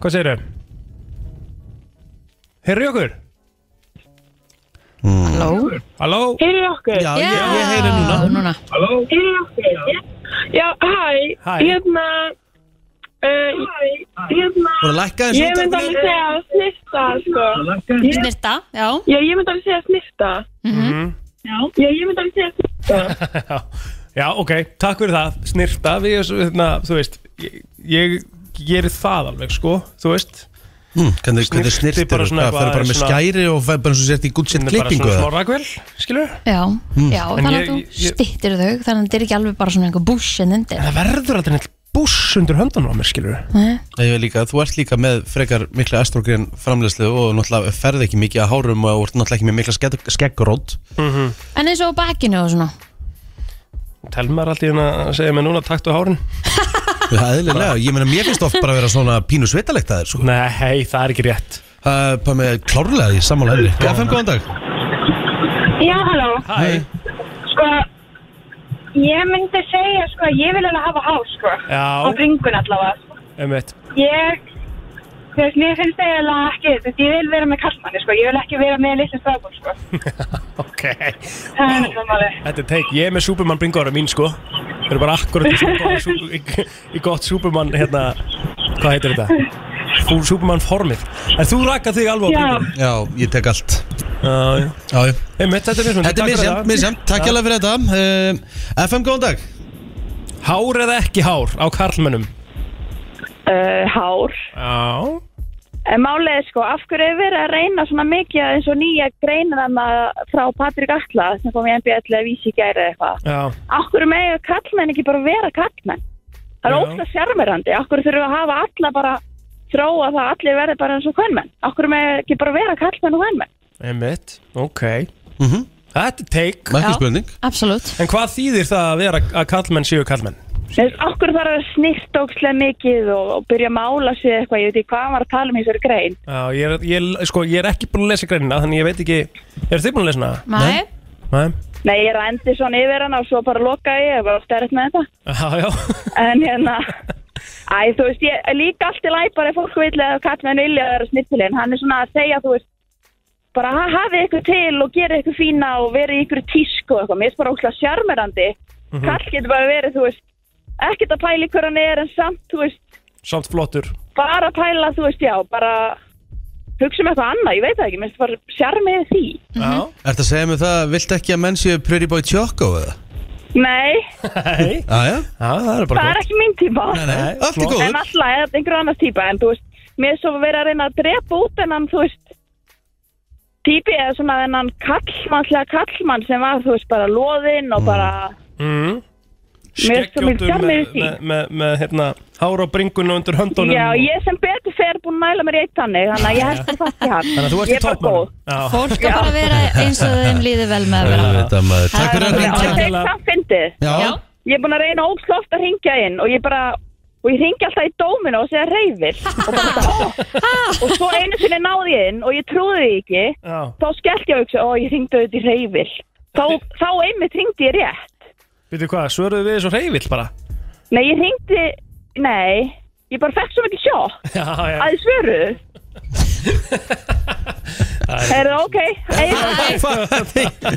[SPEAKER 3] hvað segirðu? Heyrðu í okkur? Hmm.
[SPEAKER 2] Halló
[SPEAKER 3] Halló?
[SPEAKER 7] Heyrið okkur?
[SPEAKER 1] Já, ég, ég heyri núna
[SPEAKER 2] núna
[SPEAKER 7] Heyrið okkur? Já, hæ.
[SPEAKER 3] Hæ.
[SPEAKER 7] Hérna,
[SPEAKER 8] eh,
[SPEAKER 7] uh, hérna,
[SPEAKER 1] Búin að lækka eins
[SPEAKER 7] ég myndi alveg segja að snifta, sko.
[SPEAKER 2] Snirta, já
[SPEAKER 3] Hmm.
[SPEAKER 7] Já,
[SPEAKER 2] Mhm.
[SPEAKER 7] ég myndi alveg segja að snifta. Já, ég myndi alveg segja að snifta.
[SPEAKER 3] Já, Já, ok, takk fyrir það, snirta við, hérna, þú veist ég, ég gerir það alveg, sko þú veist,
[SPEAKER 1] Mm, hvernig, hvernig
[SPEAKER 3] Snyrti
[SPEAKER 1] snirtir
[SPEAKER 3] bara
[SPEAKER 1] og
[SPEAKER 3] svona
[SPEAKER 1] hvað,
[SPEAKER 3] eitthvað
[SPEAKER 1] fer bara með
[SPEAKER 3] svona-
[SPEAKER 1] skæri og fer bara eins og sért í gútsett
[SPEAKER 3] Hún er bara
[SPEAKER 1] klippingu
[SPEAKER 3] svona
[SPEAKER 1] eða?
[SPEAKER 3] smá rakvél, skilur
[SPEAKER 2] Já, já
[SPEAKER 3] Mm. En
[SPEAKER 2] þannig
[SPEAKER 3] ég-
[SPEAKER 2] að þú
[SPEAKER 3] ég-
[SPEAKER 2] stittir þau Þannig að þetta er ekki alveg bara svona einhver bush en undir
[SPEAKER 3] En það verður aldrei neitt buss undir höndanum á mér, skilur
[SPEAKER 2] Nei.
[SPEAKER 1] Ég er líka, þú ert líka með frekar mikla estrogen framleyslu og náttúrulega ferð ekki mikið að hárum og ert náttúrulega ekki með mikla skegg, skeggrót
[SPEAKER 3] Mhm.
[SPEAKER 2] En eins og á bakinu og svona
[SPEAKER 3] Telmar allt í hérna að segja mig núna taktu hárin
[SPEAKER 1] Það er eðlilega, ég meina mér finnst oft bara að vera svona pínu svitalegt að þér sko
[SPEAKER 3] Nei, hei, það er ekki rétt
[SPEAKER 1] Það er bara með klárlega í sammála henni FM, góðan dag
[SPEAKER 7] Já, halló.
[SPEAKER 3] Hæ,
[SPEAKER 7] Sko, ég myndi segja, sko, ég vil alveg hafa hár, sko. Á
[SPEAKER 3] já,
[SPEAKER 7] bringun allavega.
[SPEAKER 3] emmitt
[SPEAKER 7] Ég, þú veist, mér finnst það alveg ekki, þú veist, ég vil vera með kallmanni, sko. Ég vil ekki vera með litlu strákum, sko.
[SPEAKER 3] Ok,
[SPEAKER 7] Það er náttúrulega málið.
[SPEAKER 3] þetta er teik, ég er með Superman bringára mín, sko Við erum bara akkurat í, svona góðu sú- í, í gott Superman, hérna Hvað heitir þetta? Fú, Superman formið En þú rakað þig alveg á
[SPEAKER 7] Já,
[SPEAKER 3] bringára
[SPEAKER 1] Já, ég tek allt
[SPEAKER 3] Já, já
[SPEAKER 1] Já, já.
[SPEAKER 3] Einmitt, þetta er mismunandi
[SPEAKER 1] Þetta er
[SPEAKER 3] Takk fyrir
[SPEAKER 1] misjæmt,
[SPEAKER 3] það.
[SPEAKER 1] misjæmt, takk hjá fyrir þetta um, FM, góðan dag
[SPEAKER 3] Hár eða ekki hár á karlmönnum
[SPEAKER 8] uh, hár.
[SPEAKER 3] Já
[SPEAKER 8] En málið er sko, af hverju er verið að reyna svona mikið eins og nýja greinana frá Patrik Alla sem kom í NBA til að vísi gæri eða eitthvað.
[SPEAKER 3] Já,
[SPEAKER 8] Af hverju megið kallmenn ekki bara vera kallmenn? Það er
[SPEAKER 3] Já.
[SPEAKER 8] óslega sérmerandi. Af hverju þurfum við að hafa alla bara þróa það að allir verði bara eins og kvennmenn? Af hverju megið ekki bara vera kallmenn og kvennmenn?
[SPEAKER 3] einmitt, ok
[SPEAKER 1] mm
[SPEAKER 3] Þetta er teik
[SPEAKER 1] Ekki
[SPEAKER 2] Já.
[SPEAKER 1] spurning
[SPEAKER 2] Absolutt
[SPEAKER 3] En hvað þýðir það að vera að karlmenn séu karlmenn?
[SPEAKER 8] Þú veist, Af hverju þarf að snýst óslega mikið og, og byrja að mála sig eitthvað, ég veit ekki hvað hann var að tala um í þessari grein.
[SPEAKER 3] Já, ég er, ég, sko, ég er ekki búin að lesa greinina Þannig ég veit ekki, er þið búin að lesa hana?
[SPEAKER 2] Nei,
[SPEAKER 3] Nei
[SPEAKER 8] Nei, ég rendi svona yfir hann og svo bara loka ég, ég var stærðið með þetta.
[SPEAKER 3] Já, já
[SPEAKER 8] En hérna Æ, þú veist, ég er líka allt í læg bara ef fólk vil eða kall með vilja að vera snittilinn hann er svona að segja, þú veist bara ha- hafið ykkur til og gera ykkur fína og verið ykkur í tísku og eitthvað mér er bara óslega sjarmerandi kall getur bara verið, þú veist ekkert að pæla ykkur hann er en samt, þú veist
[SPEAKER 3] Samt flottur
[SPEAKER 8] bara að pæla, þú veist, já, bara hugsa um eitthvað annað, ég veit það ekki mér finnst bara sjarmið í því
[SPEAKER 3] Já,
[SPEAKER 1] Ertu að segja mig það, vilt ekki að menn séu Pretty Boy Choco eða?
[SPEAKER 8] Nei,
[SPEAKER 3] hei Já,
[SPEAKER 1] Já, já,
[SPEAKER 3] það er
[SPEAKER 8] það
[SPEAKER 3] bara
[SPEAKER 8] er
[SPEAKER 3] gott
[SPEAKER 8] ekki mín tíma
[SPEAKER 1] nei, nei,
[SPEAKER 3] Nei,
[SPEAKER 1] allt í
[SPEAKER 3] flott.
[SPEAKER 1] góður
[SPEAKER 8] En alltaf, eða einhver annars típa En þú veist, mér er svo verið að reyna að drepa út Þennan, þú veist Típi eða svona þennan kallmannslega kallmann Sem var, þú veist, bara loðinn Og bara,
[SPEAKER 3] mm.
[SPEAKER 8] mér er svo minn
[SPEAKER 3] Skeggjóttur
[SPEAKER 8] fjarnir í
[SPEAKER 3] með,
[SPEAKER 8] því
[SPEAKER 3] með, með, með hérna, hár á bringun og undir höndunum
[SPEAKER 8] Já,
[SPEAKER 3] og-
[SPEAKER 8] ég sem betur fer búin að mæla mér í eitt þannig Þannig að ég held að það ekki hann
[SPEAKER 3] Þannig að þú ert
[SPEAKER 8] Ég
[SPEAKER 3] í
[SPEAKER 8] er bara góð.
[SPEAKER 3] toppmönnum Já,
[SPEAKER 2] fólk er bara að vera eins og þeim líði vel með að vera
[SPEAKER 1] Þetta maður, Takk
[SPEAKER 2] Það er
[SPEAKER 1] fyrir að
[SPEAKER 8] Já,
[SPEAKER 2] alveg
[SPEAKER 1] hringja
[SPEAKER 8] ég veit það fyndið
[SPEAKER 1] Já,
[SPEAKER 2] Já.
[SPEAKER 8] Ég er búin að reyna ógsloft að ringja inn Og ég bara, og ég ringi alltaf í dóminu Og segja reyfil Og, bara, ó. og svo einu sinni náði ég inn Og ég trúði því ekki
[SPEAKER 3] já
[SPEAKER 8] þá skellt ég að hugsa, ó ég ringdi auðvitað í reyfil þá, þá einmitt ringdi ég rétt
[SPEAKER 3] Veitu hvað, svöruðu við þessu reyvill bara
[SPEAKER 8] nei ég ringdi, nei ég bara fekk svo mikið sjokk
[SPEAKER 3] Já, já
[SPEAKER 8] að þið svöruðu er það ok Einar,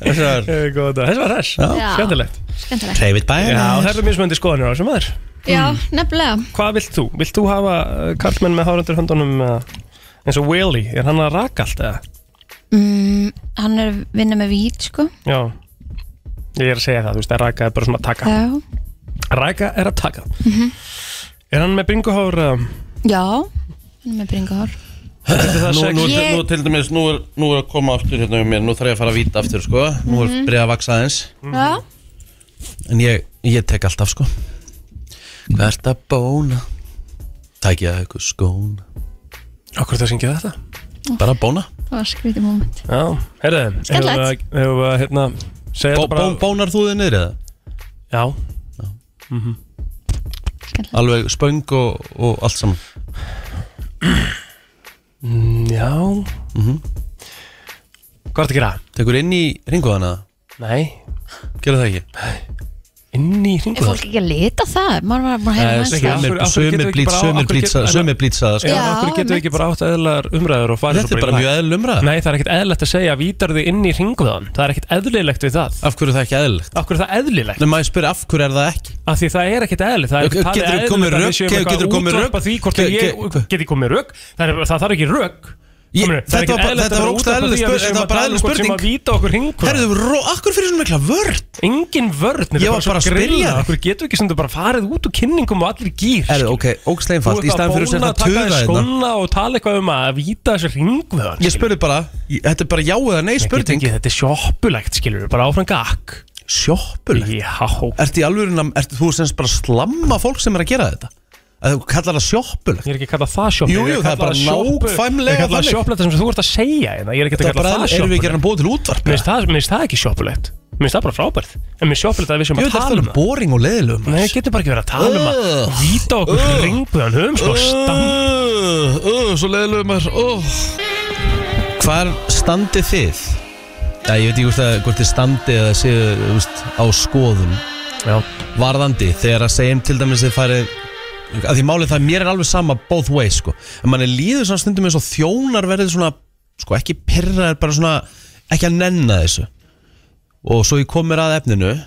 [SPEAKER 1] Þessar
[SPEAKER 3] Eh, góðan dag. Þessi var þess,
[SPEAKER 2] Já.
[SPEAKER 3] skemmtilegt
[SPEAKER 2] skemmtileg
[SPEAKER 1] David
[SPEAKER 3] Já, það
[SPEAKER 1] Bæna
[SPEAKER 3] eru mismöndi skoðanir á þessum maður
[SPEAKER 2] Já, nefnilega
[SPEAKER 3] Hvað vilt þú? Vilt þú hafa uh, karlmenn með hárundir höndunum uh, eins og Willy? Er hann að raka allt eða?
[SPEAKER 2] mm, Hann er vinna með vít sko
[SPEAKER 3] Já Ég er að segja það, þú veist, að raka er bara svona að taka
[SPEAKER 2] Já, Mhm.
[SPEAKER 3] Raka er að taka Er hann með bringuhár? Um,
[SPEAKER 2] já hann er með bringahár
[SPEAKER 1] Nú, nú,
[SPEAKER 2] Ég-
[SPEAKER 1] nú til dæmis, nú er, nú er að koma aftur hérna hjá mér, nú þarf ég að fara að víta aftur sko, nú er breið að vaksa aðeins
[SPEAKER 2] Mhm. Já,
[SPEAKER 1] en ég, ég tek alltaf sko Hvert að bóna Tækja eitthvað skóna
[SPEAKER 3] Akkur það syngja þetta?
[SPEAKER 1] bara bóna,
[SPEAKER 2] það var skrítið moment
[SPEAKER 3] Já, heyrðu
[SPEAKER 2] Skemmtilegt.
[SPEAKER 3] Hefur við hefur við, hérna Segja
[SPEAKER 1] Bó,
[SPEAKER 3] þetta bara
[SPEAKER 1] bó, bónar þú þið niður eða
[SPEAKER 3] Já, Mhm.
[SPEAKER 2] Skemmtilegt.
[SPEAKER 1] alveg spöng og, og allt saman
[SPEAKER 3] Mm, já Hvað er þetta að gera?
[SPEAKER 1] Mhm. tekur inn í ringuðana,
[SPEAKER 3] Nei,
[SPEAKER 1] gera það ekki
[SPEAKER 3] inn í
[SPEAKER 2] Er
[SPEAKER 3] ringuhár
[SPEAKER 2] fólk ekki að lita það? Maður var bara að heyra
[SPEAKER 1] Eh,
[SPEAKER 2] næst
[SPEAKER 3] ekki
[SPEAKER 2] það
[SPEAKER 3] af hverju-
[SPEAKER 1] sumir-
[SPEAKER 3] af hverju getum við
[SPEAKER 1] sumir
[SPEAKER 3] ekki
[SPEAKER 1] blít-
[SPEAKER 3] bara- af
[SPEAKER 1] sumir
[SPEAKER 3] hverju
[SPEAKER 1] blítsa-
[SPEAKER 3] getum-
[SPEAKER 1] sumir blítsaða sko.
[SPEAKER 3] Já,
[SPEAKER 2] Já,
[SPEAKER 3] okkur getum við
[SPEAKER 2] einmitt.
[SPEAKER 3] ekki bara átt eðlar umræður og farið
[SPEAKER 1] þetta
[SPEAKER 3] svo
[SPEAKER 1] er
[SPEAKER 3] í
[SPEAKER 1] bara
[SPEAKER 3] lag?
[SPEAKER 1] mjög eðl umræð
[SPEAKER 3] Nei, það er ekkert eðlilegt að segja vítar þig inn í ringvöðan Það er ekkert eðlilegt við það
[SPEAKER 1] af hverju er það ekki eðl
[SPEAKER 3] Af hverju er það eðlilegt?
[SPEAKER 1] Nei, maður spyrir af hverju er það ekki
[SPEAKER 3] Af því það er ekkert eðlilegt Það er ekkert talið
[SPEAKER 1] Geturðu
[SPEAKER 3] eðlilegt
[SPEAKER 1] komið
[SPEAKER 3] að
[SPEAKER 1] rök?
[SPEAKER 3] við séum eitthvað
[SPEAKER 1] Geturðu
[SPEAKER 3] að
[SPEAKER 1] komið rök?
[SPEAKER 3] útvarpa því hvort
[SPEAKER 1] Ge-
[SPEAKER 3] að ég
[SPEAKER 1] ge-
[SPEAKER 3] geti komið rök Það, er, það þarf ekki rök
[SPEAKER 1] Ég-
[SPEAKER 3] Kominu,
[SPEAKER 1] þetta var bara- þetta var ógeðslega eðlileg spurning- þetta var bara eðlileg
[SPEAKER 3] um sem
[SPEAKER 1] spurning.
[SPEAKER 3] að víta okkur hringkvöld
[SPEAKER 1] Herðu, ró, akkur fyrir svona mikla vörn
[SPEAKER 3] engin vörð
[SPEAKER 1] Ég var bara að spyrja þig.
[SPEAKER 3] okkur getur ekki sem þú bara farið út úr kynningum og allir gýr
[SPEAKER 1] Herðu, ok,
[SPEAKER 3] Þú
[SPEAKER 1] ógslega einfalt
[SPEAKER 3] ert
[SPEAKER 1] Í
[SPEAKER 3] að
[SPEAKER 1] staðan fyrir
[SPEAKER 3] bóna
[SPEAKER 1] sem
[SPEAKER 3] að
[SPEAKER 1] þetta
[SPEAKER 3] taka
[SPEAKER 1] tuða
[SPEAKER 3] þér
[SPEAKER 1] hérna
[SPEAKER 3] skóna og tala eitthvað um að víta þessu ringvöðan
[SPEAKER 1] Ég spurði bara, ég- þetta er bara já eða nei spurning
[SPEAKER 3] Þetta er sjoppulegt skilur, bara áfram gakk
[SPEAKER 1] Sjoppulegt
[SPEAKER 3] Já,
[SPEAKER 1] Ertu í alvöru, ertu þú semst bara að slamma fólk sem er að gera þetta? Að þú kallar það sjoppulegt
[SPEAKER 3] ég er ekki að kalla það sjoppulegt
[SPEAKER 1] Jú, jú, það er bara nákvæmlega
[SPEAKER 3] Ég er að kalla það
[SPEAKER 1] þannig.
[SPEAKER 3] sjoppulegt það sem þú ert að segja hérna. Ég er ekki að
[SPEAKER 1] Þetta er
[SPEAKER 3] kalla
[SPEAKER 1] bara,
[SPEAKER 3] það
[SPEAKER 1] erum við ekki
[SPEAKER 3] sjoppulegt
[SPEAKER 1] að búið til útvarp?
[SPEAKER 3] Mér finnst það- mér finnst það ekki sjoppulegt Mér finnst það bara frábært En mér finnst sjoppulegt að við sem
[SPEAKER 1] Jú,
[SPEAKER 3] að tala
[SPEAKER 1] þetta er
[SPEAKER 3] um
[SPEAKER 1] alveg
[SPEAKER 3] það
[SPEAKER 1] boring og leiðilögum
[SPEAKER 3] Nei, getur bara ekki verið að tala um að
[SPEAKER 1] Ugh.
[SPEAKER 3] Víta okkur
[SPEAKER 1] Ugh.
[SPEAKER 3] ringbuðan höfum sko stand
[SPEAKER 1] Uh, uh, svo leiðilegum er uh. Hvar standið þið? Já, ég veit ekki hvort það- hvort þið standið eða séu þú veist, á skoðum
[SPEAKER 3] Já,
[SPEAKER 1] varðandi þegar að segjum til dæmis þið farið að því málið það að mér er alveg sama both ways sko. en manni líður svona stundum eins og þjónar verðið svona, sko ekki pyrraðir bara svona, ekki að nenna þessu og svo ég komir að efninu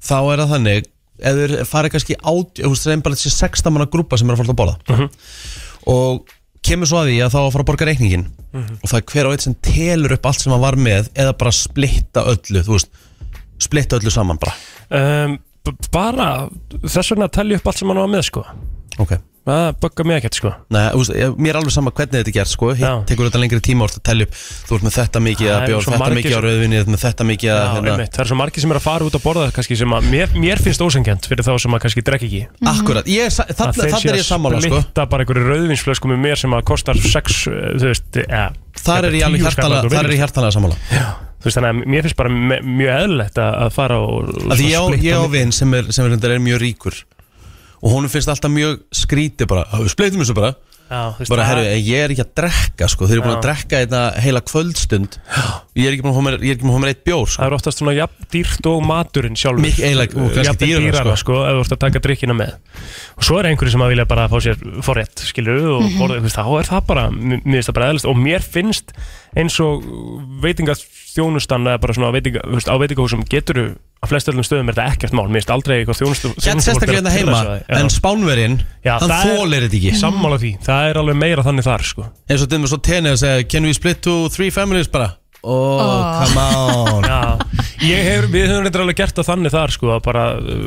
[SPEAKER 1] þá er það þannig ef þeir farið kannski át, þú veist það er bara þessi sextamanna grúpa sem er að fara út að borða
[SPEAKER 3] Mhm.
[SPEAKER 1] og kemur svo að því að þá að fara að borga reikningin
[SPEAKER 3] Mhm.
[SPEAKER 1] og það er hver og eitt sem telur upp allt sem hann var með eða bara splitta öllu, þú veist splitta öllu saman bara
[SPEAKER 3] um, b- bara Þess vegna að telja upp allt sem hann var með sko
[SPEAKER 1] okay.
[SPEAKER 3] Það bugga mig ekkert sko
[SPEAKER 1] Nei, þú veist, ég- mér er alveg sama hvernig þetta er gert sko.
[SPEAKER 3] Já.
[SPEAKER 1] Ég tekur þetta lengri tíma og ert að telja upp Þú ert með þetta mikið
[SPEAKER 3] Það
[SPEAKER 1] að
[SPEAKER 3] eru
[SPEAKER 1] bjór,
[SPEAKER 3] svo
[SPEAKER 1] þetta
[SPEAKER 3] margir
[SPEAKER 1] mikið að
[SPEAKER 3] sem-
[SPEAKER 1] rauðvinni Þetta með þetta mikið
[SPEAKER 3] Já,
[SPEAKER 1] að hérna.
[SPEAKER 3] einmitt, það er svo margir sem er að fara út að borða kannski sem að mér, mér finnst ósengjant fyrir þá sem að kannski drekki ekki
[SPEAKER 1] Mhm. Akkurat, ég er sa- þarna
[SPEAKER 3] að Mhm. þeir séu
[SPEAKER 1] þarna er ég sammála
[SPEAKER 3] að
[SPEAKER 1] sko.
[SPEAKER 3] splitta bara einhverju rauðvinsflösku með mér sem að kostar 6 þú veist, ja,
[SPEAKER 1] Þar er ég alveg hjartalega Þar er ég hjartalega sammála
[SPEAKER 3] þú veist, þannig að mér finnst bara me- mjög eðlilegt að að fara og
[SPEAKER 1] Af
[SPEAKER 3] svona
[SPEAKER 1] Því ég á-
[SPEAKER 3] splitta
[SPEAKER 1] ég
[SPEAKER 3] mig.
[SPEAKER 1] á vinn sem er, sem er, reyndar er mjög ríkur Og honum finnst alltaf mjög skríti bara "Ah, Við spleytum þessu bara
[SPEAKER 3] Já, þú veist,
[SPEAKER 1] Bara,
[SPEAKER 3] það-
[SPEAKER 1] herru, ég er ekki að drekka sko. Þeir eru búin
[SPEAKER 3] Já.
[SPEAKER 1] að drekka þetta heila kvöldstund Ég er ekki búin að fá mér, ég er ekki búin að fá mér eitt bjór sko.
[SPEAKER 3] það er oftast svona jafn dýrt og maturinn sjálfur
[SPEAKER 1] Mikið eiginlega, og kannski
[SPEAKER 3] Jafnvel
[SPEAKER 1] dýrara,
[SPEAKER 3] dýrara sko, ef þú ert að taka drikkina með og svo er einhverju sem að vilja bara fá sér forrétt skilur og mm -hmm. borða, þú veist, þá er það bara mér mér finnst það bara eðlist og mér finnst eins og veitingaþjónustan eða bara svona á veitinga, þú veist, á veitingahúsum getur að flest öllum stöðum er þetta ekkert mál mér finnst aldrei eitthvað þjónustu
[SPEAKER 1] Gæt
[SPEAKER 3] þjónustufólk
[SPEAKER 1] sérstaklega
[SPEAKER 3] vera að pirra sig
[SPEAKER 1] hérna heima
[SPEAKER 3] á því. Já.
[SPEAKER 1] En Spánverinn,
[SPEAKER 3] Já,
[SPEAKER 1] hann
[SPEAKER 3] það er-
[SPEAKER 1] þólir þetta ekki
[SPEAKER 3] sammála því, það er alveg meira þannig þar sko.
[SPEAKER 1] eins og til dæmis á tenni að segja can we split to three families bara oh,
[SPEAKER 2] Oh.
[SPEAKER 1] come on
[SPEAKER 3] Já, ég hef, við höfum reyndar alveg gert það þannig þar sko, að bara,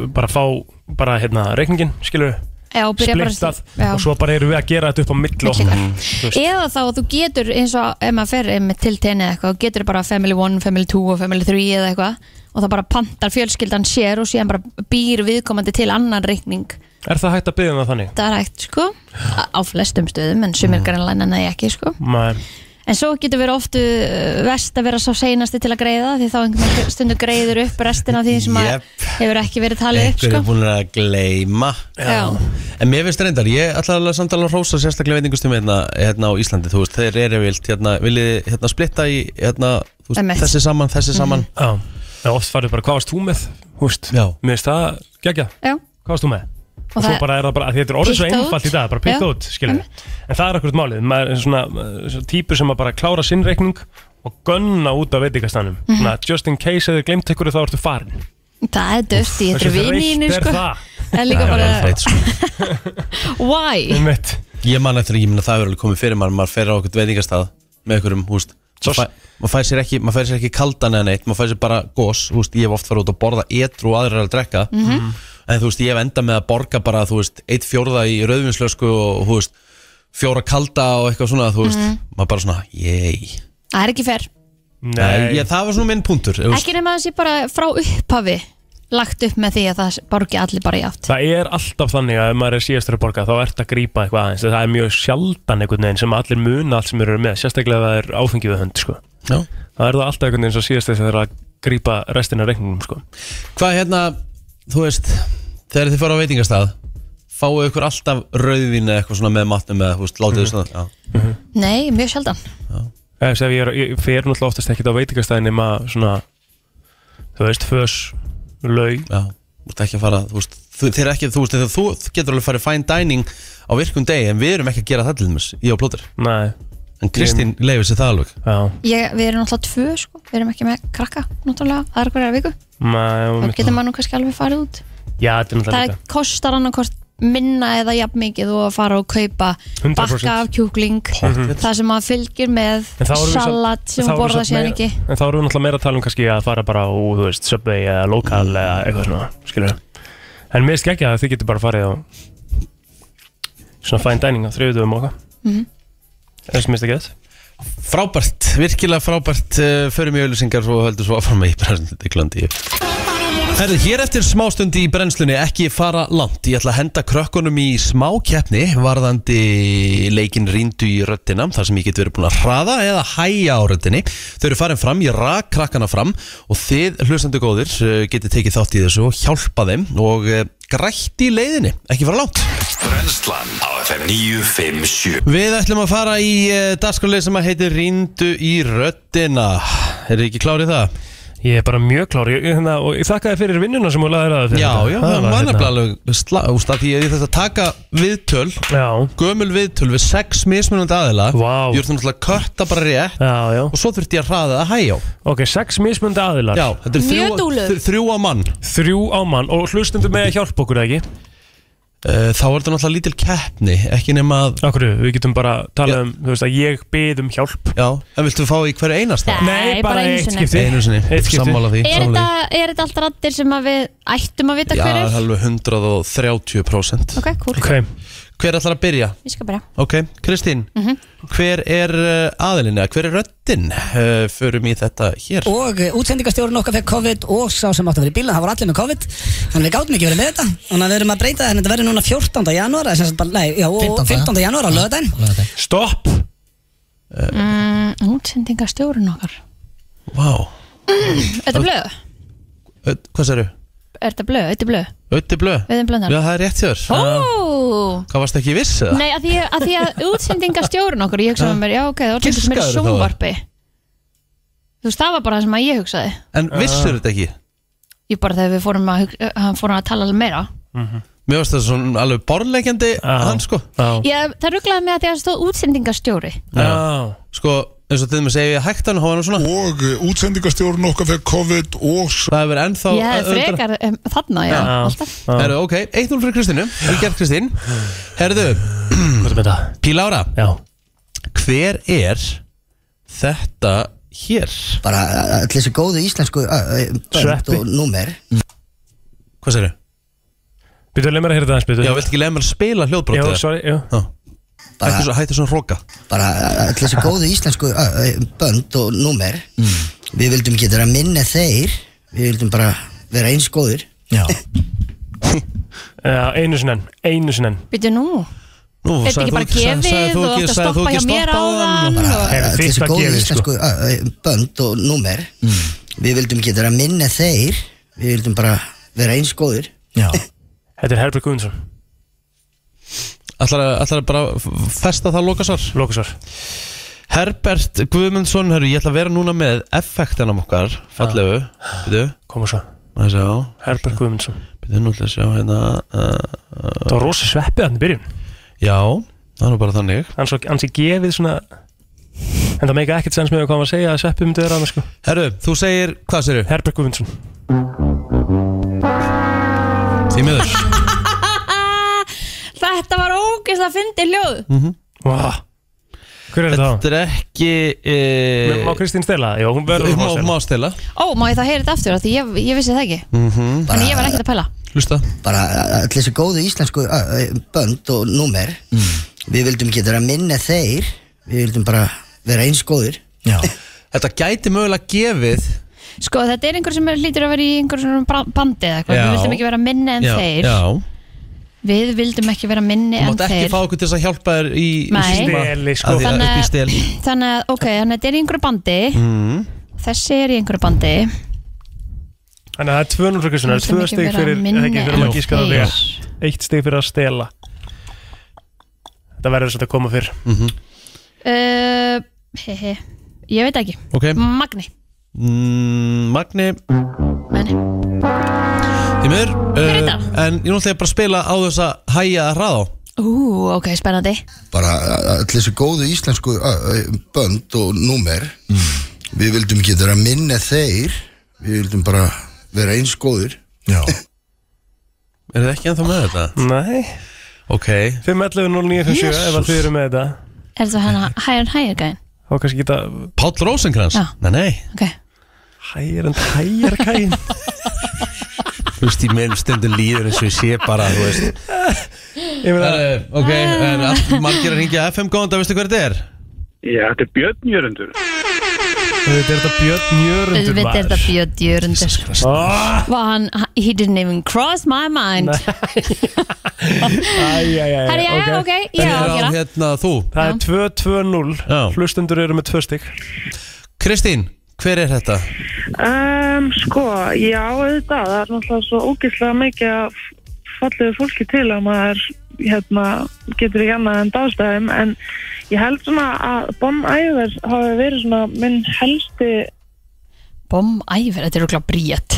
[SPEAKER 3] bara fá bara, hérna, reikningin, skilur
[SPEAKER 2] Já, byrja bara
[SPEAKER 3] splittað
[SPEAKER 2] Já.
[SPEAKER 3] og svo bara erum við að gera þetta upp á milli okkar
[SPEAKER 2] Milli
[SPEAKER 3] Þú veist,
[SPEAKER 2] Eða þá að þú getur eins og ef maður fer einmitt til tenni eða eitthvað þú getur bara family 1, family 2 og family 3 eða eitthvað og það bara pantar fjölskyldan sér og síðan bara býr viðkomandi til annan reikning
[SPEAKER 3] er það hægt að byggja um það þannig?
[SPEAKER 2] það er hægt sko á á flestum stöðum en sumir grannlega nei ekki sko
[SPEAKER 3] Nei,
[SPEAKER 2] en svo getur verið oftu vest að vera sá seinasti til að greiða því þá einhvern veginn stundu greiður upp restina af því sem
[SPEAKER 1] Jep.
[SPEAKER 2] að hefur ekki verið talið upp
[SPEAKER 1] einhver
[SPEAKER 2] sko
[SPEAKER 1] er búin að gleyma
[SPEAKER 2] Já.
[SPEAKER 1] en mér finnst reyndar, ég ætla alveg samt alveg að hrósa sérstaklega veitingustum hérna, hérna á Íslandi þú veist, þeir eru vilt, hérna, viljið þið, hérna splitta í, hérna, þú
[SPEAKER 2] Einmitt. Mhm.
[SPEAKER 1] veist, þessi saman þessi saman,
[SPEAKER 3] já, en oft farið bara hvað varst þú með? Húst,
[SPEAKER 1] Já.
[SPEAKER 3] mér finnst það geggja,
[SPEAKER 2] Já.
[SPEAKER 3] hvað varst þú með? Og,
[SPEAKER 2] Og
[SPEAKER 3] svo
[SPEAKER 2] það-
[SPEAKER 3] bara er það bara, af því þetta er orðið svo
[SPEAKER 2] Pitta út.
[SPEAKER 3] einfalt í dag, bara pitta
[SPEAKER 2] Já.
[SPEAKER 3] út, skilur En það er akkurat málið, maður er svona, uh, svona típur sem að bara klára sinn reikning og gönna út af veitingastanum
[SPEAKER 2] Mhm.
[SPEAKER 3] mm Just in case eða glemt ykkur þá ertu farin
[SPEAKER 2] það er döfti, þetta
[SPEAKER 3] Hversu
[SPEAKER 2] er vinínir
[SPEAKER 3] þreytt er
[SPEAKER 2] sko
[SPEAKER 3] það?
[SPEAKER 2] en líka
[SPEAKER 1] það er
[SPEAKER 2] bara
[SPEAKER 1] alveg feitt, sko.
[SPEAKER 2] why
[SPEAKER 3] Einmitt.
[SPEAKER 1] ég man eftir, ég minna það er alveg komið fyrir maður maður fer á okkur veitingastað með einhverjum, þú veist
[SPEAKER 3] Svo-
[SPEAKER 1] maður fæ- maður fær sér ekki, maður fær sér ekki kaldan eða neitt maður fær sér bara gos, þú veist, ég hef oft farið út að borða etru og aðrir að drekka en þú veist, ég hef endað með að borga bara, þú veist, eitt fjórða í rauðvinslösku og, þú veist, fjóra kalda og eitthvað svona, þú veist, maður bara svona, yey.
[SPEAKER 2] það er ekki fer,
[SPEAKER 1] Nei,
[SPEAKER 3] Nei,
[SPEAKER 1] ég, það var svona minn punktur, þú veist,
[SPEAKER 2] ekki nema þessi bara frá upphafi lagt upp með því að það borgi allir bara í átt
[SPEAKER 3] það er alltaf þannig að ef maður er síðastur að borga þá ert að grípa eitthvað aðeins það er mjög sjaldan einhvern veginn sem allir muna allt sem eru með, sérstaklega ef það er áfengið við hönd sko.
[SPEAKER 1] já.
[SPEAKER 3] það er það alltaf einhvern veginn sem síðastur sem er að grípa restina af reikningum sko.
[SPEAKER 1] Hvað hérna, þú veist, þegar þið fara á veitingastað, fáu ykkur alltaf rauðvín eða eitthvað svona með matnum eða, þú veist, látið þið svona, já.
[SPEAKER 2] nei, mjög sjaldan
[SPEAKER 3] Eða sem ég, er, ég fer náttúrulega oftast ekkert á veitingastæðin nema svona þú veist, fös, laug
[SPEAKER 1] Já, þú ert ekki að fara Þú veist, þú, þeir eru ekki, þú, veist, þegar þú, þú getur alveg að fara í fine dining á virkum degi en við erum ekki að gera það til þess, ég og Plóter
[SPEAKER 3] Nei,
[SPEAKER 1] En Kristín leifir sér það alveg
[SPEAKER 3] já,
[SPEAKER 2] ég, við erum náttúrulega tvö sko, við erum ekki með krakka náttúrulega, það er hverja viku
[SPEAKER 3] nei,
[SPEAKER 2] þá
[SPEAKER 3] einmitt.
[SPEAKER 2] getur maður nú kannski alveg farið út
[SPEAKER 3] já, þetta er náttúrulega
[SPEAKER 2] það
[SPEAKER 3] líka.
[SPEAKER 2] kostar annarkort minna eða jafn mikið og að fara og kaupa
[SPEAKER 3] 100%.
[SPEAKER 2] bakka af kjúkling
[SPEAKER 1] Mhm.
[SPEAKER 2] það sem að fylgir með
[SPEAKER 3] En þá erum við samt-
[SPEAKER 2] salat
[SPEAKER 3] þá
[SPEAKER 2] sem að
[SPEAKER 3] erum við
[SPEAKER 2] borða
[SPEAKER 3] samt
[SPEAKER 2] síðan
[SPEAKER 3] meira-
[SPEAKER 2] ekki
[SPEAKER 3] En þá erum við náttúrulega meira að tala um kannski að fara bara á, þú veist, Subway eða Local eða eitthvað svona, skilur En mér skekja að þið getur bara farið á svona fine dining á þriðutöfum og eitthvað
[SPEAKER 9] Mhm.
[SPEAKER 3] Það er sem minnst ekki þetta
[SPEAKER 1] Frábært, virkilega frábært uh, Förum í auðlýsingar og höldum svo áfram í brennslunni glandi Herðu, hér eftir smástundi í brennslunni ekki fara langt Ég ætla að henda krökkunum í smá keppni varðandi leikin ríndu í röddina þar sem ég get verið búin að hraða eða hæja á röddinni Þau eru farin fram, ég rak krakkana fram og þið hlustandi góðir uh, getið tekið þátt í þessu og hjálpa þeim og uh, grætt í leiðinni, ekki fara langt
[SPEAKER 4] Brennslan á FM 957
[SPEAKER 1] Við ætlum að fara í uh, dagskrálið sem að heitir Ríndu í röddina Er þið ekki klárið það?
[SPEAKER 3] Ég er bara mjög klár ég, ég- hérna, og ég þakka þér fyrir vinnuna sem þú laðir að það fyrir
[SPEAKER 1] Já,
[SPEAKER 3] þetta.
[SPEAKER 1] já,
[SPEAKER 3] Það
[SPEAKER 1] það
[SPEAKER 3] var
[SPEAKER 1] var
[SPEAKER 3] hérna-
[SPEAKER 1] nefnilega alveg slá Úst að því að ég þess að taka viðtöl
[SPEAKER 3] Já,
[SPEAKER 1] Gömul viðtöl við sex mismunandi aðila
[SPEAKER 3] Vá.
[SPEAKER 1] Ég þurfti náttúrulega að kötta bara rétt
[SPEAKER 3] já, já
[SPEAKER 1] Og svo þurfti ég að hraða að hægjá
[SPEAKER 3] Ok, sex mismöndi aðilar
[SPEAKER 1] Já, þetta er
[SPEAKER 2] Mjög
[SPEAKER 1] þrjú,
[SPEAKER 2] dúlur.
[SPEAKER 1] þr- þrjú á mann
[SPEAKER 3] Þrjú á mann og hlustundu með að hjálpa okkur eða ekki
[SPEAKER 1] Uh, Þá er þetta náttúrulega lítil keppni Ekki nema að
[SPEAKER 3] Akkur, við getum bara
[SPEAKER 1] Já.
[SPEAKER 3] talað um, þú veist að ég bið um hjálp
[SPEAKER 1] Já, en viltu fá í hverju einasta?
[SPEAKER 2] Nei, bara einu sinni.
[SPEAKER 1] Einu sinni,
[SPEAKER 3] Eitt skipti.
[SPEAKER 1] sammála því
[SPEAKER 2] er
[SPEAKER 1] sammála
[SPEAKER 2] þetta,
[SPEAKER 1] því.
[SPEAKER 2] er þetta allt rættir sem að við ættum að vita
[SPEAKER 1] Já,
[SPEAKER 2] hver er?
[SPEAKER 1] alveg 130%
[SPEAKER 2] ok, cool,
[SPEAKER 3] Ok,
[SPEAKER 1] Hver ætlar að byrja?
[SPEAKER 2] ég skal bara
[SPEAKER 1] Ok, Kristín,
[SPEAKER 2] Mhm.
[SPEAKER 1] hver er uh, aðilin eða hver er röddin? Uh, förum í þetta hér
[SPEAKER 9] og eh, útsendingastjórinn okkar fekk COVID og sá sem átti að vera í bílun, það var allir með COVID þannig við gátum ekki verið með þetta þannig að við erum að breyta það, en þetta verður núna 14. janúar eða sem sagt bara, nei, já, og
[SPEAKER 10] 15.
[SPEAKER 9] 15. janúar á löðdæn
[SPEAKER 10] Laugardaginn.
[SPEAKER 3] stopp
[SPEAKER 2] útsendingastjórun Mm, okkar
[SPEAKER 1] Vá,
[SPEAKER 2] Þetta er blöð,
[SPEAKER 1] Ö, hvað séru?
[SPEAKER 2] er þetta blöð, þetta er blöð
[SPEAKER 1] Ötti blöð?
[SPEAKER 2] Við erum blöndar
[SPEAKER 1] Já, það er rétt hjá þér
[SPEAKER 2] Ó,
[SPEAKER 1] Hvað varst ekki viss eða?
[SPEAKER 2] nei, að því að, því að útsendingastjórun okkur Ég hugsaði með mér, já ok, það var
[SPEAKER 1] Giskaðirðu
[SPEAKER 2] þetta sem er
[SPEAKER 1] þá?
[SPEAKER 2] sjónvarpi Þú veist, það var bara það sem að ég hugsaði
[SPEAKER 1] En vissur þetta ekki?
[SPEAKER 2] Ég bara þegar við fórum að, hugsa- hann fórum að tala alveg meira
[SPEAKER 1] Mér varst það svona alveg borlegjandi
[SPEAKER 3] Já.
[SPEAKER 1] hann sko
[SPEAKER 3] Já,
[SPEAKER 2] ég, Það rugglaði mig að því að það stóð útsendingastjóri
[SPEAKER 3] já
[SPEAKER 1] Sko, eins og þið með segja hægt hann og hann svona
[SPEAKER 11] og eh, útsendingastjórinn okkar fyrir COVID og s-
[SPEAKER 1] Það hefur ennþá
[SPEAKER 2] Ég hefði
[SPEAKER 1] öldra-
[SPEAKER 2] frekar um, þarna, já,
[SPEAKER 3] Já.
[SPEAKER 2] alltaf
[SPEAKER 1] Herðu, ok, 1-0 fyrir Kristínu Við gert Kristín Herðu,
[SPEAKER 3] Hvað er þetta?
[SPEAKER 1] Pílára,
[SPEAKER 3] Já
[SPEAKER 1] hver er þetta hér?
[SPEAKER 10] bara eh, allir þessi góðu íslensku eh, eh, bönd
[SPEAKER 3] Sveppi.
[SPEAKER 10] og númer
[SPEAKER 1] Hvað séru?
[SPEAKER 3] Býtu að leið mér að heyra þetta aðeins, býtu
[SPEAKER 1] Já, viltu ekki leið mér að spila hljóðbrótið?
[SPEAKER 3] Já, sorry, já
[SPEAKER 1] Hættu svo, hættu svo að hróka
[SPEAKER 10] bara eh, allir þessi góðu íslensku eh, eh, bönd og númer
[SPEAKER 1] Mm.
[SPEAKER 10] við vildum ekki vera minni þeir við vildum bara vera eins góðir
[SPEAKER 1] Já
[SPEAKER 3] Já, einu sinni enn, einu sinni enn
[SPEAKER 2] Býtu nú,
[SPEAKER 1] Nú,
[SPEAKER 2] er þetta
[SPEAKER 1] sagði
[SPEAKER 2] ekki
[SPEAKER 1] þú sagði-
[SPEAKER 2] bara
[SPEAKER 1] sagði
[SPEAKER 2] gefið
[SPEAKER 1] þú
[SPEAKER 2] og
[SPEAKER 1] ekki- sagði
[SPEAKER 2] átt að
[SPEAKER 1] þú
[SPEAKER 2] stoppa hjá
[SPEAKER 1] ekki
[SPEAKER 2] mér
[SPEAKER 1] stoppa áðan?
[SPEAKER 2] áðan og-
[SPEAKER 10] bara
[SPEAKER 3] Heyrðu,
[SPEAKER 10] allir
[SPEAKER 3] þitt
[SPEAKER 10] þessi
[SPEAKER 3] var
[SPEAKER 10] góðu
[SPEAKER 3] gefið,
[SPEAKER 10] íslensku eh, eh, bönd og númer við vildum ekki vera minni þeir við vildum bara vera eins góðir
[SPEAKER 1] Já
[SPEAKER 3] Þetta er Herbert Guðmundsson,
[SPEAKER 1] Ætlar að, ætlar að bara f- festa það lokasvar
[SPEAKER 3] lókusvar
[SPEAKER 1] Herbert Guðmundsson, herru, ég ætla að vera núna með effektan á okkar Fallegu, byrju
[SPEAKER 3] Ah. Koma svo,
[SPEAKER 1] Það sjá,
[SPEAKER 3] Herbert Guðmundsson
[SPEAKER 1] byrju nú til að sjá hérna uh,
[SPEAKER 3] Það var rosa sveppið hann í byrjun
[SPEAKER 1] Já, það er nú bara þannig
[SPEAKER 3] Hann svo, hann sé gefið svona En það meika ekkert sens með hvað hann var að segja að sveppið myndi vera hann sko
[SPEAKER 1] Herru, þú segir, hvað segir
[SPEAKER 3] Herbert Guðmundsson
[SPEAKER 1] Því miður
[SPEAKER 2] Þetta var ógeðslega að fyndi hljóð
[SPEAKER 3] Vá Hver er þetta þá?
[SPEAKER 1] Þetta er ekki
[SPEAKER 3] Má
[SPEAKER 1] e...
[SPEAKER 3] Kristín stela? Jó, hún verður að fá að
[SPEAKER 1] Má,
[SPEAKER 3] stela.
[SPEAKER 1] má stela
[SPEAKER 2] Ó, má ég það heyra þetta aftur af því ég, ég vissi það ekki Þannig ég var ekkert að pæla
[SPEAKER 1] Hlusta
[SPEAKER 10] bara allir þessi góðu íslensku eh, eh, bönd og númer
[SPEAKER 1] Mm.
[SPEAKER 10] við vildum ekki vera minni þeir við vildum bara vera eins góðir
[SPEAKER 1] Já Þetta gæti mögulega gefið
[SPEAKER 2] Sko, þetta er einhver sem er, lítur að vera í einhver svona bra- bandi eða eitthvað Við
[SPEAKER 1] Já.
[SPEAKER 2] vildum ekki vera minni en
[SPEAKER 1] já,
[SPEAKER 2] þeir
[SPEAKER 1] Já,
[SPEAKER 2] Við vildum ekki vera
[SPEAKER 1] þú
[SPEAKER 2] minni en
[SPEAKER 1] mátt ekki
[SPEAKER 2] þeir
[SPEAKER 1] fá okkur til þess að hjálpa þér í í
[SPEAKER 2] Nei.
[SPEAKER 1] síma-
[SPEAKER 3] Steli, sko.
[SPEAKER 1] að því að
[SPEAKER 2] Þannig-
[SPEAKER 1] upp í Mm. stel
[SPEAKER 2] Þannig að, ok, þannig að þetta er í einhverju bandi Þessi er í einhverju bandi
[SPEAKER 3] Þannig að það er 200 frá Kristín, það er
[SPEAKER 2] Vildum
[SPEAKER 3] tvö
[SPEAKER 2] ekki
[SPEAKER 3] stig
[SPEAKER 2] vera
[SPEAKER 3] fyrir
[SPEAKER 2] minni
[SPEAKER 3] eða ekki fyrir
[SPEAKER 2] en
[SPEAKER 3] maður gískað að
[SPEAKER 2] þeir.
[SPEAKER 3] vera Eitt stig fyrir að stela Þetta verður svolítið að koma fyrr
[SPEAKER 1] Mhm.
[SPEAKER 2] uh, he, he. Ég veit ekki
[SPEAKER 1] Ok,
[SPEAKER 2] Magni
[SPEAKER 1] mm, Magni
[SPEAKER 2] Magni.
[SPEAKER 1] Því miður
[SPEAKER 2] er
[SPEAKER 1] uh,
[SPEAKER 2] þetta?
[SPEAKER 1] En ég náttúrulega bara að spila á þess að hæja að hraða á.
[SPEAKER 2] Ú, ok, spennandi
[SPEAKER 10] bara allir þessi góðu íslensku eh, eh, bönd og númer við vildum ekki vera minni þeir við vildum bara vera eins góðir
[SPEAKER 11] Já.
[SPEAKER 1] Er þið ekki ennþá með þetta?
[SPEAKER 3] Nei
[SPEAKER 1] Ok
[SPEAKER 3] 511 0957 ef að
[SPEAKER 1] Jesus.
[SPEAKER 3] þið eru með þetta
[SPEAKER 2] Er það hérna higher and higher gæðin?
[SPEAKER 3] Þá kannski geta
[SPEAKER 1] Páll Rósengrans?
[SPEAKER 2] Já.
[SPEAKER 1] Nei, nei
[SPEAKER 2] Ok
[SPEAKER 3] Higher and higher gæðin
[SPEAKER 1] Þú veist, ég meðum stundum líður eins og ég sé bara, þú veist
[SPEAKER 3] Ég meina
[SPEAKER 1] Herru, Ok,
[SPEAKER 2] Ah.
[SPEAKER 1] er allt margir að ringja FM góðan dag, veistu hver þetta er?
[SPEAKER 12] Já, þetta er Björn Jörundur
[SPEAKER 3] Þetta er þetta Björn Jörundur
[SPEAKER 2] Auðvitað er þetta Björn Jörundur
[SPEAKER 3] Ah.
[SPEAKER 2] Var hann, he didn't even cross my mind Herri, já, ok, ég á að gera
[SPEAKER 1] hérna þú
[SPEAKER 3] Það er 2-2-0 Hlustendur eru með tvö stygg
[SPEAKER 1] Kristín, hver er þetta?
[SPEAKER 13] Um, sko, já, auðvitað, það er náttúrulega svo ógeðslega mikið að fallegu fólki til að maður hérna, getur ekki annað en dástæðum en ég held svona að Bonn Æver hafi verið svona minn helsti
[SPEAKER 2] Bom æver, þetta er okkur bríett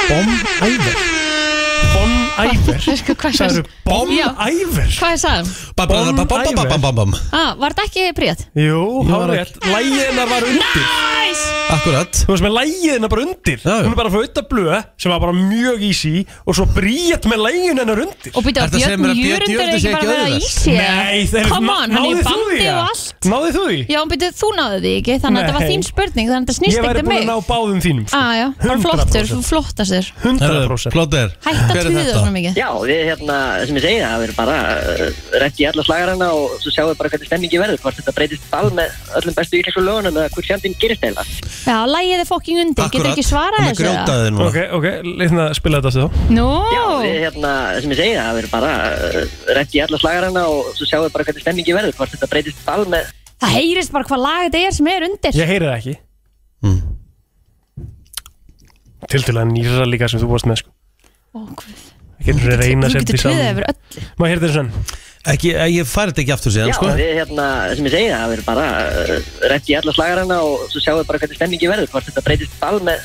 [SPEAKER 3] Bom æver Bom æver
[SPEAKER 2] Það
[SPEAKER 3] eru bom æver
[SPEAKER 2] Hvað er það?
[SPEAKER 1] Bam, bam, bam, bam, bam, bam, bam, bam
[SPEAKER 2] Ah, var þetta ekki bríett?
[SPEAKER 3] Jú,
[SPEAKER 1] var
[SPEAKER 3] hárétt Lægina var undir
[SPEAKER 2] Nice
[SPEAKER 1] Akkurat
[SPEAKER 3] Þú veist með lægina bara undir Hún er bara frá auðablöð sem var bara mjög easy Og svo bríett með lægina hennar undir
[SPEAKER 2] Og býta, Ertu að segja Björn mér að Björn Jörundur er Jörundur sé ekki bara ekki með auðvelt? Easy, eða?
[SPEAKER 3] Nei, það er
[SPEAKER 2] Come on, hann er í bandi og allt.
[SPEAKER 3] Náðið þú því?
[SPEAKER 2] Já, býtu, þú náðu því ekki, þannig að þetta var
[SPEAKER 3] Nei.
[SPEAKER 2] þín spurning þannig að þetta snýst
[SPEAKER 3] Ég
[SPEAKER 2] ekki
[SPEAKER 3] væri
[SPEAKER 2] um
[SPEAKER 3] búin að
[SPEAKER 2] mig
[SPEAKER 3] ná báðum þínum
[SPEAKER 2] Ah, já, bara
[SPEAKER 3] 100%.
[SPEAKER 2] flottur, þú flottast þér
[SPEAKER 3] 100%
[SPEAKER 1] Plóter,
[SPEAKER 2] Hætt að tuða svona mikið
[SPEAKER 14] Já, við hérna, sem ég segi, það verður bara uh, rétt í alla slagarana og svo sjáum við bara hvernig stemningi verður, hvort þetta breytist ball með öllum bestu íslensku lögunum eða hvort fjandinn gerist eða.
[SPEAKER 2] Já, lægið er fokking undir, getur ekki svarað þessu eða?
[SPEAKER 3] Ok, ok, leitna að spila þetta þessu þá
[SPEAKER 2] Nú,
[SPEAKER 14] Já, við hérna, sem ég segi, það verður bara uh, rétt í alla slagarana og svo sjáum við bara hvernig stemningi verður, hvort þetta breytist ball með...
[SPEAKER 2] það heyrist bara hvað lag þetta er sem er undir
[SPEAKER 3] Ég heyri það ekki Tildulega nýra líka sem þú varst með sko
[SPEAKER 2] Ó, guð.
[SPEAKER 3] Ekki einu sinni reyna að setja
[SPEAKER 2] Þú
[SPEAKER 3] því
[SPEAKER 2] getur tuðað
[SPEAKER 3] saman
[SPEAKER 2] yfir öll
[SPEAKER 3] Má ég heyra þetta svona
[SPEAKER 1] Ekki, eh, ég færi þetta ekki aftur síðan,
[SPEAKER 14] Já,
[SPEAKER 1] sko
[SPEAKER 14] við hérna, sem ég segi, það verður bara uh, rétt í alla slagarana og svo sjáum við bara hvernig stemningi verður, hvort þetta breytist ball með...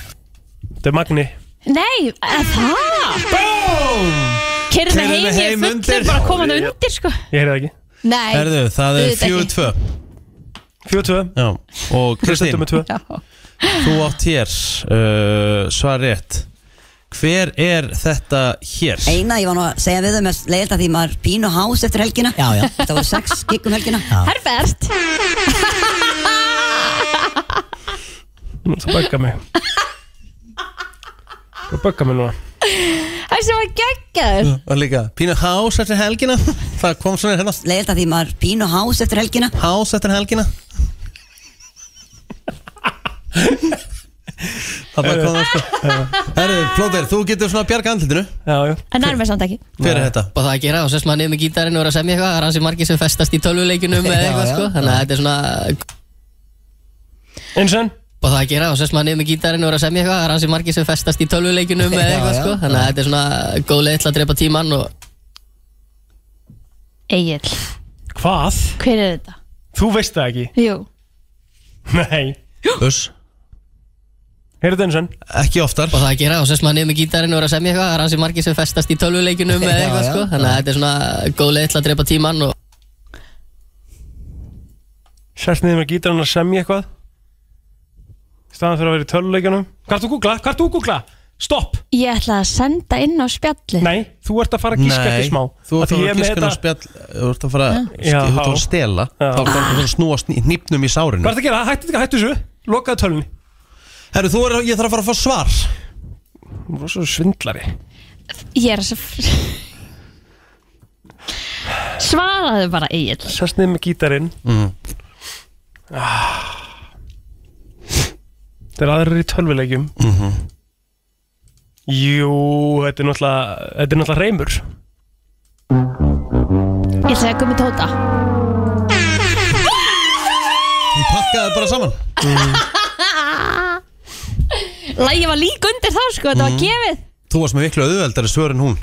[SPEAKER 3] Þetta er Magni
[SPEAKER 2] Nei, að það
[SPEAKER 3] BOOM
[SPEAKER 1] Keyrðu
[SPEAKER 2] Kerðið með heim,
[SPEAKER 1] mig
[SPEAKER 2] ég
[SPEAKER 1] heim
[SPEAKER 2] er
[SPEAKER 1] undir.
[SPEAKER 2] fullur bara komandi undir sko
[SPEAKER 3] Ég heyri það ekki
[SPEAKER 2] Nei,
[SPEAKER 1] Herðu, það er
[SPEAKER 2] auðvitað ekki.
[SPEAKER 3] 4-2
[SPEAKER 1] 4-2 Já, og Kristín
[SPEAKER 3] Hlustendum með tvö.
[SPEAKER 1] Þú átt hér uh, Svar rétt Hver er þetta hér?
[SPEAKER 15] Eina, ég var nú að segja við þau með leiðilt að því maður pínu hás eftir helgina Já, já Það voru sex gig um helgina Já
[SPEAKER 2] Herbert
[SPEAKER 3] Nú það bögga mig Það bögga mig núna
[SPEAKER 2] Það sem var geggjaður
[SPEAKER 1] Og líka, pínu hás eftir helgina Það kom svona hérna
[SPEAKER 15] Leiðilt að því maður pínu hás eftir helgina
[SPEAKER 1] Hás eftir helgina Það bara kom það sko Herru, Plóter, þú getur svona að bjarga andlutinu
[SPEAKER 3] Já, já
[SPEAKER 2] En nærmið samt ekki
[SPEAKER 1] Hver er þetta?
[SPEAKER 16] Bara það að gera og sérst maður niður með gítarinn og er að semja eitthvað Það er hansi margir sem festast í tölvuleikjunum eða
[SPEAKER 15] Já,
[SPEAKER 16] eitthvað
[SPEAKER 15] já.
[SPEAKER 16] sko Þannig að þetta er svona
[SPEAKER 3] Einsen
[SPEAKER 16] Bara það að gera og sérst maður niður með gítarinn og er að semja eitthvað Það er hansi margir sem festast í tölvuleikjunum eða
[SPEAKER 15] Já,
[SPEAKER 16] eitthvað
[SPEAKER 15] já.
[SPEAKER 16] sko Þannig að þetta er svona góð leið til að drepa tímann og
[SPEAKER 2] Egil,
[SPEAKER 3] Hvað?
[SPEAKER 2] hver er þetta?
[SPEAKER 3] Þú veist það ekki
[SPEAKER 2] Jú,
[SPEAKER 3] Nei
[SPEAKER 1] Þess
[SPEAKER 3] Heyrðu þetta einsen
[SPEAKER 1] Ekki oftar
[SPEAKER 16] Bara það að gera og sérst maður niður með gítarinn og er að semja eitthvað Það er hansi margir sem festast í tölvuleikjunum eða
[SPEAKER 15] Já,
[SPEAKER 16] eitthvað
[SPEAKER 15] já.
[SPEAKER 16] sko Þannig að þetta er svona góð leið til að drepa tímann og
[SPEAKER 3] Sest niður með gítarinn að semja eitthvað Í Staðan fyrir að vera í töluleikjunum Hvað ert þú að googla? Hvað ert þú að googla? Stopp!
[SPEAKER 2] ég ætla að senda inn á spjallið
[SPEAKER 3] Nei, þú ert að fara að gíska
[SPEAKER 1] Nei,
[SPEAKER 3] eftir smá
[SPEAKER 1] þú
[SPEAKER 3] Af
[SPEAKER 1] ert að
[SPEAKER 3] því
[SPEAKER 1] fara
[SPEAKER 3] ég
[SPEAKER 1] að
[SPEAKER 3] er með
[SPEAKER 1] kiskun á
[SPEAKER 3] þetta-
[SPEAKER 1] spjall Þú ert að fara að þú
[SPEAKER 3] Já.
[SPEAKER 1] ert að fara að stela Þá ert að fara að snúa nýpnum í sárinu
[SPEAKER 3] Hvað ert að gera? Hættu, hættu þessu Lokaðu tölunni
[SPEAKER 1] Herru, þú er, ég þarf að fara að fá svar
[SPEAKER 3] Rosa svindlari
[SPEAKER 2] Ég er að s- Svaraðu bara Egil
[SPEAKER 3] Sest niður með gítarinn
[SPEAKER 1] mm.
[SPEAKER 3] Þetta er aðrir í tölvuleikjum
[SPEAKER 1] Mhm.
[SPEAKER 3] Jú, þetta er náttúrulega Þetta er náttúrulega reymur
[SPEAKER 2] Ég ætla að koma tóta
[SPEAKER 1] Þú pakkaði bara saman
[SPEAKER 3] Mhm.
[SPEAKER 2] Lægi var líka undir það sko, þetta
[SPEAKER 3] Mhm.
[SPEAKER 2] var
[SPEAKER 1] Mm.
[SPEAKER 2] gefið
[SPEAKER 1] Þú varst með miklu auðveldari svör en hún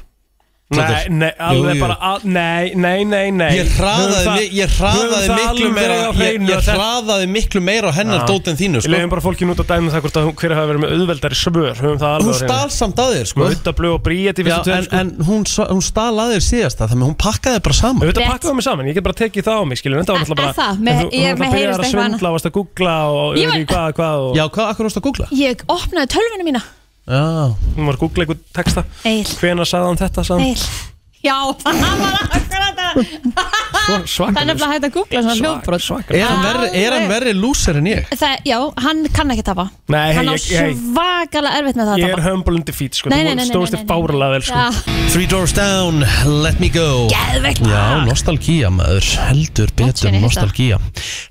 [SPEAKER 3] Nei,
[SPEAKER 1] Plóter.
[SPEAKER 3] nei, alveg
[SPEAKER 1] Jú, jú.
[SPEAKER 3] bara al, Nei, nei, nei, nei
[SPEAKER 1] Ég hraðaði, mi ég hraðaði miklu meira ég, ég hraðaði miklu meira á hennar dót en þínu
[SPEAKER 3] Ég
[SPEAKER 1] sko.
[SPEAKER 3] leiðum bara fólkið út að dæmi það hvort að hún- hver hafa verið með auðveldari svör Höfum það alveg
[SPEAKER 1] Hún stal samt að þér sko.
[SPEAKER 3] Þetta blöð og sko. bríði
[SPEAKER 1] Já, en, en hún, sa- hún stal að þér síðasta Þannig að hún pakkaði bara saman
[SPEAKER 3] Þetta pakkaði mig saman, ég get bara tekið það á mig skilur, en þetta var náttúrulega bara
[SPEAKER 2] Er það? Mér-
[SPEAKER 3] en þú-
[SPEAKER 2] ég-
[SPEAKER 3] hún var að
[SPEAKER 2] mér
[SPEAKER 3] byrja
[SPEAKER 2] heyrist
[SPEAKER 3] að
[SPEAKER 2] eitthvað annað.
[SPEAKER 3] svindla, varst að googla og
[SPEAKER 2] Ég
[SPEAKER 3] ég veit ekki hvað, hvað og...
[SPEAKER 1] Já, hvað, akkur varst að googla?
[SPEAKER 2] Ég opnaði tölvuna mína
[SPEAKER 1] Já.
[SPEAKER 3] Hún var að googla einhvern texta
[SPEAKER 2] Eil.
[SPEAKER 3] Hvenær sagði hann þetta sagði
[SPEAKER 2] Eil. Já, það var akkurat það
[SPEAKER 3] hann? Svak
[SPEAKER 2] Það er nefnilega hægt að googla svona hljóðbrot
[SPEAKER 1] Er hann verri- er hann verri lúsar en ég?
[SPEAKER 2] Það, já, hann kann ekki tapa
[SPEAKER 3] Nei,
[SPEAKER 2] Hann á
[SPEAKER 3] ég- ég-
[SPEAKER 2] svakalega erfitt með það að
[SPEAKER 3] Ég er
[SPEAKER 2] tapa
[SPEAKER 3] humble in defeat sko
[SPEAKER 2] Nei, nei, nei, nei,
[SPEAKER 3] Stóðst
[SPEAKER 2] nei,
[SPEAKER 3] þér
[SPEAKER 2] nei.
[SPEAKER 3] bárlega vel sko
[SPEAKER 2] Já.
[SPEAKER 1] Three Doors Down, Let Me Go
[SPEAKER 2] Geðveikt lag.
[SPEAKER 1] Já, nostalgía maður, heldur betur
[SPEAKER 2] síðan ég heyrt það.
[SPEAKER 1] nostalgía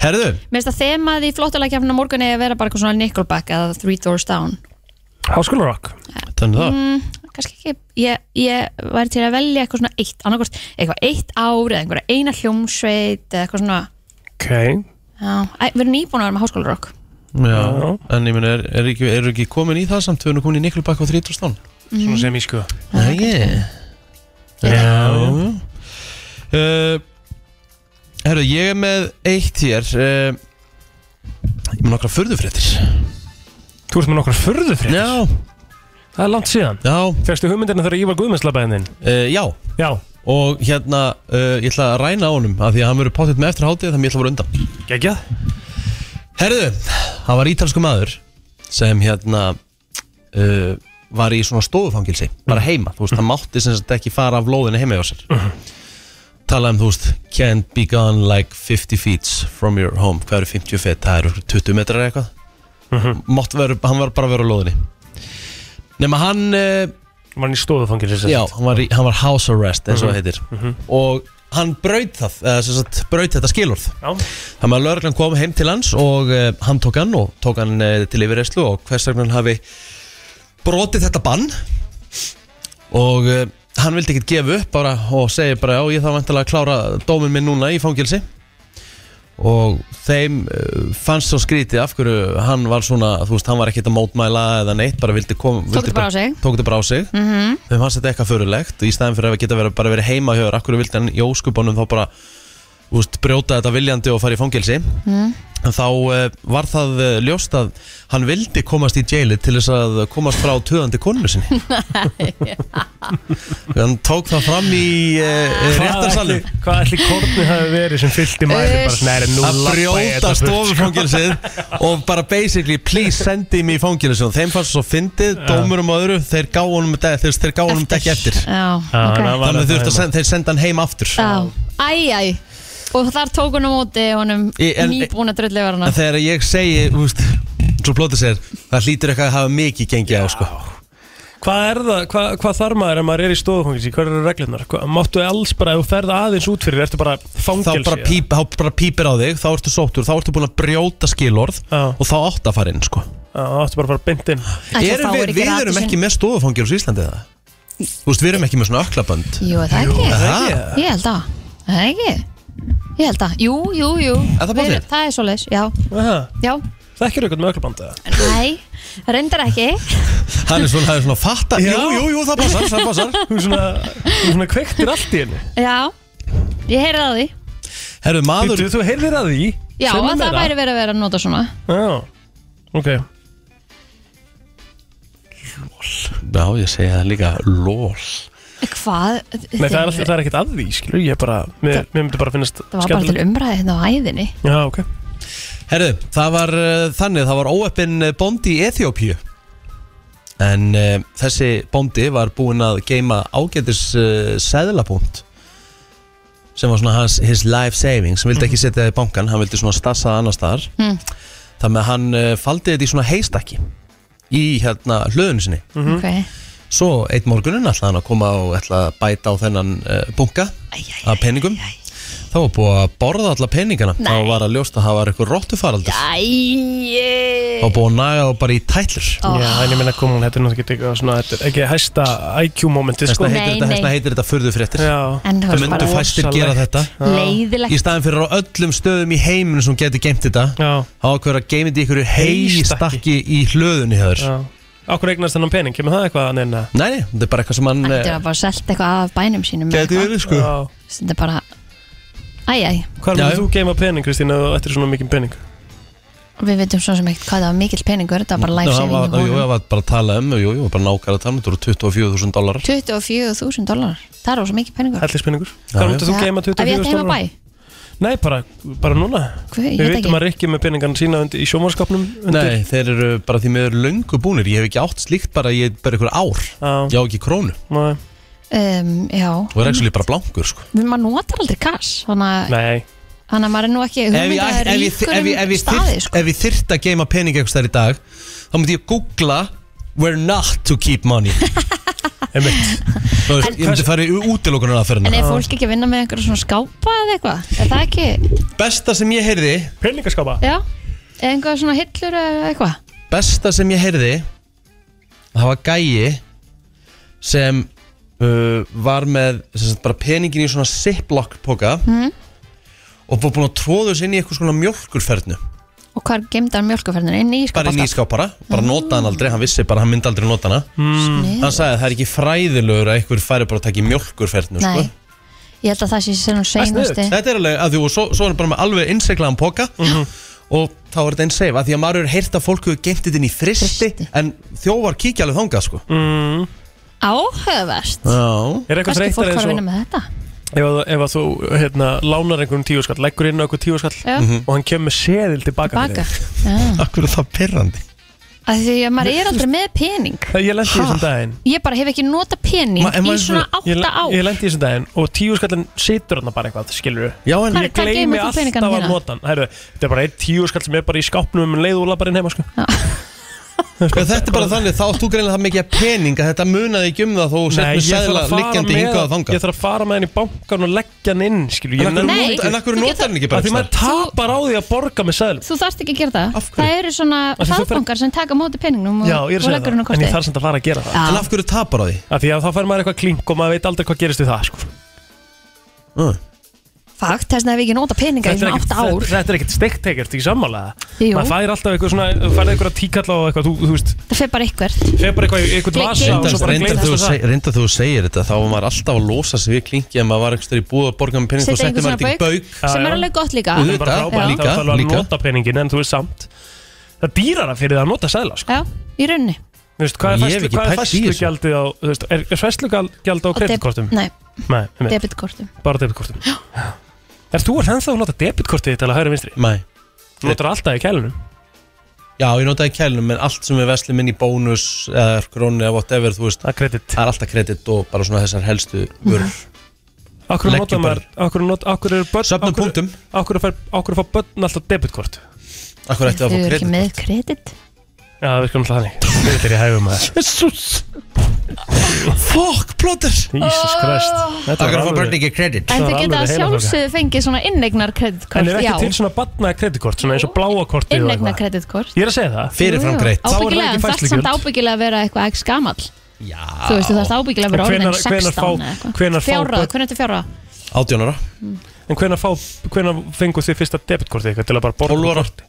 [SPEAKER 1] Herðu,
[SPEAKER 2] Mér finnst að þemað í flottulegkjafnum morgun er að vera bara eitthvað svona Nickelback eða Three Doors Down
[SPEAKER 3] háskólarokk
[SPEAKER 1] þannig það
[SPEAKER 2] mm, Kannski ekki, ég, ég væri til að velja eitthvað svona eitt, annarkvort eitthvað eitt ár eða einhverja eina hljómsveit eða eitthvað svona,
[SPEAKER 3] Ok
[SPEAKER 2] já, Æ, við erum nýbúin að vera með háskólarokk
[SPEAKER 1] Já, en ég meina, er, er ekki, eru ekki komin í það samt, við erum komin í Niklubakk á 30 stón
[SPEAKER 3] Svona sem ég sko
[SPEAKER 1] Nei, ég Já uh, Herru, ég er með eitt hér uh, Ég er með nokkra furðufréttir
[SPEAKER 3] Þú ert með nokkra furðufréttir?
[SPEAKER 1] Já
[SPEAKER 3] Það er langt síðan
[SPEAKER 1] Já
[SPEAKER 3] Fegstu hugmyndina þegar ég var guðmennslabæðin þinn?
[SPEAKER 1] uh, Já
[SPEAKER 3] Já
[SPEAKER 1] Og hérna, uh, ég ætla að ræna á honum af Því að hann verður pátitt með eftirháttið Þannig ég ætla að voru undan
[SPEAKER 3] Gægjað
[SPEAKER 1] Herðu, það var ítalsku maður sem hérna uh, var í svona stofufangilsi bara heima, þú veist, það mátti sem sagt ekki fara af lóðinu heima hjá sér talaði um, þú veist, can't be gone like 50 feet from your home hvað eru 50 feet, það eru 20 metrar eða eitthvað Mátt vera, hann var bara að vera á lóðinni nema hann uh,
[SPEAKER 3] var hann í stofufangilsi
[SPEAKER 1] já, hann var, í, hann var house arrest eins og það heitir og hann braut það eða sem sagt braut þetta skilurð
[SPEAKER 3] Já.
[SPEAKER 1] þannig að lögreglan kom heim til hans og uh, hann tók hann og tók hann uh, til yfirreyslu og hvers vegna hann hafi brotið þetta bann og uh, hann vildi ekkert gefa upp bara og segja bara já ég þarf vantilega að klára dómin minn núna í fangilsi og þeim uh, fannst svo skrítið af hverju hann var svona þú veist hann var ekkert að mótmæla eða neitt bara vildi kom, vildi
[SPEAKER 2] Tók þetta bara á sig.
[SPEAKER 1] tók þetta bara á sig
[SPEAKER 2] Mhm.
[SPEAKER 1] þeim fannst þetta eitthvað förulegt í stæðin fyrir að geta verið, bara verið heima hjá þér akkur vildi hann í óskupunum þá bara úst, brjóta þetta viljandi og fara í fangelsi
[SPEAKER 2] mm.
[SPEAKER 1] en þá uh, var það uh, ljóst að hann vildi komast í jaili til þess að komast frá töðandi konu sinni hann tók það fram í uh, réttarsalum
[SPEAKER 3] Hvað ætli korni hafi verið sem fyllt í mæli bara svona er nú
[SPEAKER 1] að
[SPEAKER 3] labba ég
[SPEAKER 1] brjóta
[SPEAKER 3] þetta burt, sko.
[SPEAKER 1] stofufangilsið og bara basically please sendi mig í fangilsið og þeim fannst svo fyndið, dómurum og öðru þeir gáðu honum þetta- þeir, þeir gáðu honum þetta ekki eftir
[SPEAKER 2] Já,
[SPEAKER 3] ok. þannig að
[SPEAKER 1] þannig
[SPEAKER 3] það
[SPEAKER 1] þurft að
[SPEAKER 3] heima.
[SPEAKER 1] senda, þeir senda hann heim aftur
[SPEAKER 2] Já, æ, æ Og þar tók hann á móti honum
[SPEAKER 1] Í- en-
[SPEAKER 2] nýbúna drullivarana
[SPEAKER 1] en þegar ég segi, þú veist svo blótið sér, það hlýtur eitthvað að hafa mikið gengið á sko
[SPEAKER 3] Hvað er það, hvað, hvað þarf maður ef maður er í stofufangilsi, hvað eru reglurnar? Hva, máttu alls bara, ef þú ferð aðeins út fyrir, ertu bara
[SPEAKER 1] þá
[SPEAKER 3] fangilsi?
[SPEAKER 1] bara, píp, þá bara pípir á þig, þá ertu sóttur þá ertu búin að brjóta skilorð og þá átt að fara inn sko
[SPEAKER 3] Já, þá áttu bara bara beint inn.
[SPEAKER 1] Erum við, við erum ekki með stofufangilus í Íslandi það? Þú veist, við erum ekki með svona öklabönd
[SPEAKER 2] Jú, er það ekki
[SPEAKER 1] Aha.
[SPEAKER 2] Ég held að, Er það ekki Ég held að, jú, jú, jú
[SPEAKER 3] Er það
[SPEAKER 2] Við-
[SPEAKER 3] pottþétt?
[SPEAKER 2] Það er svoleiðis, já Já,
[SPEAKER 3] Þekkir eitthvað með ölluband eða?
[SPEAKER 2] nei, reyndar ekki
[SPEAKER 1] Hann er svona, hann er svona fatta Jú, jú, jú, það passar, það passar
[SPEAKER 3] Þú svona, þú svona kveiktir allt í henni
[SPEAKER 2] Já, ég heyrði að því
[SPEAKER 1] Herru,
[SPEAKER 3] maður Þú, þú heyrðir að því
[SPEAKER 2] Já,
[SPEAKER 3] Segðu mér
[SPEAKER 2] að það
[SPEAKER 3] meira.
[SPEAKER 2] væri verið að vera að nota svona
[SPEAKER 3] Já, ok
[SPEAKER 1] Já, ég segi það líka lól
[SPEAKER 2] Hvað?
[SPEAKER 3] Nei, það er, alltaf, það er ekkert að því, skilur Ég bara, mér, mér myndi bara finnast
[SPEAKER 2] Það var bara til umræði hérna á æðinni
[SPEAKER 3] Já, ok
[SPEAKER 1] Herru, það var uh, þannig, það var óöppin bóndi í Eþjópíu En uh, þessi bóndi var búinn að geima ágætis uh, seðlapunkt sem var svona hans, his life savings sem vildi
[SPEAKER 3] Mhm.
[SPEAKER 1] ekki setja það í bankan, hann vildi svona stassa það annars staðar
[SPEAKER 2] Mm.
[SPEAKER 1] þannig að hann uh, faldi þetta í svona heistakki í hérna hlöðunni sinni
[SPEAKER 3] Mhm.
[SPEAKER 2] Ok,
[SPEAKER 1] Svo eitt morgunin ætlaði hann að koma og ætlaði að bæta á þennan uh, bunka af peningum. Þá var búið að borða alla peningana.
[SPEAKER 2] Nei.
[SPEAKER 1] Þá var að ljósta að það var eitthvað róttufaraldur.
[SPEAKER 2] Æi
[SPEAKER 1] Þá var búið að naga þá bara í tætlur.
[SPEAKER 3] Já, en ég meina kom hún, þetta er náttúrulega ekki eitthvað svona Þetta er ekki hæsta IQ-momenti, sko
[SPEAKER 1] Þessna heitir, þetta, þessna heitir þetta furðufréttir.
[SPEAKER 2] En það
[SPEAKER 1] Það
[SPEAKER 2] var
[SPEAKER 1] myndu
[SPEAKER 2] bara
[SPEAKER 1] fæstir
[SPEAKER 2] rosalegt.
[SPEAKER 1] gera þetta.
[SPEAKER 2] Leiðilegt.
[SPEAKER 1] Í staðin fyrir á öllum stöðum í heiminu sem geti geimt þetta.
[SPEAKER 3] Já.
[SPEAKER 1] Þá ákveður að geima þetta í einhverju heistakki í hlöðunni hjá þér.
[SPEAKER 3] Akkur eignast þennan pening, kemur það eitthvað að neina?
[SPEAKER 1] Nei, nei, þetta er bara eitthvað sem eh, hann...
[SPEAKER 2] Þetta var bara selt eitthvað af bænum sínum eða
[SPEAKER 1] Gæti
[SPEAKER 2] eitthvað.
[SPEAKER 1] verið, sko. Já.
[SPEAKER 2] Þetta er bara Æj, æj,
[SPEAKER 3] Hvað er
[SPEAKER 1] Já, já.
[SPEAKER 3] þú geima pening, Kristín, ef þú ættir svona mikið pening?
[SPEAKER 2] við veitum svo sem ekkert hvað það var mikill peningur Þetta var bara life
[SPEAKER 1] Ná, hann
[SPEAKER 2] saving
[SPEAKER 1] var-
[SPEAKER 2] í
[SPEAKER 1] Jú,
[SPEAKER 2] honum.
[SPEAKER 1] það var bara að tala um, jú, jú, bara nákvæmlega að tala um, þetta voru 24.000 dólarar.
[SPEAKER 2] 24.000 dólar Það er rosa mikið peningur
[SPEAKER 3] Hellispenningur
[SPEAKER 1] Já,
[SPEAKER 3] Hvað
[SPEAKER 1] já.
[SPEAKER 3] myndir þú
[SPEAKER 2] Já.
[SPEAKER 3] geima
[SPEAKER 2] Ef ég ætti
[SPEAKER 3] 24.000
[SPEAKER 2] heima á bæ?
[SPEAKER 3] dólar? Nei, bara, bara núna
[SPEAKER 2] Hvað, ég
[SPEAKER 3] Við
[SPEAKER 2] veit
[SPEAKER 3] vitum
[SPEAKER 2] ekki.
[SPEAKER 3] að Rikki er með peningana sína undir, í sjómarskapnum
[SPEAKER 1] Nei, þeir eru bara því miður löngu búnir Ég hef ekki átt slíkt bara, ég er bara ykkur ár
[SPEAKER 3] ah.
[SPEAKER 1] Ég á ekki krónu
[SPEAKER 3] Nei.
[SPEAKER 2] um, Já
[SPEAKER 1] Og er ekki bara blankur sko.
[SPEAKER 2] Maður notar aldrei kass Þannig að-
[SPEAKER 3] Nei
[SPEAKER 2] þannig að maður er nú ekki
[SPEAKER 1] Ef
[SPEAKER 2] um
[SPEAKER 1] ég,
[SPEAKER 2] hugmyndað
[SPEAKER 1] ef ég, ef ég, ef
[SPEAKER 2] ríkurum
[SPEAKER 1] ég,
[SPEAKER 2] staði
[SPEAKER 1] þyrt, ef ég þyrt að geima pening eitthvað þar í dag Þá myndi ég googla Where not to keep money
[SPEAKER 3] Einmitt.
[SPEAKER 1] Þú veist, Ég myndi fara í útilokunar aðferðina
[SPEAKER 2] En er fólk ekki að vinna með einhverja svona skápa eða eitthvað? Er það ekki,
[SPEAKER 1] Besta sem ég heyrði
[SPEAKER 3] Peningaskápa
[SPEAKER 2] já? Eða einhverja svona hillur eða eitthvað?
[SPEAKER 1] Besta sem ég heyrði Það var gæi Sem uh, var með sem sagt, bara peningin í svona ziplock poka
[SPEAKER 2] Mm.
[SPEAKER 1] Og var búin að tróða þessu inn í eitthvað svona mjölkurferðnu
[SPEAKER 2] Og hvað er gemdar mjölkuferðinu? Inn í skápa
[SPEAKER 1] Bara inn í skáp bara
[SPEAKER 3] Mm.
[SPEAKER 1] Bara nota hann aldrei, hann vissi bara, hann myndi aldrei nota hana
[SPEAKER 2] Sniðugt.
[SPEAKER 1] Hann sagði að það er ekki fræðilegur að einhver færi bara að taka í mjölkurferðnu sko.
[SPEAKER 2] Nei, ég held að það sé sem hún
[SPEAKER 1] Það er sniðugt.
[SPEAKER 2] seinasti
[SPEAKER 1] Þetta er alveg að því og svo, svo er bara með alveg innseklaðan poka
[SPEAKER 3] Mhm.
[SPEAKER 1] og þá er þetta einn seif að því að maður er heyrt að fólk hefur geimt þetta inn í fristi en þjóvar kíkja alveg þangað sko
[SPEAKER 3] mm.
[SPEAKER 2] Áhugavert
[SPEAKER 1] Já
[SPEAKER 3] Er eitthvað
[SPEAKER 2] Kannski
[SPEAKER 3] þreyttar
[SPEAKER 2] fólk var
[SPEAKER 3] eins
[SPEAKER 2] að
[SPEAKER 3] og
[SPEAKER 2] vinna með þetta
[SPEAKER 3] ef, að- ef að þú hérna, lánar einhverjum tíu skall leggur inn á einhverjum tíu skall
[SPEAKER 2] Já.
[SPEAKER 1] Mhm.
[SPEAKER 3] og hann kemur með seðil tilbaka
[SPEAKER 2] Baka Já.
[SPEAKER 1] Akkur er það pyrrandi
[SPEAKER 2] Af Því að maður er aldrei með pening
[SPEAKER 3] Ég lendi í þessum daginn
[SPEAKER 2] Ég bara hef ekki nota pening
[SPEAKER 3] Ma- en
[SPEAKER 2] í
[SPEAKER 3] maður-
[SPEAKER 2] svona
[SPEAKER 3] ég
[SPEAKER 2] átta
[SPEAKER 3] le-
[SPEAKER 2] ár
[SPEAKER 3] Ég lendi í þessum daginn og tíu skallin situr hann bara eitthvað, skilur
[SPEAKER 1] Já,
[SPEAKER 2] en- Hvar-
[SPEAKER 3] Ég
[SPEAKER 2] hvað geymir
[SPEAKER 3] gleymi
[SPEAKER 2] þú
[SPEAKER 3] alltaf
[SPEAKER 2] peningana
[SPEAKER 3] að
[SPEAKER 2] þína?
[SPEAKER 3] nota hann Herru, Þetta er bara einn tíu skall sem er bara í skápnum um leið og labarinn heima sko.
[SPEAKER 1] Þetta er bara þannig, þá átt þú greinlega það mikið pening að þetta munaði ekki um það þó sett
[SPEAKER 3] Nei,
[SPEAKER 1] með
[SPEAKER 3] ég þarf
[SPEAKER 1] sæðla
[SPEAKER 3] að fara
[SPEAKER 1] liggjandi
[SPEAKER 3] með-
[SPEAKER 1] hingað og
[SPEAKER 3] Ég
[SPEAKER 1] þangað
[SPEAKER 3] þarf að fara með hann í bankan og leggja hann inn skilur,
[SPEAKER 1] En af hverju Nei. nota- en af hverju Þú notar getur- hann ekki bara
[SPEAKER 3] Af Því maður
[SPEAKER 1] einhvers
[SPEAKER 3] tapar á því að borga með seðlum
[SPEAKER 2] Þú þarft ekki að gera það Það eru svona
[SPEAKER 3] Af því þú fer-
[SPEAKER 2] hraðbankar sem taka á móti peningnum og,
[SPEAKER 3] Já, ég er að
[SPEAKER 2] og
[SPEAKER 3] segja
[SPEAKER 2] leggur
[SPEAKER 3] það,
[SPEAKER 2] hún á
[SPEAKER 3] en ég
[SPEAKER 2] kortið
[SPEAKER 3] þarf samt að fara að gera það
[SPEAKER 2] Já. En
[SPEAKER 1] af hverju tapar á því?
[SPEAKER 3] Af því að þá fær maður eitthvað klink og maður veit aldrei hvað gerist við það sko.
[SPEAKER 2] Fakt, þess að við ekki nota peninga
[SPEAKER 3] Þetta
[SPEAKER 2] í
[SPEAKER 3] er
[SPEAKER 2] svona
[SPEAKER 3] ekkert-
[SPEAKER 2] átta ár
[SPEAKER 3] þetta- Þetta er ekkert steikt ekkert, þetta er ekki sammála
[SPEAKER 2] Jú.
[SPEAKER 3] Maður fær alltaf eitthvað svona, þú færði eitthvað tíkalla og eitthvað, þú, þú veist
[SPEAKER 2] Það fer bara eitthvað
[SPEAKER 3] Fer bara eitthvað í eitthvað
[SPEAKER 2] Gle-
[SPEAKER 3] vasa og svo
[SPEAKER 1] Reyndar
[SPEAKER 3] bara
[SPEAKER 1] reyndar
[SPEAKER 3] gleymist
[SPEAKER 1] þú
[SPEAKER 3] það.
[SPEAKER 1] seg- reyndar þú segir þetta þá var maður alltaf að losa sig við klingi en maður var eitthvað í búið að borga með pening þá
[SPEAKER 2] Setja
[SPEAKER 1] setti
[SPEAKER 2] einhvern
[SPEAKER 1] maður
[SPEAKER 2] svona
[SPEAKER 1] þetta í bauk
[SPEAKER 2] sem er alveg gott líka
[SPEAKER 3] Það er bara frábært,
[SPEAKER 1] líka,
[SPEAKER 3] það er alveg að
[SPEAKER 1] líka.
[SPEAKER 3] nota peningin en þú er samt Það er dýrara fyrir það að nota sæðla sko.
[SPEAKER 2] Já, í rauninni
[SPEAKER 3] Þú veist, Hvað er
[SPEAKER 1] Ég hef
[SPEAKER 3] fæslu-
[SPEAKER 1] ekki
[SPEAKER 3] hvað er
[SPEAKER 1] pælt í þessu.
[SPEAKER 3] fæslugjaldið á þú veist, Er er fæslugjald á
[SPEAKER 2] Og deb-
[SPEAKER 3] kreditkortum?
[SPEAKER 2] Nei,
[SPEAKER 3] Nei, einmitt.
[SPEAKER 2] debitkortum
[SPEAKER 3] bara debitkortum Er þú ennþá að nota debitkortið þitt til að hægri vinstri?
[SPEAKER 1] Nei
[SPEAKER 3] Þú notar alltaf í kælunum
[SPEAKER 1] Já, ég notaði kælunum, en allt sem við veslum inn í bónus eða krónu eða whatever, þú veist
[SPEAKER 3] Það
[SPEAKER 1] er alltaf kredit og bara svona þessar helstu vörur
[SPEAKER 3] Akkur
[SPEAKER 1] Leggjum
[SPEAKER 3] nota maður, akkur, not, akkur er börn Söfnum punktum Akkur fær, akkur fær börn alltaf debitkort
[SPEAKER 1] Akkur
[SPEAKER 2] Þau eru ekki með kredit
[SPEAKER 3] Já, það virkar alltaf þannig Þetta er í hægum að
[SPEAKER 1] Jesus Fuck, plóter
[SPEAKER 3] Jesus Christ Þetta var
[SPEAKER 1] Akkur fá
[SPEAKER 3] alveg-
[SPEAKER 1] börn ekki kredit
[SPEAKER 2] Ah.
[SPEAKER 3] Það
[SPEAKER 2] En
[SPEAKER 3] var
[SPEAKER 2] þau geta
[SPEAKER 3] alveg
[SPEAKER 2] að
[SPEAKER 3] heilabrokkað.
[SPEAKER 2] sjálfsögðu fengið svona innegnar
[SPEAKER 3] En
[SPEAKER 2] kreditkort
[SPEAKER 3] er
[SPEAKER 2] Já,
[SPEAKER 3] ekki til svona batna kreditkort Svona eins og bláa kortið og
[SPEAKER 2] innegnar
[SPEAKER 3] eitthvað
[SPEAKER 2] kreditkort
[SPEAKER 3] Ég er að segja það
[SPEAKER 1] Fyrirfram greitt.
[SPEAKER 3] Þá er það ekki
[SPEAKER 2] Ábyggilega, en þarf samt
[SPEAKER 3] fæslugjöld
[SPEAKER 2] ábyggilega að vera eitthvað x gamall
[SPEAKER 1] Já
[SPEAKER 2] Þú veist, þú þarft ábyggilega að vera
[SPEAKER 3] En
[SPEAKER 2] orðin
[SPEAKER 3] hvenær- hvenær fá-
[SPEAKER 2] 16 eða eitthvað.
[SPEAKER 3] hvenær fá
[SPEAKER 2] Fjárráð,
[SPEAKER 3] börn-
[SPEAKER 2] hvernig ertu fjárráð?
[SPEAKER 1] Átjónara
[SPEAKER 3] Mm. En hvenær, fá, hvenær fengu þið fyrsta debitkortið eitthvað Til að bara borga
[SPEAKER 1] 12 ára.
[SPEAKER 3] korti?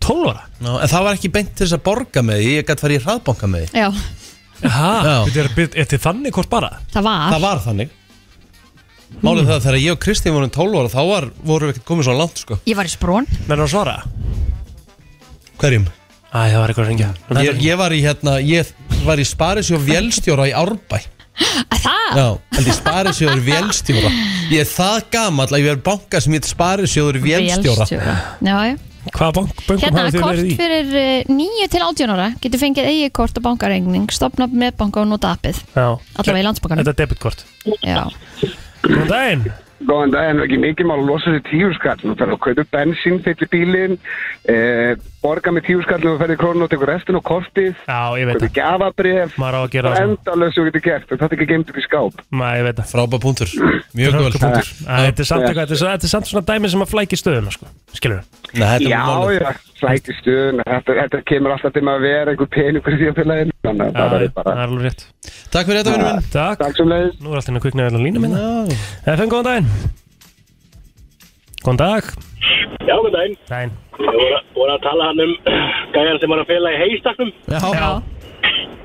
[SPEAKER 3] 12 ára?
[SPEAKER 1] Ná, En það var ekki beint til þess að borga með því, ég gæti farið í hraðbanka með því
[SPEAKER 2] Já,
[SPEAKER 3] Aha, þetta er, er til þannig kort bara?
[SPEAKER 2] það var
[SPEAKER 1] Það var þannig Málið það að þegar ég og Kristín vorum 12 ára þá var, vorum við ekkert komið svona langt sko
[SPEAKER 2] Ég var í sprón
[SPEAKER 3] Menn að svara?
[SPEAKER 1] Hverjum?
[SPEAKER 3] Æ, það var eitthvað að ringja
[SPEAKER 1] Ég, ég var í hérna, ég var í Sparisjóf Vélstjóra í Árbæ
[SPEAKER 2] Það?
[SPEAKER 1] Já, held ég sparisjóður vélstjóra Ég er það gamall að ég er banka sem ég sparisjóður vélstjóra
[SPEAKER 2] Vélstjóra. Já, já
[SPEAKER 3] Hvaða bank,
[SPEAKER 2] Hérna, kort fyrir 9 til 18 ára getur fengið eigi kort og bankarengning stopna með banka og nota appið Allavega í Landsbankanum.
[SPEAKER 3] Þetta er debitkort
[SPEAKER 2] Já,
[SPEAKER 3] Góðan daginn
[SPEAKER 12] Góðan daginn, það er ekki mikið mál að losa þér tíu skall Nú ferðu að kaupa bensín, fyllir bílinn eh, Borga með tíu skall og ferði krónu og tekur restin og kortið
[SPEAKER 3] Já, ég veit
[SPEAKER 12] það Gafabref
[SPEAKER 3] Maður á að gera það svona.
[SPEAKER 12] Endalöð sem þú getur gert, þetta er ekki geimt upp í skáp
[SPEAKER 3] Mæ, ég veit það
[SPEAKER 1] Frábæð punktur, mjög góð
[SPEAKER 3] Punktur. Æ, Þetta er samt eitthvað, þetta er- þetta er samt svona dæmi sem að flæki stöðuna sko. Skilur
[SPEAKER 1] Nei,
[SPEAKER 12] Já, já, slæti stuðun þetta, þetta kemur alltaf til að vera einhver peningur í því að félagin Þannig að það verður bara
[SPEAKER 3] Það er alveg rétt
[SPEAKER 1] Takk fyrir þetta, vinnum minn
[SPEAKER 3] Takk
[SPEAKER 12] Takk sem leiðis
[SPEAKER 3] Nú er allt hérna að kvikna eða lína minna FM, góðan daginn Góðan dag
[SPEAKER 17] Já, með daginn.
[SPEAKER 3] Daginn
[SPEAKER 17] Ég voru, voru að tala hann um gæjan sem var að fela í heistaknum.
[SPEAKER 1] Já.
[SPEAKER 3] Já.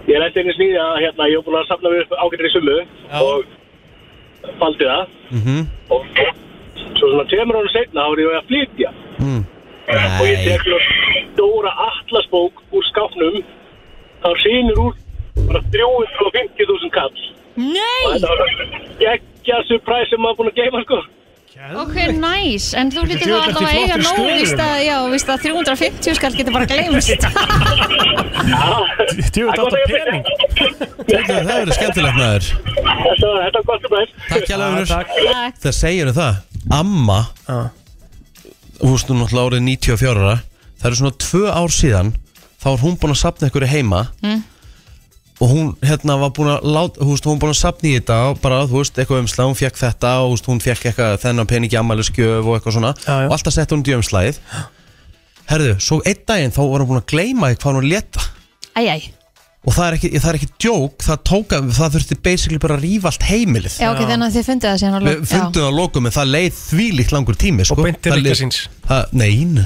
[SPEAKER 17] Ég lefði einnig snýði að hérna, ég var búin að safna við upp ágættir í sumu og faldi það.
[SPEAKER 5] Mhm.
[SPEAKER 17] Og svo svona tveimur ára setna þá var ég að flytja.
[SPEAKER 1] Mm.
[SPEAKER 17] Og ég tek nú stóra atlasbók úr skápnum. þá sýnir úr bara 350.000 kall.
[SPEAKER 2] Nei!
[SPEAKER 17] Og þetta var geggja surpræs sem maður búin að geima sko.
[SPEAKER 2] Ok, næs, en þú hlýttir þá
[SPEAKER 18] Djöfull ertu í
[SPEAKER 2] allavega að eiga
[SPEAKER 18] flottri
[SPEAKER 2] nóg
[SPEAKER 18] stöðu,
[SPEAKER 2] víst að, já, víst að 350 skall getur bara glemst
[SPEAKER 1] Djú, þetta er pening Það verður skemmtilegt maður
[SPEAKER 17] Þetta var, þetta var gott um þess
[SPEAKER 1] Takk hjá Leifur
[SPEAKER 2] Takk.
[SPEAKER 1] Það segir það Amma Þú veist nú náttúrulega árið 94 ára Það eru svona tvö ár síðan Þá er hún búin að sapna ykkur heima
[SPEAKER 2] Mm.
[SPEAKER 1] Og hún hérna var búin að láta, Þú veist, hún búin að sapna í þetta og Bara, þú veist, eitthvað umslag Hún fekk þetta og þú veist, hún fekk eitthvað Þennan peningi ammæliskjöf og eitthvað svona Og alltaf sett hún þetta í umslagið Herðu, svo einn daginn þá var hún búin að gleyma því hvað hún leta
[SPEAKER 2] Æjæj,
[SPEAKER 1] Og það er ekki, það er ekki djók Það, tóka, það þurfti basically bara að rífa allt heimilið
[SPEAKER 2] já ok, þannig að þið fundið það síðan á
[SPEAKER 1] Við
[SPEAKER 2] lok- já.
[SPEAKER 1] fundum það að lokum en það leið þvílíkt langur tími sko. Og beintir
[SPEAKER 3] ykkar
[SPEAKER 1] síns Nein,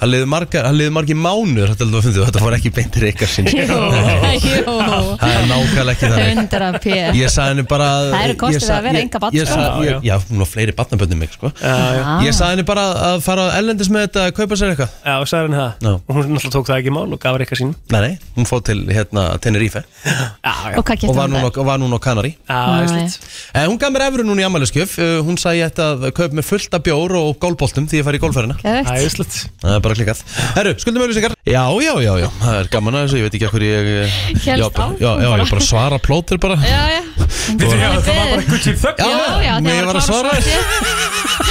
[SPEAKER 1] það leiði margar, það leiði margir mánuður Þetta, heldur að fundið, þetta var ekki beintir ykkar síns
[SPEAKER 2] Jú,
[SPEAKER 1] Nei,
[SPEAKER 2] jú,
[SPEAKER 1] Það er nákvæmlega ekki þannig
[SPEAKER 2] 100 p
[SPEAKER 1] Ég sagði henni bara að-
[SPEAKER 2] Það eru kostir
[SPEAKER 1] ég sa-
[SPEAKER 2] að vera
[SPEAKER 1] ég-
[SPEAKER 2] enga barn,
[SPEAKER 1] ég
[SPEAKER 2] sko.
[SPEAKER 1] sa- ég- Já, hún var fleiri barnaböndum mig sko.
[SPEAKER 3] já.
[SPEAKER 1] Ég sagði henni bara að fara ellendis með þetta að kaupa sér eitthvað
[SPEAKER 3] Já, sagði henni það
[SPEAKER 1] Já.
[SPEAKER 3] Og hún náttúrulega tók það ekki í mál og gaf reyka sínum
[SPEAKER 1] Nei, nei, hún fóð til hérna Tenerife
[SPEAKER 3] já.
[SPEAKER 2] Og hvað keypti
[SPEAKER 1] og var
[SPEAKER 2] hún
[SPEAKER 1] núna, og var núna á Kanari
[SPEAKER 2] Já, æðislegt.
[SPEAKER 1] En hún gaf mér efru núna í ammæliskjöf Eh, Hún sagði ég ætti að kaupa mér fullt af bjór og gólboltum því ég fari í gólferðina
[SPEAKER 2] Geðvegt.
[SPEAKER 1] Það er bara klikkað Herru, skuldum auðlýsingar Já, já, já, já, það er gaman að þessu Ég veit ekki af hverju ég eh,
[SPEAKER 2] Hélst
[SPEAKER 1] já, bara-
[SPEAKER 2] áfram
[SPEAKER 1] já, já,
[SPEAKER 2] bara.
[SPEAKER 1] ég bara svara plótir bara
[SPEAKER 2] Já, já
[SPEAKER 1] Bíddu, já,
[SPEAKER 2] það var bara
[SPEAKER 3] gutt í
[SPEAKER 1] Já,
[SPEAKER 2] Já, já,
[SPEAKER 1] mér var að svara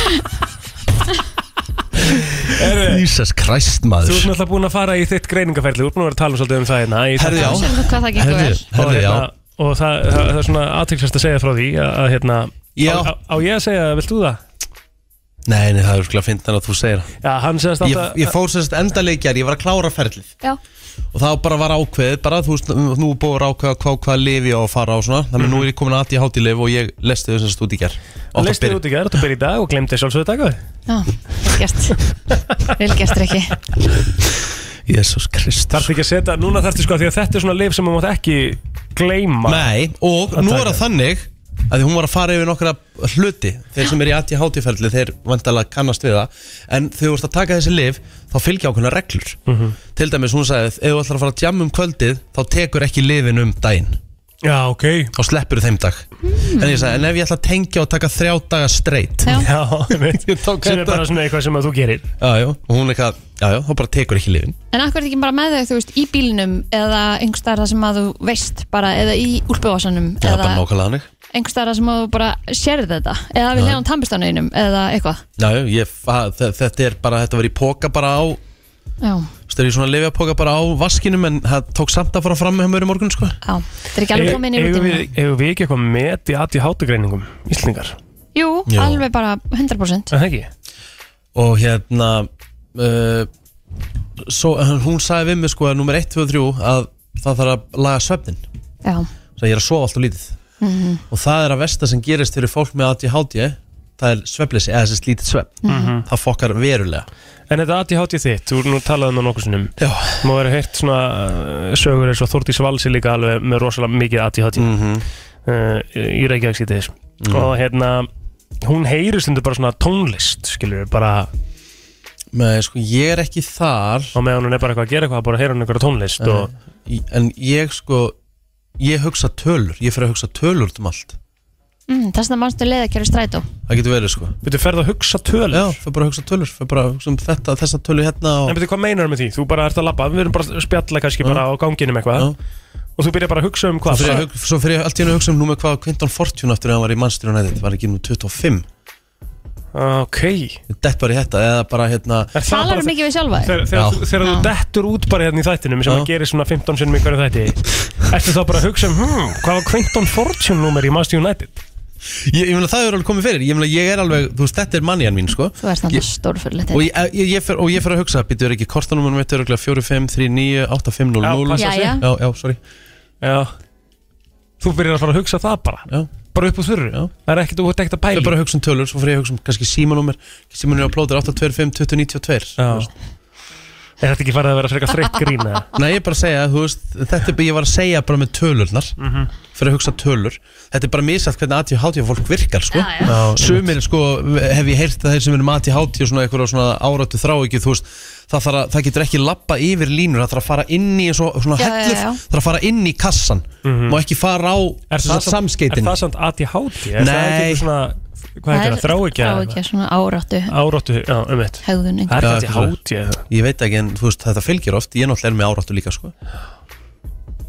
[SPEAKER 1] Jesus Christ,
[SPEAKER 3] Þú ert
[SPEAKER 1] maður
[SPEAKER 3] náttúrulega búin að fara í þitt greiningaferli Þú ert búin að vera að tala um svolítið um það hérna í
[SPEAKER 1] Herðu,
[SPEAKER 3] þættinum.
[SPEAKER 1] já.
[SPEAKER 2] Sérðu hvað það gengur
[SPEAKER 1] Herðu,
[SPEAKER 2] vel.
[SPEAKER 3] og,
[SPEAKER 1] herðu, já
[SPEAKER 3] hérna, og það, það, það er svona aðtryggslast að segja frá því að, að hérna,
[SPEAKER 1] Já.
[SPEAKER 3] á, á, á ég að segja, vilt þú það?
[SPEAKER 1] Nei, nei, það er skil að finna að þú segir það.
[SPEAKER 3] Já, hann segist
[SPEAKER 1] Ég,
[SPEAKER 3] alltaf
[SPEAKER 1] ég fór sérst endaleikjar, ég var að klára ferlið
[SPEAKER 2] Já,
[SPEAKER 1] og það bara var ákveðið bara þú veist, nú er búið að ákveða hvað, hvað lifi ég á að fara á og svona,
[SPEAKER 3] Mhm.
[SPEAKER 1] þannig að nú er ég komin að ég háti lif og ég lesti þau sérst út í ger
[SPEAKER 3] leistið út í gerð, þú byrði í dag og glemdi sjálfsögðu dagur
[SPEAKER 2] já, vel gert Vel gert, Rikki
[SPEAKER 1] Jésús Krist
[SPEAKER 3] Þarftu ekki að setja, núna þarftu sko, því að þetta er svona lif sem maður mátt ekki gleyma
[SPEAKER 1] Nei, og nú er það þannig að því hún var að fara yfir nokkra hluti þeir sem er í aðti hátíferðli, þeir vandalega kannast við það, en þegar þú ert að taka þessi lif þá fylgja ákveðna reglur
[SPEAKER 3] Mhm.
[SPEAKER 1] til dæmis hún sagði, ef þú ætlar að fara að djamma um kvöldið þá tekur ekki lifin um daginn
[SPEAKER 3] Já, ok
[SPEAKER 1] og sleppur þeim dag en ég sagði, en ef ég ætla að tengja og taka þrjá daga straitt
[SPEAKER 2] Hmm. Já.
[SPEAKER 3] Já, einmitt. sem er bara svona eitthvað sem að þú gerir
[SPEAKER 1] Já, já, og hún eitthvað, já, já, þá bara tekur ekki lifin
[SPEAKER 2] En akkur er ekki bara með þau, þú veist, í bílnum eða einhvers staðar þar sem að þú veist bara, eða í úlpjóðasanum
[SPEAKER 1] Það er
[SPEAKER 2] eða
[SPEAKER 1] bara nákvæmlega hannig
[SPEAKER 2] einhvers staðar þar sem að þú bara sérð þetta eða við
[SPEAKER 1] Já.
[SPEAKER 2] hljánum tambistanauðinum eða eitthvað
[SPEAKER 1] Já, já, ég, að, þetta er bara, þetta var í póka bara á Þú
[SPEAKER 2] Já,
[SPEAKER 1] veist, það er í svona lifjapóka bara á vaskinum En það tók samt að fara fram með mér í morgun, sko
[SPEAKER 2] já, þetta er ekki alveg komin í
[SPEAKER 3] Egu
[SPEAKER 2] rútinu
[SPEAKER 3] við eigum við ekki eitthvað met í aðti hátugreiningum, Íslingar
[SPEAKER 2] Jú,
[SPEAKER 1] Jú.
[SPEAKER 2] alveg bara 100%
[SPEAKER 3] Er Það ekki?
[SPEAKER 1] Og hérna uh, svo, Hún sagði við mig, sko, að nummer 1, 2 og 3 Að það þarf að laga svefnin
[SPEAKER 2] Já,
[SPEAKER 1] Það ég er að sofa alltaf lítið
[SPEAKER 2] Mhm.
[SPEAKER 1] Og það er að versta sem gerist fyrir fólk með ADHD Það er svefleysi, eða þessi lítið svefn
[SPEAKER 3] Mhm.
[SPEAKER 1] Það fokkar verulega
[SPEAKER 3] En þetta aðti hátið þitt, þú nú talaði um það nokkur sinnum
[SPEAKER 1] Já
[SPEAKER 3] Má vera heyrt svona uh, sögur eins og Þórdís Valsi líka alveg með rosalega mikið aðti hátið mm
[SPEAKER 1] -hmm.
[SPEAKER 3] uh, Í Reykjavík sýtið
[SPEAKER 1] Mhm.
[SPEAKER 3] Og hérna, hún heyrir stundu bara svona tónlist, skilur bara
[SPEAKER 1] Nei, sko, ég er ekki þar
[SPEAKER 3] Og meðan hún er bara eitthvað að gera eitthvað, bara heyra hún einhverja tónlist og,
[SPEAKER 1] Nei, En ég sko Ég hugsa tölur, ég fyrir að hugsa tölur um allt
[SPEAKER 2] mm, þess að mannstu leið að kjöru strætó
[SPEAKER 1] Það getur verið sko
[SPEAKER 3] Byrju, ferð að hugsa tölur?
[SPEAKER 1] Já, fyrir bara að hugsa tölur Fyrir bara að hugsa um þetta, þessa tölur hérna
[SPEAKER 3] En
[SPEAKER 1] og...
[SPEAKER 3] betur, hvað meinar með því? Þú bara ert að labba, við erum bara að spjalla kannski bara á ganginum eitthvað Og þú byrjar bara að hugsa um
[SPEAKER 1] Svo
[SPEAKER 3] hvað
[SPEAKER 1] fyrir, ég hug- svo fyrir ég allt í hennu að hugsa um númer hvað Quinton Fortune aftur þegar hann var í Manchester United Var ekki nú 25
[SPEAKER 3] Ok
[SPEAKER 1] Dett bara í þetta eða bara hérna
[SPEAKER 2] Talar mikið við sjálfa
[SPEAKER 3] Þegar, þegar, þú- þegar þú dettur út bara hérna í þættinum sem
[SPEAKER 1] Já.
[SPEAKER 3] að gerir svona 15 sinnum í hverju þætti Ertu þá bara að hugsa um, hmm, hvað var Quinton Fortune númer í Master United?
[SPEAKER 1] Ég, ég meina það er alveg komið fyrir Ég meina ég er alveg, þú veist, þetta er mannian mín sko
[SPEAKER 2] Þú ert
[SPEAKER 1] Ég-
[SPEAKER 2] þannig stórfurlegt
[SPEAKER 1] Og ég, eh, ég, ég fer, og ég fer að hugsa, býttu er ekki kortanúmer mitt er 45398500
[SPEAKER 3] Já, passa sig.
[SPEAKER 1] já,
[SPEAKER 3] Jæja.
[SPEAKER 1] já, sorry
[SPEAKER 3] Já Þú byrjar að fara að hugsa það bara
[SPEAKER 1] Já.
[SPEAKER 3] Bara upp úr þurru
[SPEAKER 1] Já.
[SPEAKER 3] Það er ekkert, þú ert ekkert að
[SPEAKER 1] Ég
[SPEAKER 3] pæla
[SPEAKER 1] er bara að hugsa um tölur, svo fyrir ég að hugsa um kannski símanúmer Símanúmer á plótur 825 2092
[SPEAKER 3] Já. Er þetta ekki farið að vera frekar þreytt grín eða?
[SPEAKER 1] Nei, ég er bara að segja, þú veist, þetta er bara, ég var að segja bara með tölurnar
[SPEAKER 3] Mhm.
[SPEAKER 1] Fyrir að hugsa tölur Þetta er bara misað hvernig ATHD fólk virkar, sko
[SPEAKER 3] Já, já. Já,
[SPEAKER 1] Sumir, sko, hef ég heyrt að þeir sem er með ATHD og svona eitthvað svona áratu þrá ekki Þú veist, það, þarf að, það getur ekki lappa yfir línur Það þarf að fara inn í svo, svona
[SPEAKER 2] Já, já,
[SPEAKER 1] hellur
[SPEAKER 2] já.
[SPEAKER 1] Það þarf að fara inn í kassan Má ekki fara á
[SPEAKER 3] Er það samt-
[SPEAKER 1] samskeytin
[SPEAKER 3] Er það samt ADHD? Er það
[SPEAKER 1] Nei.
[SPEAKER 3] ekki svona Hvað heitir það? Þráhyggja eða
[SPEAKER 2] Þráhyggja, svona áráttu
[SPEAKER 3] Áráttu, já, um eitt
[SPEAKER 2] Hegðun einhver.
[SPEAKER 3] Það er
[SPEAKER 2] Já,
[SPEAKER 3] kannski hátt ég
[SPEAKER 1] Ég veit ekki en þú veist þetta fylgir oft Ég náttúrulega er með áráttu líka sko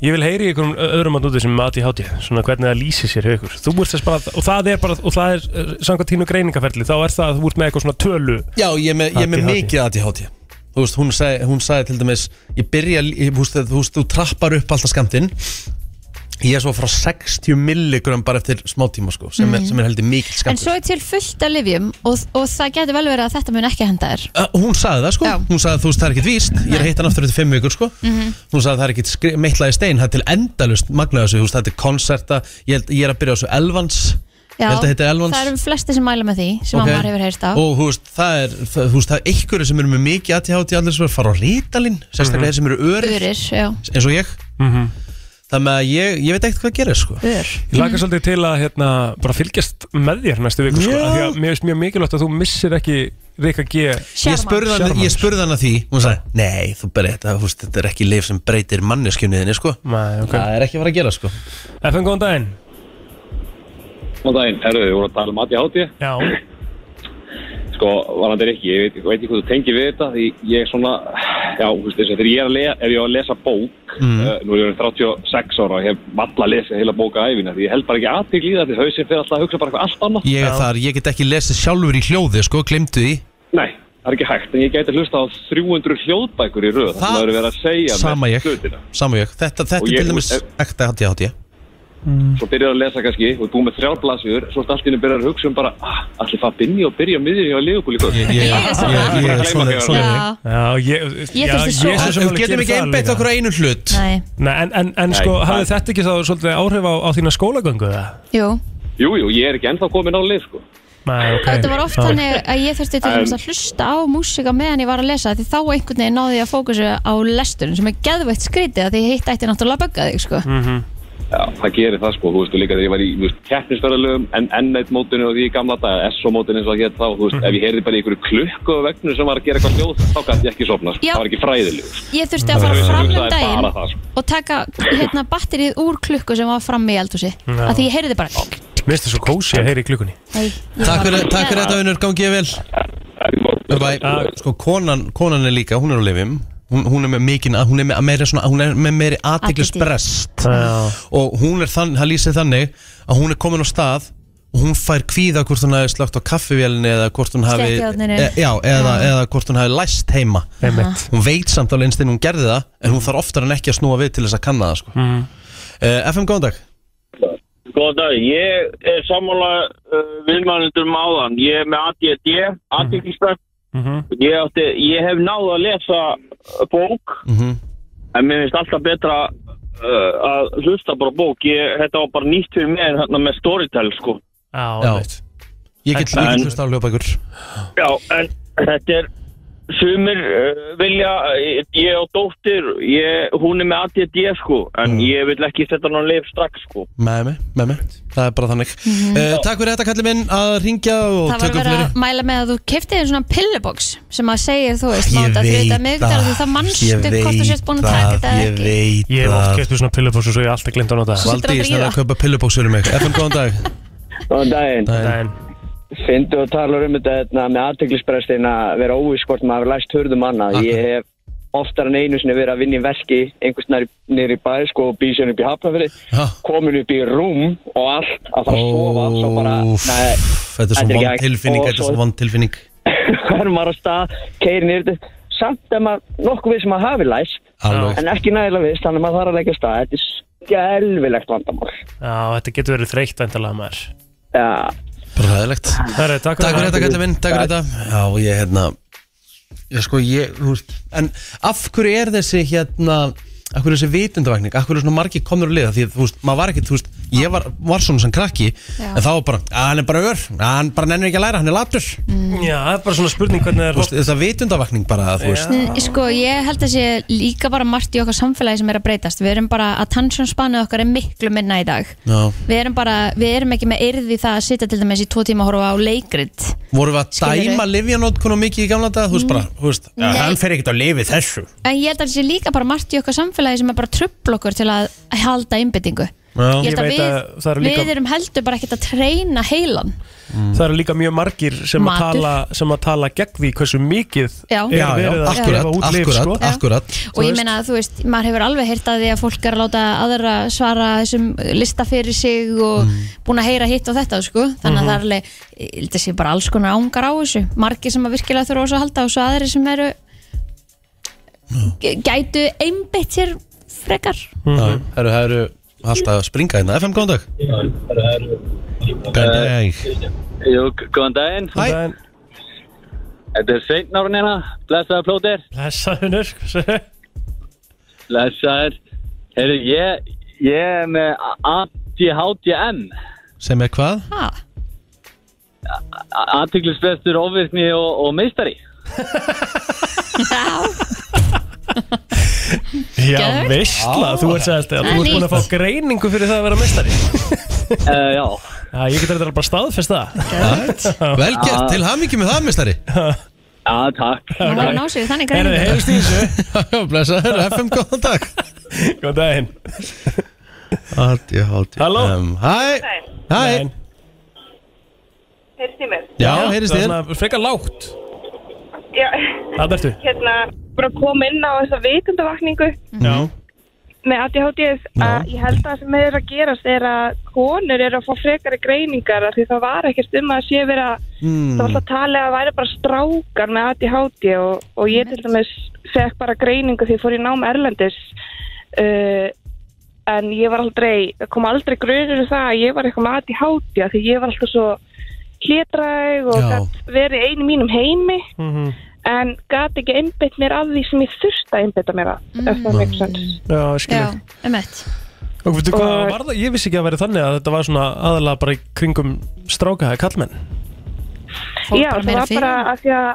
[SPEAKER 3] Ég vil heyri ykkur um öðrum að núti sem er aðti hátti Svona hvernig það lýsir sér hjá ykkur Þú ert þess bara, og það er bara, og það er eh, Samkvæmt þínu greiningaferli, þá er það að þú ert með eitthvað svona tölu
[SPEAKER 1] Já, ég er með, ég er með mikið ADHD Þú veist, hún sagði, hún sagði til dæmis Ég byrja, ég, þú veist, þú, veist, þú trappar upp alltaf skamtinn Ég er svo frá 60 milligram bara eftir smá tíma sko Sem er,
[SPEAKER 2] Mhm.
[SPEAKER 1] sem er heldur mikill
[SPEAKER 2] En
[SPEAKER 1] skamtur
[SPEAKER 2] svo er til fullt af livjum og, og það getur vel verið að þetta mun ekki henda þér
[SPEAKER 1] Uh, hún sagði það sko, hún sagði þú veist það er ekkit víst ég er að hitta hann aftur eftir fimm vikur sko
[SPEAKER 2] Mhm.
[SPEAKER 1] hún sagði það er ekkit skri- meitlaði stein það er til endalust magnaði þessu, þú veist þetta er konserta ég, held- ég er að byrja á þessu Elvans ég held að þetta er Elvans
[SPEAKER 2] það eru flesti sem mæla með því sem
[SPEAKER 1] Ok.
[SPEAKER 2] okay. maður hefur heyrst á
[SPEAKER 1] og þú veist það er, það, þú veist, það er einhverju sem eru með mikið aðtíhátt í allir sem eru að fara á rítalinn sérstaklega þeir sem eru örir
[SPEAKER 2] Örir, já
[SPEAKER 1] eins og ég
[SPEAKER 3] Mhm.
[SPEAKER 1] þannig að ég, ég veit ekkert hvað gerir sko
[SPEAKER 2] Ör
[SPEAKER 3] Ég laka svolítið til að hérna, bara fylgjast með þér næstu viku sko,
[SPEAKER 1] Já.
[SPEAKER 3] af því að mér finnst mjög mikilvægt að þú missir ekki Rikka G
[SPEAKER 1] Ég spurði, hann, ég spurði hann að því og hún sagði, nei, þú berði þetta, þú veist, þetta er ekki leif sem breytir manneskjunniðinni, sko
[SPEAKER 3] nei, okay.
[SPEAKER 1] Það er ekki að fara að gera, sko
[SPEAKER 3] FN, góðan daginn
[SPEAKER 18] Góðan daginn, herru, við vorum að tala um aðið hátíð.
[SPEAKER 3] Já.
[SPEAKER 18] Sko, varandi er ekki, ég veit, ég veit ekki hvað þú tengir við þetta, því ég er svona, já, þú veist þess að þegar ég er að lesa, ef ég á að lesa bók,
[SPEAKER 19] Mm.
[SPEAKER 18] uh, nú er ég orðinn 36 ára og ég hef valla að lesa heila bóka æfina, því ég held bara ekki aðtíkli í það, því hausinn fyrir alltaf að hugsa bara eitthvað allt annað.
[SPEAKER 1] Ég er þar, ég get ekki lesið sjálfur í hljóði, sko, glemdu því
[SPEAKER 18] Nei, það er ekki hægt, en ég gæti hlusta á 300 hljóðbækur í röð,
[SPEAKER 1] Það-
[SPEAKER 18] það er verið að segja mér
[SPEAKER 1] Sama ég,
[SPEAKER 18] hlutina.
[SPEAKER 1] sama ég Þetta, þetta
[SPEAKER 18] Og
[SPEAKER 1] er
[SPEAKER 18] ég-
[SPEAKER 1] til dæmis ekta hatt ég hatt ég
[SPEAKER 18] Svo byrjar að lesa kannski og búið með þrjár blasjur, svo allt innum byrjar að hugsa um bara, ah, allir fara að byrja og byrja miður hjá Leopold í kvöld.
[SPEAKER 1] Ég er svona, svona
[SPEAKER 2] Já.
[SPEAKER 3] Já, ég,
[SPEAKER 2] Ég þurfti svo-
[SPEAKER 3] svo sem
[SPEAKER 1] Við
[SPEAKER 3] alveg
[SPEAKER 1] getum
[SPEAKER 3] geri
[SPEAKER 1] ekki
[SPEAKER 3] það
[SPEAKER 1] einbeitt
[SPEAKER 3] líka.
[SPEAKER 1] okkur að einu hlut
[SPEAKER 2] Nei,
[SPEAKER 3] Nei, en, en, en
[SPEAKER 18] Nei,
[SPEAKER 3] sko,
[SPEAKER 18] það-
[SPEAKER 3] hafði þetta ekki þá svolítið áhrif á, á þína skólagöngu eða?
[SPEAKER 2] jú
[SPEAKER 18] Jú, jú, ég er ekki ennþá komin á leið, sko.
[SPEAKER 3] Nei, ok
[SPEAKER 2] Þetta var oft
[SPEAKER 3] Já.
[SPEAKER 2] þannig að ég þurfti til
[SPEAKER 18] En-
[SPEAKER 2] dæmis að hlusta á músika meðan ég var að lesa því þá einhvern veginn náði ég að fókusa á lesturinn sem er geðveitt skrítið að því hitt ætti náttúrulega að bögga þig sko.
[SPEAKER 18] Mhm. Já, það gerir það sko, þú veist, og líka þegar ég var í þú veist, keppnisferðalögum, en N1 mótinu og því í gamla daga, SO mótinu eins og það hétt þá, þú veist,
[SPEAKER 2] Mhm.
[SPEAKER 18] ef ég heyrði bara í einhverju klukku á vegnu sem var að gera eitthvað hljóð, þá gæti ég ekki sofna, sko.
[SPEAKER 2] Já.
[SPEAKER 18] það var ekki fræðilegur. sko.
[SPEAKER 2] Ég þurfti að fara
[SPEAKER 18] Það er-
[SPEAKER 2] fram
[SPEAKER 18] það
[SPEAKER 2] um
[SPEAKER 18] er
[SPEAKER 2] daginn
[SPEAKER 18] bara það, sko.
[SPEAKER 2] og taka hérna, batterið úr klukku sem var frammi í eldhúsi
[SPEAKER 3] Já.
[SPEAKER 2] að því ég heyrði bara
[SPEAKER 3] Mér finnst það svo kósi að heyra í klukkunni
[SPEAKER 2] Nei, ég
[SPEAKER 1] Takk
[SPEAKER 2] var-
[SPEAKER 1] fyrir, takk fyrir þetta, vinnur, gangi ég vel Bye bye Sko, konan, konan er líka, hún er á lifim Hún, hún er með mikinn, hún er með meiri svona, hún er með meiri aðtiklisbrest og hún er þannig, það lýsir þannig að hún er komin á stað og hún fær kvíða hvort hún hafi slögt á kaffivélni eða hvort hún hafi
[SPEAKER 2] Slökkvijárninu.
[SPEAKER 1] e, já, eða, eða hvort hún hafi læst heima
[SPEAKER 3] Einmitt.
[SPEAKER 1] hún veit samt alveg einstinn hún gerði það en hún þarf oftar en ekki að snúa við til þess að kanna það sko.
[SPEAKER 3] mm.
[SPEAKER 1] FM, góðan dag
[SPEAKER 6] Góðan dag, ég er sammála uh, viðmannundur um áðan. Ég er með ADD, aðdeglisbært.
[SPEAKER 4] Mhm.
[SPEAKER 6] Ég, átti, ég hef náð að lesa uh, bók,
[SPEAKER 1] Mhm.
[SPEAKER 6] en mér finnst alltaf betra uh, að hlusta bara á bók. Ég, þetta var bara nýtt fyrir mér hérna, með storytell, sko.
[SPEAKER 1] Já, ég get
[SPEAKER 6] En-
[SPEAKER 1] líka hlusta á hljóðbækur
[SPEAKER 6] Já, en þetta er sumir uh, vilja, ég, ég á dóttir, ég, hún er með ADD sko, en ég vil ekki setja hann á leif strax sko.
[SPEAKER 1] með mig, með mig, það er bara þannig uh, Takk fyrir þetta kallið minn að ringja og
[SPEAKER 2] Það var
[SPEAKER 1] tökum
[SPEAKER 2] verið
[SPEAKER 1] fleiri
[SPEAKER 2] að mæla með að þú keftið einn svona pillubox sem að segja þú veist
[SPEAKER 1] Ég
[SPEAKER 2] máta
[SPEAKER 1] veit
[SPEAKER 2] þrjóta miðugdala því það
[SPEAKER 1] Ég
[SPEAKER 2] mannstu hvort þú sért búin að taka þetta eða ekki
[SPEAKER 3] Ég
[SPEAKER 1] veit
[SPEAKER 3] hef
[SPEAKER 1] það.
[SPEAKER 3] oft kæft svona pillubós og svo ég hef alltaf glemt að nota það.
[SPEAKER 1] Valdís, það er að kaupa pillubóksur um mig FM, góðan dag
[SPEAKER 19] Góðan daginn.
[SPEAKER 1] Daginn.
[SPEAKER 19] Fyndu og tala um þetta hérna, með aðteglisbrestin að vera óviss hvort maður hefur læst hörðum annað. Ég hef oftar en einu sinni verið að vinna í verki einhvers nær nýri bæ, sko, og býð sér upp í hafnafyrir, komin upp í rúm og allt, að eh, fara að sofa, svo bara,
[SPEAKER 1] Úff,
[SPEAKER 19] nei,
[SPEAKER 1] Þetta er svo
[SPEAKER 19] ekki
[SPEAKER 1] vond
[SPEAKER 19] hægt.
[SPEAKER 1] tilfinning
[SPEAKER 19] Og
[SPEAKER 1] Þetta er svo vond tilfinning
[SPEAKER 19] er maður á stað, keirir nýrðu, samt er maður nokkuð við sem maður hafi læst,
[SPEAKER 1] Alveg.
[SPEAKER 19] en ekki nægilega viss, þannig að maður þarf að leggja af stað. Þetta er skelvilegt vandamál.
[SPEAKER 3] Já, þetta getur verið þreytt væntalega maður
[SPEAKER 19] Já.
[SPEAKER 1] Bara hæðilegt
[SPEAKER 3] Herri, takk
[SPEAKER 1] Takk fyrir þetta kallið minn, takk fyrir
[SPEAKER 3] Takk.
[SPEAKER 1] þetta Já, ég hérna Ég sko, ég, þú veist En af hverju er þessi hérna Af hverju er þessi vitundavækning, af hverju er svona margir komnur að liða Því að, þú veist, maður var ekki, þú veist Ég var, var svona sem krakki
[SPEAKER 3] Já.
[SPEAKER 1] En þá var bara, að hann er bara ör Hann bara nennir ekki að læra, hann er latur
[SPEAKER 3] Já, það er bara svona spurning hvernig það er
[SPEAKER 1] veist, Þetta vitundavækning bara, þú veist
[SPEAKER 2] Mm, Sko, ég held að sé líka bara margt í okkar samfélagi sem er að breytast Við erum bara, attention spanið okkar er miklu minna í dag
[SPEAKER 1] Já
[SPEAKER 2] Við erum bara, við erum ekki með yrði það að sitja til dæmis í tvo tíma að horfa á leikrit
[SPEAKER 1] Vorum við að
[SPEAKER 2] Skilurðu?
[SPEAKER 1] dæma livjanótkun og mikið í gamla dag, þú veist bara, þú veist,
[SPEAKER 2] Nei.
[SPEAKER 1] hann fer ekkert á lifi þessu.
[SPEAKER 2] En ég held að það sé líka bara margt í okkar samfélagi sem er bara trubl okkur til að halda einbyttingu Ég
[SPEAKER 3] Ég
[SPEAKER 2] held að
[SPEAKER 3] veit
[SPEAKER 2] við,
[SPEAKER 3] að það eru líka
[SPEAKER 2] við erum heldur bara ekkert að treyna heilan
[SPEAKER 1] Mm.
[SPEAKER 3] Það eru líka mjög margir sem að,
[SPEAKER 2] Matur.
[SPEAKER 3] tala, sem að tala gegn því hversu mikið
[SPEAKER 2] Já.
[SPEAKER 3] er
[SPEAKER 2] Já, já,
[SPEAKER 3] verið að
[SPEAKER 1] akkurat,
[SPEAKER 3] gefa út lif
[SPEAKER 1] akkurat,
[SPEAKER 3] sko.
[SPEAKER 1] akkurat.
[SPEAKER 2] og ég meina að þú veist, maður hefur alveg heyrt að því að fólk er að láta aðra svara þessum lista fyrir sig og búin að heyra hitt og þetta sko. þannig að
[SPEAKER 20] Mhm.
[SPEAKER 2] það er alveg, ég held að sé bara alls konar ángar á þessu, margir sem að virkilega þurfa á þessu að halda og svo aðri sem eru g- gætu einbeitt sér frekar
[SPEAKER 1] Já, Það eru- það eru alltaf að springa hérna FM, góðan dag Góðan dag
[SPEAKER 5] Eh, Jú, g- góðan daginn
[SPEAKER 3] Hæ
[SPEAKER 5] Þetta er Sveitnárn hérna, blessaður plóter
[SPEAKER 3] Blessaður
[SPEAKER 5] Blessaður Heyrðu, ég, ég er með ADHDM
[SPEAKER 1] Sem er hvað?
[SPEAKER 5] Aðtiklisbestur, ofvirkni og, og meistari
[SPEAKER 3] Já,
[SPEAKER 5] Geðveikt.
[SPEAKER 3] veistla,
[SPEAKER 5] Já.
[SPEAKER 3] þú ert sagðist að
[SPEAKER 5] Það
[SPEAKER 3] þú
[SPEAKER 5] er
[SPEAKER 3] ert búin að
[SPEAKER 5] nýtt.
[SPEAKER 3] fá greiningu fyrir það að vera mestari
[SPEAKER 5] uh, Já
[SPEAKER 3] Ég get þetta bara staðfest það
[SPEAKER 1] Vel gert, til hamingi með það, mistari
[SPEAKER 5] Já, takk
[SPEAKER 2] Nú var að ná sig í þannig
[SPEAKER 3] Herðu,
[SPEAKER 2] greiningu.
[SPEAKER 3] heyrðist í þessu
[SPEAKER 1] Já, blessaður, FM, góðan dag
[SPEAKER 3] Góðan daginn
[SPEAKER 1] ADHD Halló Um, Hæ Hæ
[SPEAKER 7] Heyrst í mér?
[SPEAKER 1] Já, heyrist þér
[SPEAKER 3] Frekar lágt
[SPEAKER 7] Já,
[SPEAKER 3] Það ertu
[SPEAKER 7] hérna, bara að koma inn á þessa vitundavakningu
[SPEAKER 1] Mhm.
[SPEAKER 3] Já
[SPEAKER 7] með ADHD að ég held að það sem er að gerast er að konur eru að fá frekari greiningar af því það var ekkert um að sé verið að
[SPEAKER 1] Mm.
[SPEAKER 7] það var alltaf talið að það væri bara strákar með ADHD og, og ég til dæmis fekk bara greiningu því ég fór í nám Erlendis uh, en ég var aldrei, það kom aldrei grunur um það að ég var eitthvað með ADHD af því ég var alltaf svo hlédræg og gat verið einu mínum heimi en gat ekki einbytt mér að því sem ég þurfti að einbytta mér að mm. ef það
[SPEAKER 3] Mm.
[SPEAKER 7] make sense
[SPEAKER 3] Já, skilja
[SPEAKER 2] um eitt
[SPEAKER 3] Og veitu hvað
[SPEAKER 7] Og-
[SPEAKER 3] var það? Ég vissi ekki að vera þannig að þetta var svona aðalega bara í kringum strákaði kallmenn
[SPEAKER 7] Já, það var bara að því að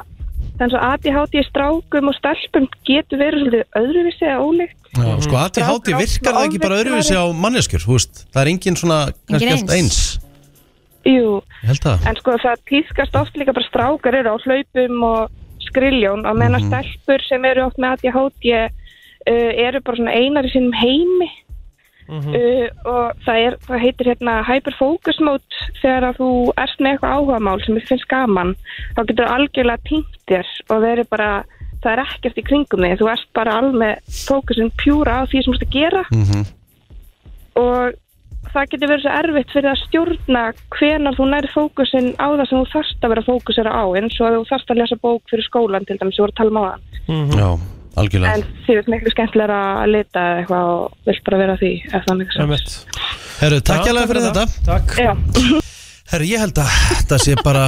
[SPEAKER 7] þannig að ADHD strákum og stelpum getur verið svolítið öðruvísi eða ólíkt
[SPEAKER 1] Já, sko ADHD virkar það ekki bara öðruvísi á manneskjur, þú veist, það er engin svona kannski
[SPEAKER 7] Engin
[SPEAKER 1] allt eins
[SPEAKER 7] Jú,
[SPEAKER 1] Ég held það
[SPEAKER 7] en sko það tískast oft líka bara strákar eru á hlaupum og skriljón og meðan
[SPEAKER 1] Mhm.
[SPEAKER 7] stelpur sem eru oft með ADHD uh, eru bara svona einar í sínum heimi uh, og það, er, það heitir hérna hyperfocus mode þegar að þú ert með eitthvað áhugamál sem þið finnst gaman þá getur þú algjörlega týnt þér og verið bara, það er ekkert í kringum þig þú ert bara alveg fókusin pjúra á því sem þú ert að gera
[SPEAKER 5] Mhm.
[SPEAKER 7] og það getur verið svo erfitt fyrir að stjórna hvenar þú nærð fókusin á það sem þú þarft að vera fókusera á eins og að þú þarft að lesa bók fyrir skólan til dæmis, ég voru að tala um á það
[SPEAKER 1] Já, algjörlega
[SPEAKER 7] en því er miklu skemmtilega að lita eða eitthvað og vilt bara vera að því ef það miklu sem
[SPEAKER 1] Herru, takk
[SPEAKER 7] Já,
[SPEAKER 1] hjá fyrir
[SPEAKER 7] takk fyrir
[SPEAKER 1] þetta
[SPEAKER 3] Takk
[SPEAKER 1] Herru, ég held að þetta sé bara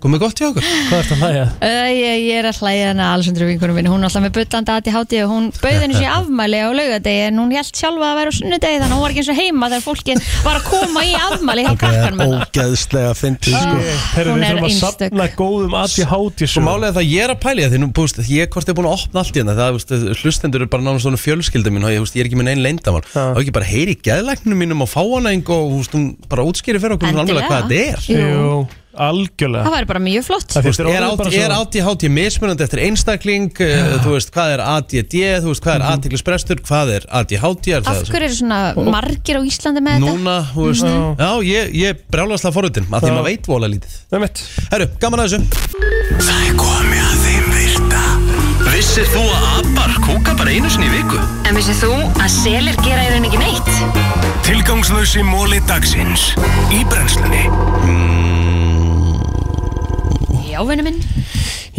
[SPEAKER 1] komið gott hjá okkur
[SPEAKER 3] Hvað ert að hlæja?
[SPEAKER 2] Æ, ég, ég er að hlæja hana Alessandru vinkunum minn, hún er alltaf með bullandi ADHD og hún bauði henni sér afmæli á laugardegi en hún held sjálfa að vera á sunnudegi þannig að hún var ekki eins og heima þegar fólki var að koma í afmæli hjá
[SPEAKER 1] Það er
[SPEAKER 2] krakkanum hennar.
[SPEAKER 1] ógeðslega fyndið sko
[SPEAKER 3] Herru,
[SPEAKER 2] Hún
[SPEAKER 3] við
[SPEAKER 2] er
[SPEAKER 3] þurfum að
[SPEAKER 2] einstök.
[SPEAKER 3] safna góðum ADHD
[SPEAKER 1] Svo málega það ég er að pæli það, því nú, búst, ég hvort ég er búin að opna allt í hérna, það, veist, hlustendur eru bara náttúrulega svona fjölskylda mín, og ég, veist, ég er ekki minn einn leindamál, þá ekki bara heyri geðlæknum mínum og fá hana einhver og veist, hún bara útskýri fyrir okkur svona alveg
[SPEAKER 2] Endilega.
[SPEAKER 1] hvað þetta er.
[SPEAKER 2] Jú.
[SPEAKER 3] algjörlega.
[SPEAKER 2] Það væri bara mjög flott
[SPEAKER 1] Þú veist, er, át, er ADHD mismunandi eftir einstakling, uh, þú veist, hvað er ADD, þú veist, hvað
[SPEAKER 3] Mhm.
[SPEAKER 1] er aðtiklisbrestur, hvað er ADHD, er
[SPEAKER 2] Af
[SPEAKER 1] það
[SPEAKER 2] hverju eru svona margir á Íslandi með
[SPEAKER 1] núna, þú veist,
[SPEAKER 2] Mhm.
[SPEAKER 1] já, ég, ég brjálast það forutin, að því
[SPEAKER 3] Já.
[SPEAKER 1] maður veit vola lítið.
[SPEAKER 3] Það er mitt.
[SPEAKER 1] Herru, gaman að þessu.
[SPEAKER 4] Það er komið að þeim virta Vissir þú að abar kúka bara einu sinni í viku?
[SPEAKER 20] En vissið þú að selir gera í rauninni ekki neitt?
[SPEAKER 4] Tilgangslösi móli dagsins Í brennslunni
[SPEAKER 2] þetta? Já, vinnu minn,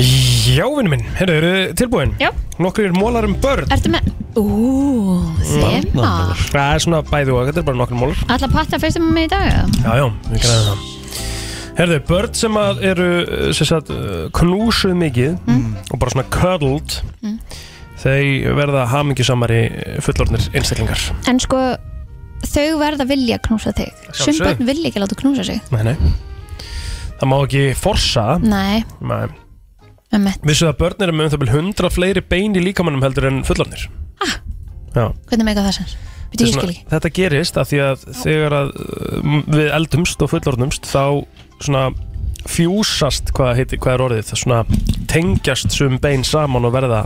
[SPEAKER 3] Já, vinnu minn, herru, eru þið tilbúin?
[SPEAKER 2] Já.
[SPEAKER 3] Nokkrir mólar um börn
[SPEAKER 2] ertu með Ú, þema
[SPEAKER 3] Það er svona bæði og, þetta er bara nokkrir mólar
[SPEAKER 2] Alla patta fyrst með mig í dag eða?
[SPEAKER 3] Já, já, við græðum það Herðu, börn sem að eru uh, sem sagt, uh, knúsuð mikið og bara svona cuddled
[SPEAKER 2] Mm.
[SPEAKER 3] þau verða hamingjusamari eh, fullorðnir einstaklingar
[SPEAKER 2] En sko, þau verða vilja að knúsa þig Sum
[SPEAKER 3] Sjálfsögðu.
[SPEAKER 2] börn vilja ekki láta knúsa sig
[SPEAKER 3] Nei, nei Það má ekki forsa
[SPEAKER 2] Nei,
[SPEAKER 3] Nei
[SPEAKER 2] með
[SPEAKER 3] Vissu það að börn eru með um það vel 100 fleiri bein í líkamannum heldur en fullorðnir ah. Já
[SPEAKER 2] Hvernig meika það sens? Býtu ég
[SPEAKER 3] Þetta er
[SPEAKER 2] skil
[SPEAKER 3] svona-
[SPEAKER 2] ekki
[SPEAKER 3] Þetta gerist af því að þegar að uh, við eldumst og fullorðnumst þá svona fjúsast hvað, heiti, hvað er orðið það svona tengjast sum bein saman og verða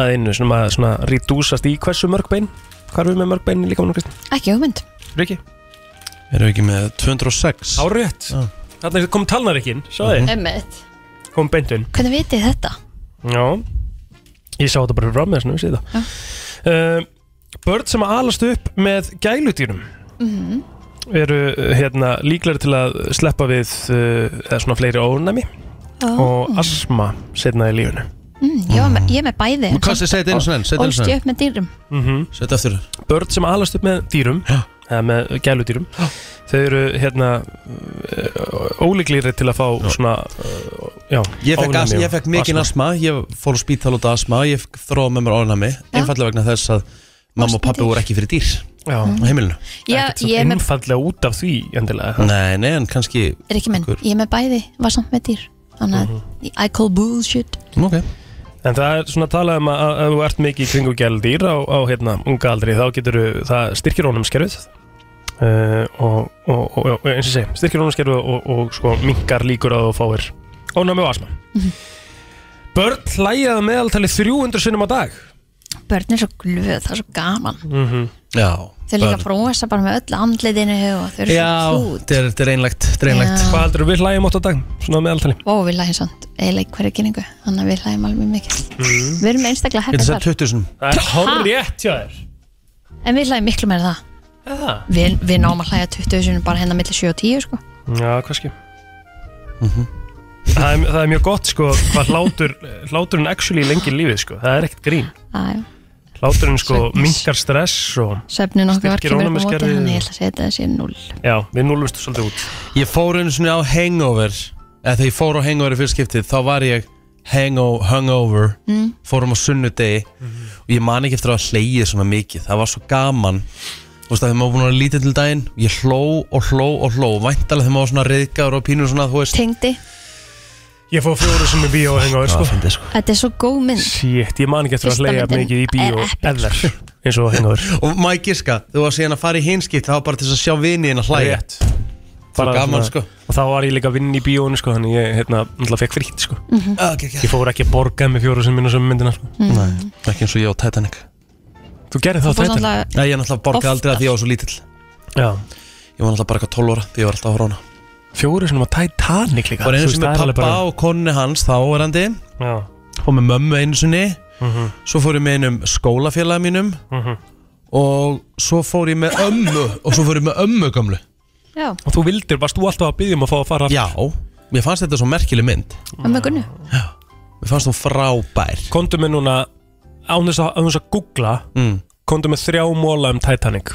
[SPEAKER 3] að einu svona, svona rítúsast í hversu mörg bein hvað erum við með mörg bein líka mann Kristinn?
[SPEAKER 2] Ekki hugmynd
[SPEAKER 3] Riki
[SPEAKER 1] Erum við ekki með 206
[SPEAKER 3] Árétt Þarna kom talnarikinn, sáði mm
[SPEAKER 2] Emmett,
[SPEAKER 3] Kom beintun
[SPEAKER 2] hvernig vitið þið þetta?
[SPEAKER 3] Já Ég sá þetta bara fram með þessum síða uh, Börn sem alast upp með gæludýrum
[SPEAKER 2] Mhm.
[SPEAKER 3] eru uh, hérna, líklar til að sleppa við uh, eða svona fleiri ónæmi
[SPEAKER 2] Ó.
[SPEAKER 3] og asma setna í lífunu
[SPEAKER 2] Mm, ég, var með, ég er með bæði
[SPEAKER 3] Nú, hvað, segðu þetta einu sinni enn, segðu þetta einu sinni
[SPEAKER 2] Ólst ég
[SPEAKER 3] enn.
[SPEAKER 2] upp með dýrum
[SPEAKER 3] mm -hmm.
[SPEAKER 1] Sett aftur
[SPEAKER 3] Börn sem alast upp með dýrum eða með gæludýrum þau eru hérna uh, ólíklegri til að fá svona uh, já,
[SPEAKER 1] Ég fekk,
[SPEAKER 3] ofnæmi
[SPEAKER 1] as,
[SPEAKER 3] og
[SPEAKER 1] ég fekk mikinn asma, ég fór á spítal út af asma, ég þróa með mér orðnami, einfallega vegna þess að mamma og pappi voru ekki fyrir dýr
[SPEAKER 3] Já.
[SPEAKER 1] á heimilinu.
[SPEAKER 2] Já, ég er með,
[SPEAKER 3] Einfallega út af því endilega
[SPEAKER 1] Nei, nei, en kannski
[SPEAKER 2] er ekki minn, ég er með bæði Var samt með dýr Þannig
[SPEAKER 3] Mhm.
[SPEAKER 2] að I call bullshit
[SPEAKER 1] okay.
[SPEAKER 3] En það er svona að tala um að að ef þú ert mikið í kringu gældýr á, á hérna, unga aldri þá getur það styrkir ónumskerfið uh, og, og, og, og eins og ég segi styrkir ónumskerfið og, og, sko minkar líkur að þú fáir ónami og asma
[SPEAKER 2] Mhm.
[SPEAKER 3] Börn hlæjaði meðaltali 300 sinnum á dag
[SPEAKER 2] Börn er svo glöð, það er svo gaman
[SPEAKER 3] mm -hmm.
[SPEAKER 1] Já
[SPEAKER 2] Þau líka brosa bara með öll andliðinu og þau eru
[SPEAKER 1] Já,
[SPEAKER 2] svo kút
[SPEAKER 1] þetta er- þetta er einlegt, þetta er einlegt.
[SPEAKER 2] Já.
[SPEAKER 3] Hvað heldur við hlæjum átt á dag, svona að meðaltali?
[SPEAKER 2] Ó, við hlæðum samt eiginlega í hverju kynningu Þannig að við hlæðum alveg mikið Við erum einstaklega
[SPEAKER 1] Getur
[SPEAKER 2] hefnir
[SPEAKER 1] sett
[SPEAKER 2] þar
[SPEAKER 1] 20.000
[SPEAKER 3] Það er horrétt hjá þér
[SPEAKER 2] En við hlæðum miklu meira en það
[SPEAKER 3] Eða?
[SPEAKER 2] Við, við náum að hlæja 20 sinni bara hérna millir 7 og 10 sko.
[SPEAKER 3] Já, kannski það, er, það er mjög gott sko hvað hlátur, hláturinn actually lengir lífið sko, það er ekkert grín
[SPEAKER 2] Æ,
[SPEAKER 3] Hláturinn sko minkar stress og
[SPEAKER 2] Svefnin okkar var
[SPEAKER 3] Styrkir
[SPEAKER 2] kemur upp á móti
[SPEAKER 3] ónæmiskerfið.
[SPEAKER 2] Þannig ég ætla að setja þessi 0
[SPEAKER 3] Já, við núlumstu svolítið út
[SPEAKER 1] Ég fór einu svona á hangover eða þegar ég fór á hangover í fyrst skiptið þá var ég hango, hangover
[SPEAKER 2] Mm.
[SPEAKER 1] fórum á sunnudegi
[SPEAKER 3] Mhm.
[SPEAKER 1] og ég man ekki eftir að hleyja svona mikið það var svo gaman þú veist að þegar maður búin að vera lítið til daginn ég hló og hló og hló væntalega þegar maður var svona reyðgar og pínur svona þú veist
[SPEAKER 2] Tengdi,
[SPEAKER 3] Ég fór fjóru sem er bíó að henga á þér
[SPEAKER 1] Já,
[SPEAKER 3] sko
[SPEAKER 1] fyndið, sko.
[SPEAKER 2] þetta er svo góð mynd
[SPEAKER 3] Shit, ég man ekki eftir að
[SPEAKER 2] Fyrsta
[SPEAKER 3] hleyja
[SPEAKER 2] myndin
[SPEAKER 3] mikið í bíó
[SPEAKER 2] er
[SPEAKER 3] eðver eins og að henga á þér
[SPEAKER 1] og maður giska þú var síðan að fara í hinskipt það var bara til þess að sjá vini en að hlæja
[SPEAKER 3] Rétt.
[SPEAKER 1] Svo gaman, sko.
[SPEAKER 3] Og þá var ég líka að vinna í bíónu sko þannig ég hérna náttúrulega fekk frýtt sko
[SPEAKER 1] Mhm. Ah, geggjað.
[SPEAKER 3] Ég fór ekki að borga með fjóru sem minna sem myndina sko
[SPEAKER 1] Nei, ekki eins og ég á Titanic
[SPEAKER 3] Þú gerði það á Þú fórst Titanic? náttúrulega
[SPEAKER 1] Nei, ég náttúrulega borgaði aldrei að því ég var svo lítill
[SPEAKER 3] Já
[SPEAKER 1] Ég var náttúrulega bara eitthvað 12 ára því ég var alltaf að horfa á hana
[SPEAKER 3] Fjóru sem var Titanic líka
[SPEAKER 1] Var einu
[SPEAKER 3] þú veist,
[SPEAKER 1] sinni
[SPEAKER 3] það
[SPEAKER 1] með
[SPEAKER 3] er alveg
[SPEAKER 1] pappa
[SPEAKER 3] bara-
[SPEAKER 1] og konni hans þáverandi
[SPEAKER 3] Já.
[SPEAKER 1] Fór með mömmu einu sinni
[SPEAKER 3] Mhm.
[SPEAKER 1] Svo fór ég með einum skólafélaga mínum
[SPEAKER 3] Mhm.
[SPEAKER 1] Og svo fór ég með ömmu Og svo fór ég með ömmu gömlu
[SPEAKER 2] Já,
[SPEAKER 3] Og þú vildir, varst þú alltaf að byggja um að fá að fara aftur?
[SPEAKER 1] Já, mér fannst þetta svo merkileg mynd
[SPEAKER 2] ömmu Gunnu
[SPEAKER 1] Mér fannst hún frábær
[SPEAKER 3] Kondu með núna, án þess að, án þess að googla
[SPEAKER 1] mm.
[SPEAKER 3] Kondu með þrjá móla um Titanic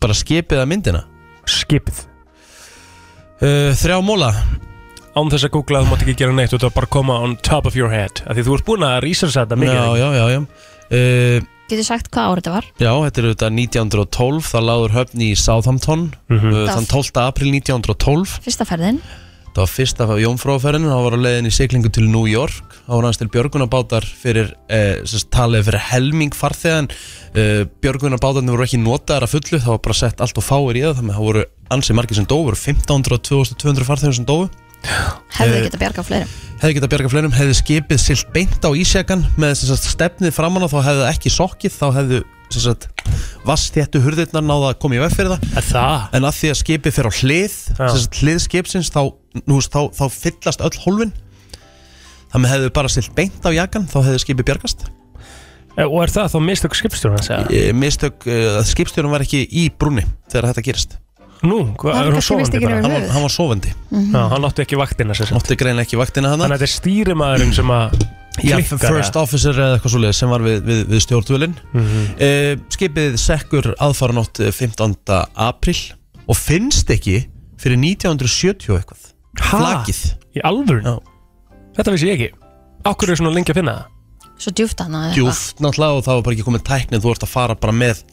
[SPEAKER 1] Bara skipið að myndina?
[SPEAKER 3] Skipið
[SPEAKER 1] uh, Þrjá móla
[SPEAKER 3] Án þess að googla þú mátt ekki gera neitt Þú ert að bara koma on top of your head af Því þú ert búin að researcha þetta mikið
[SPEAKER 1] Já, já, já, já uh,
[SPEAKER 2] Getur sagt hvað ár þetta var
[SPEAKER 1] Já, þetta er auðvitað 1912, það láður höfn í Southampton
[SPEAKER 3] Mhm.
[SPEAKER 1] uh, þann 12. april 1912
[SPEAKER 2] Fyrsta ferðin
[SPEAKER 1] Það var fyrsta jómfráferðin, hann var á leiðin í siglingu til New York hann var hans til björgunabátar fyrir, eh, sérst, talið fyrir helming farþegan eh, björgunabátarnir voru ekki notaðar að fullu það var bara sett allt og fáir í það þannig að það voru ansið margir sem dóu, voru 1500 og 2200 farþegar sem dóu
[SPEAKER 2] Hefðu
[SPEAKER 1] Eh,
[SPEAKER 2] getað bjargað fleirum
[SPEAKER 1] hefði getað bjarga fleirum, hefði skipið silt beint á ísjakan með sem sagt, stefnið framann og þá hefði það ekki sokkið, þá hefðu sem sagt, vastéttu hurðirnar náða að koma í veg fyrir það,
[SPEAKER 3] það.
[SPEAKER 1] en að því að skipið fer á hlið, sem sagt, hlið skipsins þá, nú, veist, þá, þá fyllast öll hólfin þannig hefðu bara silt beint á jakan, þá hefði skipið bjargast
[SPEAKER 3] já Eh, Og er það þá mistök skipstjórn að segja?
[SPEAKER 1] e, mistök, e, að skipstjórun var ekki í brúni þegar þetta gerist
[SPEAKER 3] Nú, hvað,
[SPEAKER 1] Hann
[SPEAKER 3] er hún
[SPEAKER 1] kannski vissi
[SPEAKER 3] sofandi
[SPEAKER 1] ekki
[SPEAKER 3] bara?
[SPEAKER 1] yfir Hann var- höfuð. hann var sofandi. Mhm.
[SPEAKER 3] Já, hann átti ekki vaktina sér
[SPEAKER 1] Átti greina ekki vaktina hann
[SPEAKER 3] Þannig að þetta er stýrimaðurinn sem að
[SPEAKER 1] Já,
[SPEAKER 3] klikkar
[SPEAKER 1] first
[SPEAKER 3] það.
[SPEAKER 1] officer eða eitthvað svoleið sem var við, við, við stjórnvölinn
[SPEAKER 3] Mhm.
[SPEAKER 1] Eh, skipið sekkur aðfaranótt eh, 15. april og finnst ekki fyrir 1970 og eitthvað
[SPEAKER 3] Ha?
[SPEAKER 1] flakið
[SPEAKER 3] Í alvörun? Þetta vissi ég ekki Akkur er svona lengi að finna það?
[SPEAKER 2] Svo djúft hana eða eitthvað.
[SPEAKER 1] djúft náttúrulega og það var bara ekki komið tæknið þú ert að fara bara með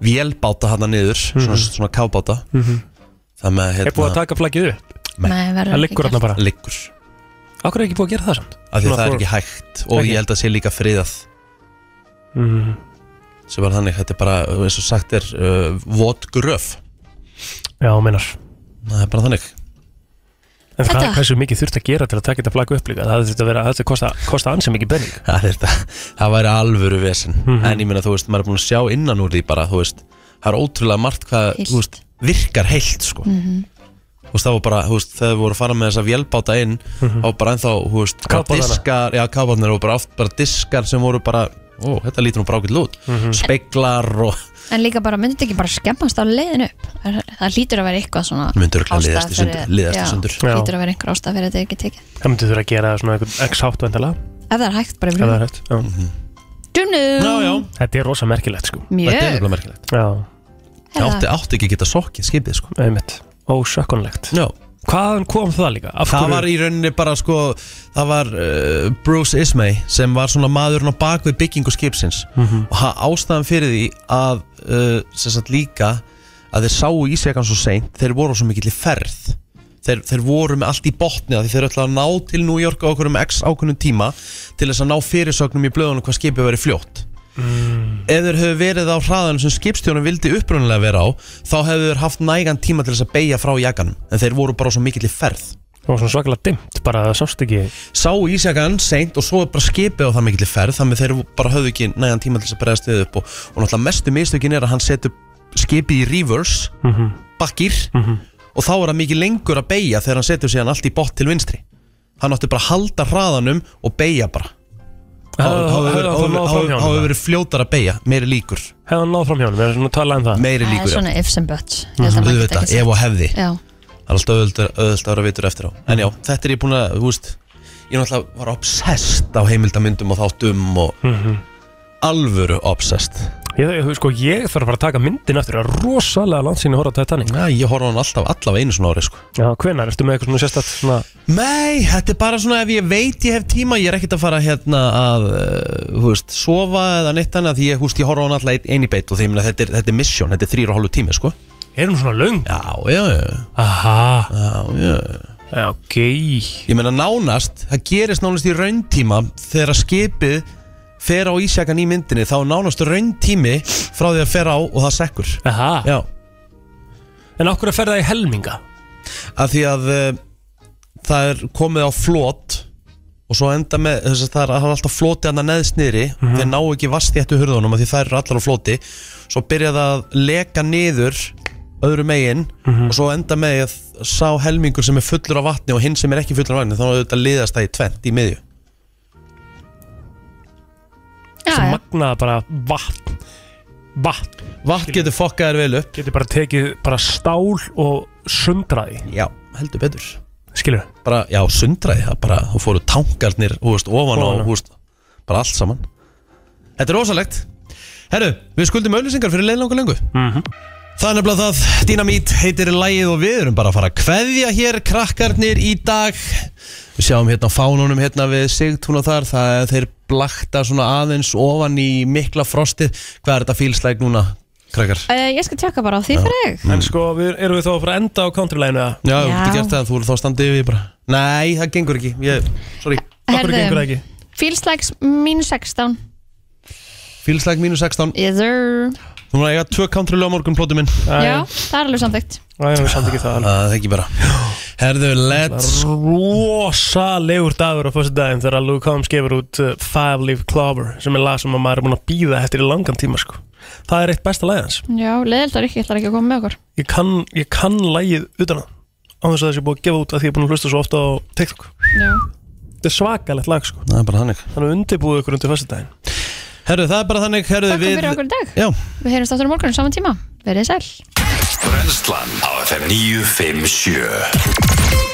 [SPEAKER 1] vélbáta hana niður, svona, svona kábáta þannig að
[SPEAKER 3] Mhm. Er búið að taka flaggið upp?
[SPEAKER 2] Nei, verður
[SPEAKER 3] Það
[SPEAKER 2] ekki
[SPEAKER 3] liggur hérna bara
[SPEAKER 1] Liggur
[SPEAKER 3] Akkur er ekki búið að gera það samt?
[SPEAKER 1] af því að
[SPEAKER 3] Svona
[SPEAKER 1] það er
[SPEAKER 3] fór-
[SPEAKER 1] ekki hægt og
[SPEAKER 3] Ekki.
[SPEAKER 1] ég held að sé líka friðað
[SPEAKER 3] Mhm.
[SPEAKER 1] sem var þannig, þetta er bara eins og sagt er uh, vot gröf
[SPEAKER 3] Já, meinar
[SPEAKER 1] Það er bara þannig
[SPEAKER 3] En hvað,
[SPEAKER 1] Þetta-
[SPEAKER 3] hversu mikið þurft að gera til að taka þetta flagg upp líka? Það þurft að vera, þetta kosta, kosta ansi mikið benning
[SPEAKER 1] Það, er þetta, það væri alvöru vesen En ég meina þú veist, maður er búin að sjá innan úr því bara Þú veist, það er ótrúlega margt hvað þú veist, virkar heilt sko.
[SPEAKER 2] Mhm.
[SPEAKER 1] Þú veist, það var bara, þú veist, þegar við vorum að fara með þessa vélbáta inn þá var bara ennþá, þú veist, bara
[SPEAKER 3] Kafbátana.
[SPEAKER 1] diskar, já, kábátnir og bara oft bara diskar sem voru bara, ó, þetta lítur nú brákill út speklar og
[SPEAKER 2] En líka bara, myndi þetta ekki bara skemmast á leiðin upp? Er- Það hlýtur að vera eitthvað svona
[SPEAKER 1] Myndi örugglega
[SPEAKER 2] ástæða
[SPEAKER 1] liðast í sundur-
[SPEAKER 2] fyrir-
[SPEAKER 1] liðast í
[SPEAKER 2] Já,
[SPEAKER 1] sundur.
[SPEAKER 2] Hlýtur
[SPEAKER 3] Já.
[SPEAKER 2] að vera einhver ástæð fyrir að þetta er ekki tekið
[SPEAKER 3] Það myndi þurfa að gera svona einhvern x-hátt vendala
[SPEAKER 2] Ef það er hægt bara
[SPEAKER 3] Ef það
[SPEAKER 2] yfir
[SPEAKER 3] er hægt já.
[SPEAKER 2] Dunu
[SPEAKER 3] Þetta er rosa merkilegt sko
[SPEAKER 2] Mjög. Þetta er nefnilega
[SPEAKER 1] merkilegt
[SPEAKER 3] Já
[SPEAKER 2] Það Eða- átti-
[SPEAKER 1] átti ekki að geta sokkið skipið sko
[SPEAKER 3] Einmitt, ósökkunlegt
[SPEAKER 1] Já
[SPEAKER 3] Hvaðan kom það líka? Af
[SPEAKER 1] það
[SPEAKER 3] hverju-
[SPEAKER 1] var í rauninni bara sko það var uh, Bruce Ismay sem var svona maðurinn á bakvið byggingu skipsins
[SPEAKER 3] Mhm.
[SPEAKER 1] og það ástæðan fyrir því að uh, sem sagt líka að þeir sáu ísjakan svo seint þeir voru á svo mikill í ferð þeir, þeir voru með allt í botni af því þeir ætlaði að ná til New York á okkur um x ákunnum tíma til þess að ná fyrirsögnum í blöðunum hvað skipið verið fljótt ef þeir hefur verið á hraðan sem skipstjónum vildi upprunalega vera á þá hefur þeir haft nægan tíma til þess að beigja frá jakanum en þeir voru bara á svo mikill í ferð
[SPEAKER 3] Það var svona svakalega dimmt bara það sást ekki
[SPEAKER 1] Sá ísjakan seint og svo er bara skipið á það mikill í ferð þannig þeir bara höfðu ekki nægan tíma til þess að bregðast við upp og, og náttúrulega mestu mistökin er að hann setur skipið í reverse
[SPEAKER 3] Mhm.
[SPEAKER 1] bakkir og þá er það mikið lengur að beigja þegar hann setur síðan allt í bótt til vinstri hann átti bara að halda hraðanum og beigja bara Þá-
[SPEAKER 3] Hefði-
[SPEAKER 1] þá
[SPEAKER 3] hefði hann þá náð fram hjá honum,
[SPEAKER 1] hefur
[SPEAKER 3] eða?
[SPEAKER 1] verið fljótar að beigja meiri líkur
[SPEAKER 3] Hefði hann náð fram hjá honum, við erum svona að tala um það
[SPEAKER 1] Meiri
[SPEAKER 2] Það
[SPEAKER 1] líkur,
[SPEAKER 2] er
[SPEAKER 1] já Mhm. Mm-hmm.
[SPEAKER 2] svona ifs and buts Ég held að maður geti
[SPEAKER 1] Auðvitað,
[SPEAKER 2] ekki
[SPEAKER 1] ef og hefði
[SPEAKER 2] sagt- Já,
[SPEAKER 1] Það er alltaf auðvitað auðvitað að vera vitur eftir á En já, þetta er ég búin að, þú veist Ég náttúrulega var obsessed á heimildamyndum og þáttum og
[SPEAKER 3] Mhm.
[SPEAKER 1] alvöru obsessed
[SPEAKER 3] Ég, ég, sko, ég þarf bara að taka myndin aftur Það er rosalega langt sín að horfa á Titanic
[SPEAKER 1] Já, ég horfa á hann alltaf allavega einu svona ári sko.
[SPEAKER 3] Já, hvenær? Ertu með eitthvað svona sérstætt svona
[SPEAKER 1] Nei, þetta er bara svona ef ég veit ég hef tíma Ég er ekkert að fara hérna að uh, Þú veist, sofa eða neitt annað Því ég, þú veist, ég horfa á hann alltaf einn- einn í beitt Og því ég meina, þetta er, þetta er mission, þetta er þrýra og hálfu tími sko.
[SPEAKER 3] Er hún svona löng?
[SPEAKER 1] Já, já, já
[SPEAKER 3] Aha
[SPEAKER 1] Já, já
[SPEAKER 3] Já, ok
[SPEAKER 1] Ég meina nánast, það gerist nánast í rauntíma Þegar skipið fer á ísjakan í myndinni Þá er nánast rauntími frá því að fer á og það sekkur
[SPEAKER 3] Aha
[SPEAKER 1] Já
[SPEAKER 3] En okkur að fer það í helminga?
[SPEAKER 1] Af því að uh, það er komið á flót Og svo enda með, þess að það er það er alltaf flóti hann að neðst niðri
[SPEAKER 3] Mhm.
[SPEAKER 1] Þeir ná ekki vast í ettu hurðunum af Því það eru allar á flóti Svo byrja það að leka niður öðru megin
[SPEAKER 3] Mhm.
[SPEAKER 1] Og svo enda með því að sá helmingur sem er fullur af vatni Og hinn sem er ekki fullur af vatni Þannig að þetta liðast það í tvent í miðju
[SPEAKER 2] já,
[SPEAKER 3] Sem
[SPEAKER 2] já.
[SPEAKER 3] magnaða bara vatn Vatn
[SPEAKER 1] Vatn getur fokkað þér vel upp
[SPEAKER 3] Getur bara tekið bara stál og sundraði
[SPEAKER 1] Já, heldur betur
[SPEAKER 3] Skilur
[SPEAKER 1] bara, já, sundraði það bara þú fóru tankarnir, hú veist, ofan á
[SPEAKER 3] Ofan á.
[SPEAKER 1] hú veist, bara allt saman Þetta er rosalegt Herru, við skuldum auðlýsingar fyrir leið langar lengu
[SPEAKER 3] Mhm.
[SPEAKER 1] Það er nefnilega það, Dynamít heitir lægið og við erum bara að fara að kveðja hér krakkarnir í dag Við sjáum hérna á fánunum hérna við Sigtún og þar, það er þeir blakta svona aðeins ofan í mikla frostið Hvað er þetta fílslæg núna, krakkar?
[SPEAKER 2] Eh, Ég skal tjekka bara á því fyrir þig
[SPEAKER 3] En sko, við, erum við þá að fara að enda á countrylæginu eða?
[SPEAKER 1] Já, þú
[SPEAKER 2] Já.
[SPEAKER 1] getur gert það, þú eru þá standið yfir bara Nei, það gengur ekki, ég, sorry
[SPEAKER 2] Herðu, Feels like mín 16
[SPEAKER 1] Fílslæg mínus 16
[SPEAKER 2] Either
[SPEAKER 1] Þú múið að eiga tvö country lög á morgun plóti minn
[SPEAKER 2] Já, það er alveg samþygt
[SPEAKER 3] Það er samt ekki það
[SPEAKER 1] Það er ekki bara Herðu, let's
[SPEAKER 3] Rosalegur dagur á fyrstu daginn þegar Luke Combs gefur út uh, Five Leaf Clover sem er lag sem að maður er búin að býða eftir í langan tíma sko. Það er eitt besta lagið hans
[SPEAKER 2] Já, leðildar ekki, ég ætlar ekki að koma með okkur
[SPEAKER 3] Ég kann, ég kann lagið utan að á þess að það sé búið að gefa út að því ég er búin að hlusta svo ofta á TikTok
[SPEAKER 2] Já.
[SPEAKER 3] Þetta er svakalegt lag sko.
[SPEAKER 1] Það er bara þannig
[SPEAKER 3] Þannig að undirbúið ykkur undir fyrstu daginn
[SPEAKER 1] Herðu, það er bara þannig Herðu,
[SPEAKER 2] Takk fyrir okkur í dag
[SPEAKER 1] Já
[SPEAKER 2] Við heyrjumst áttur á morgun, saman tíma Verið sæl
[SPEAKER 4] Brenslan á FM 957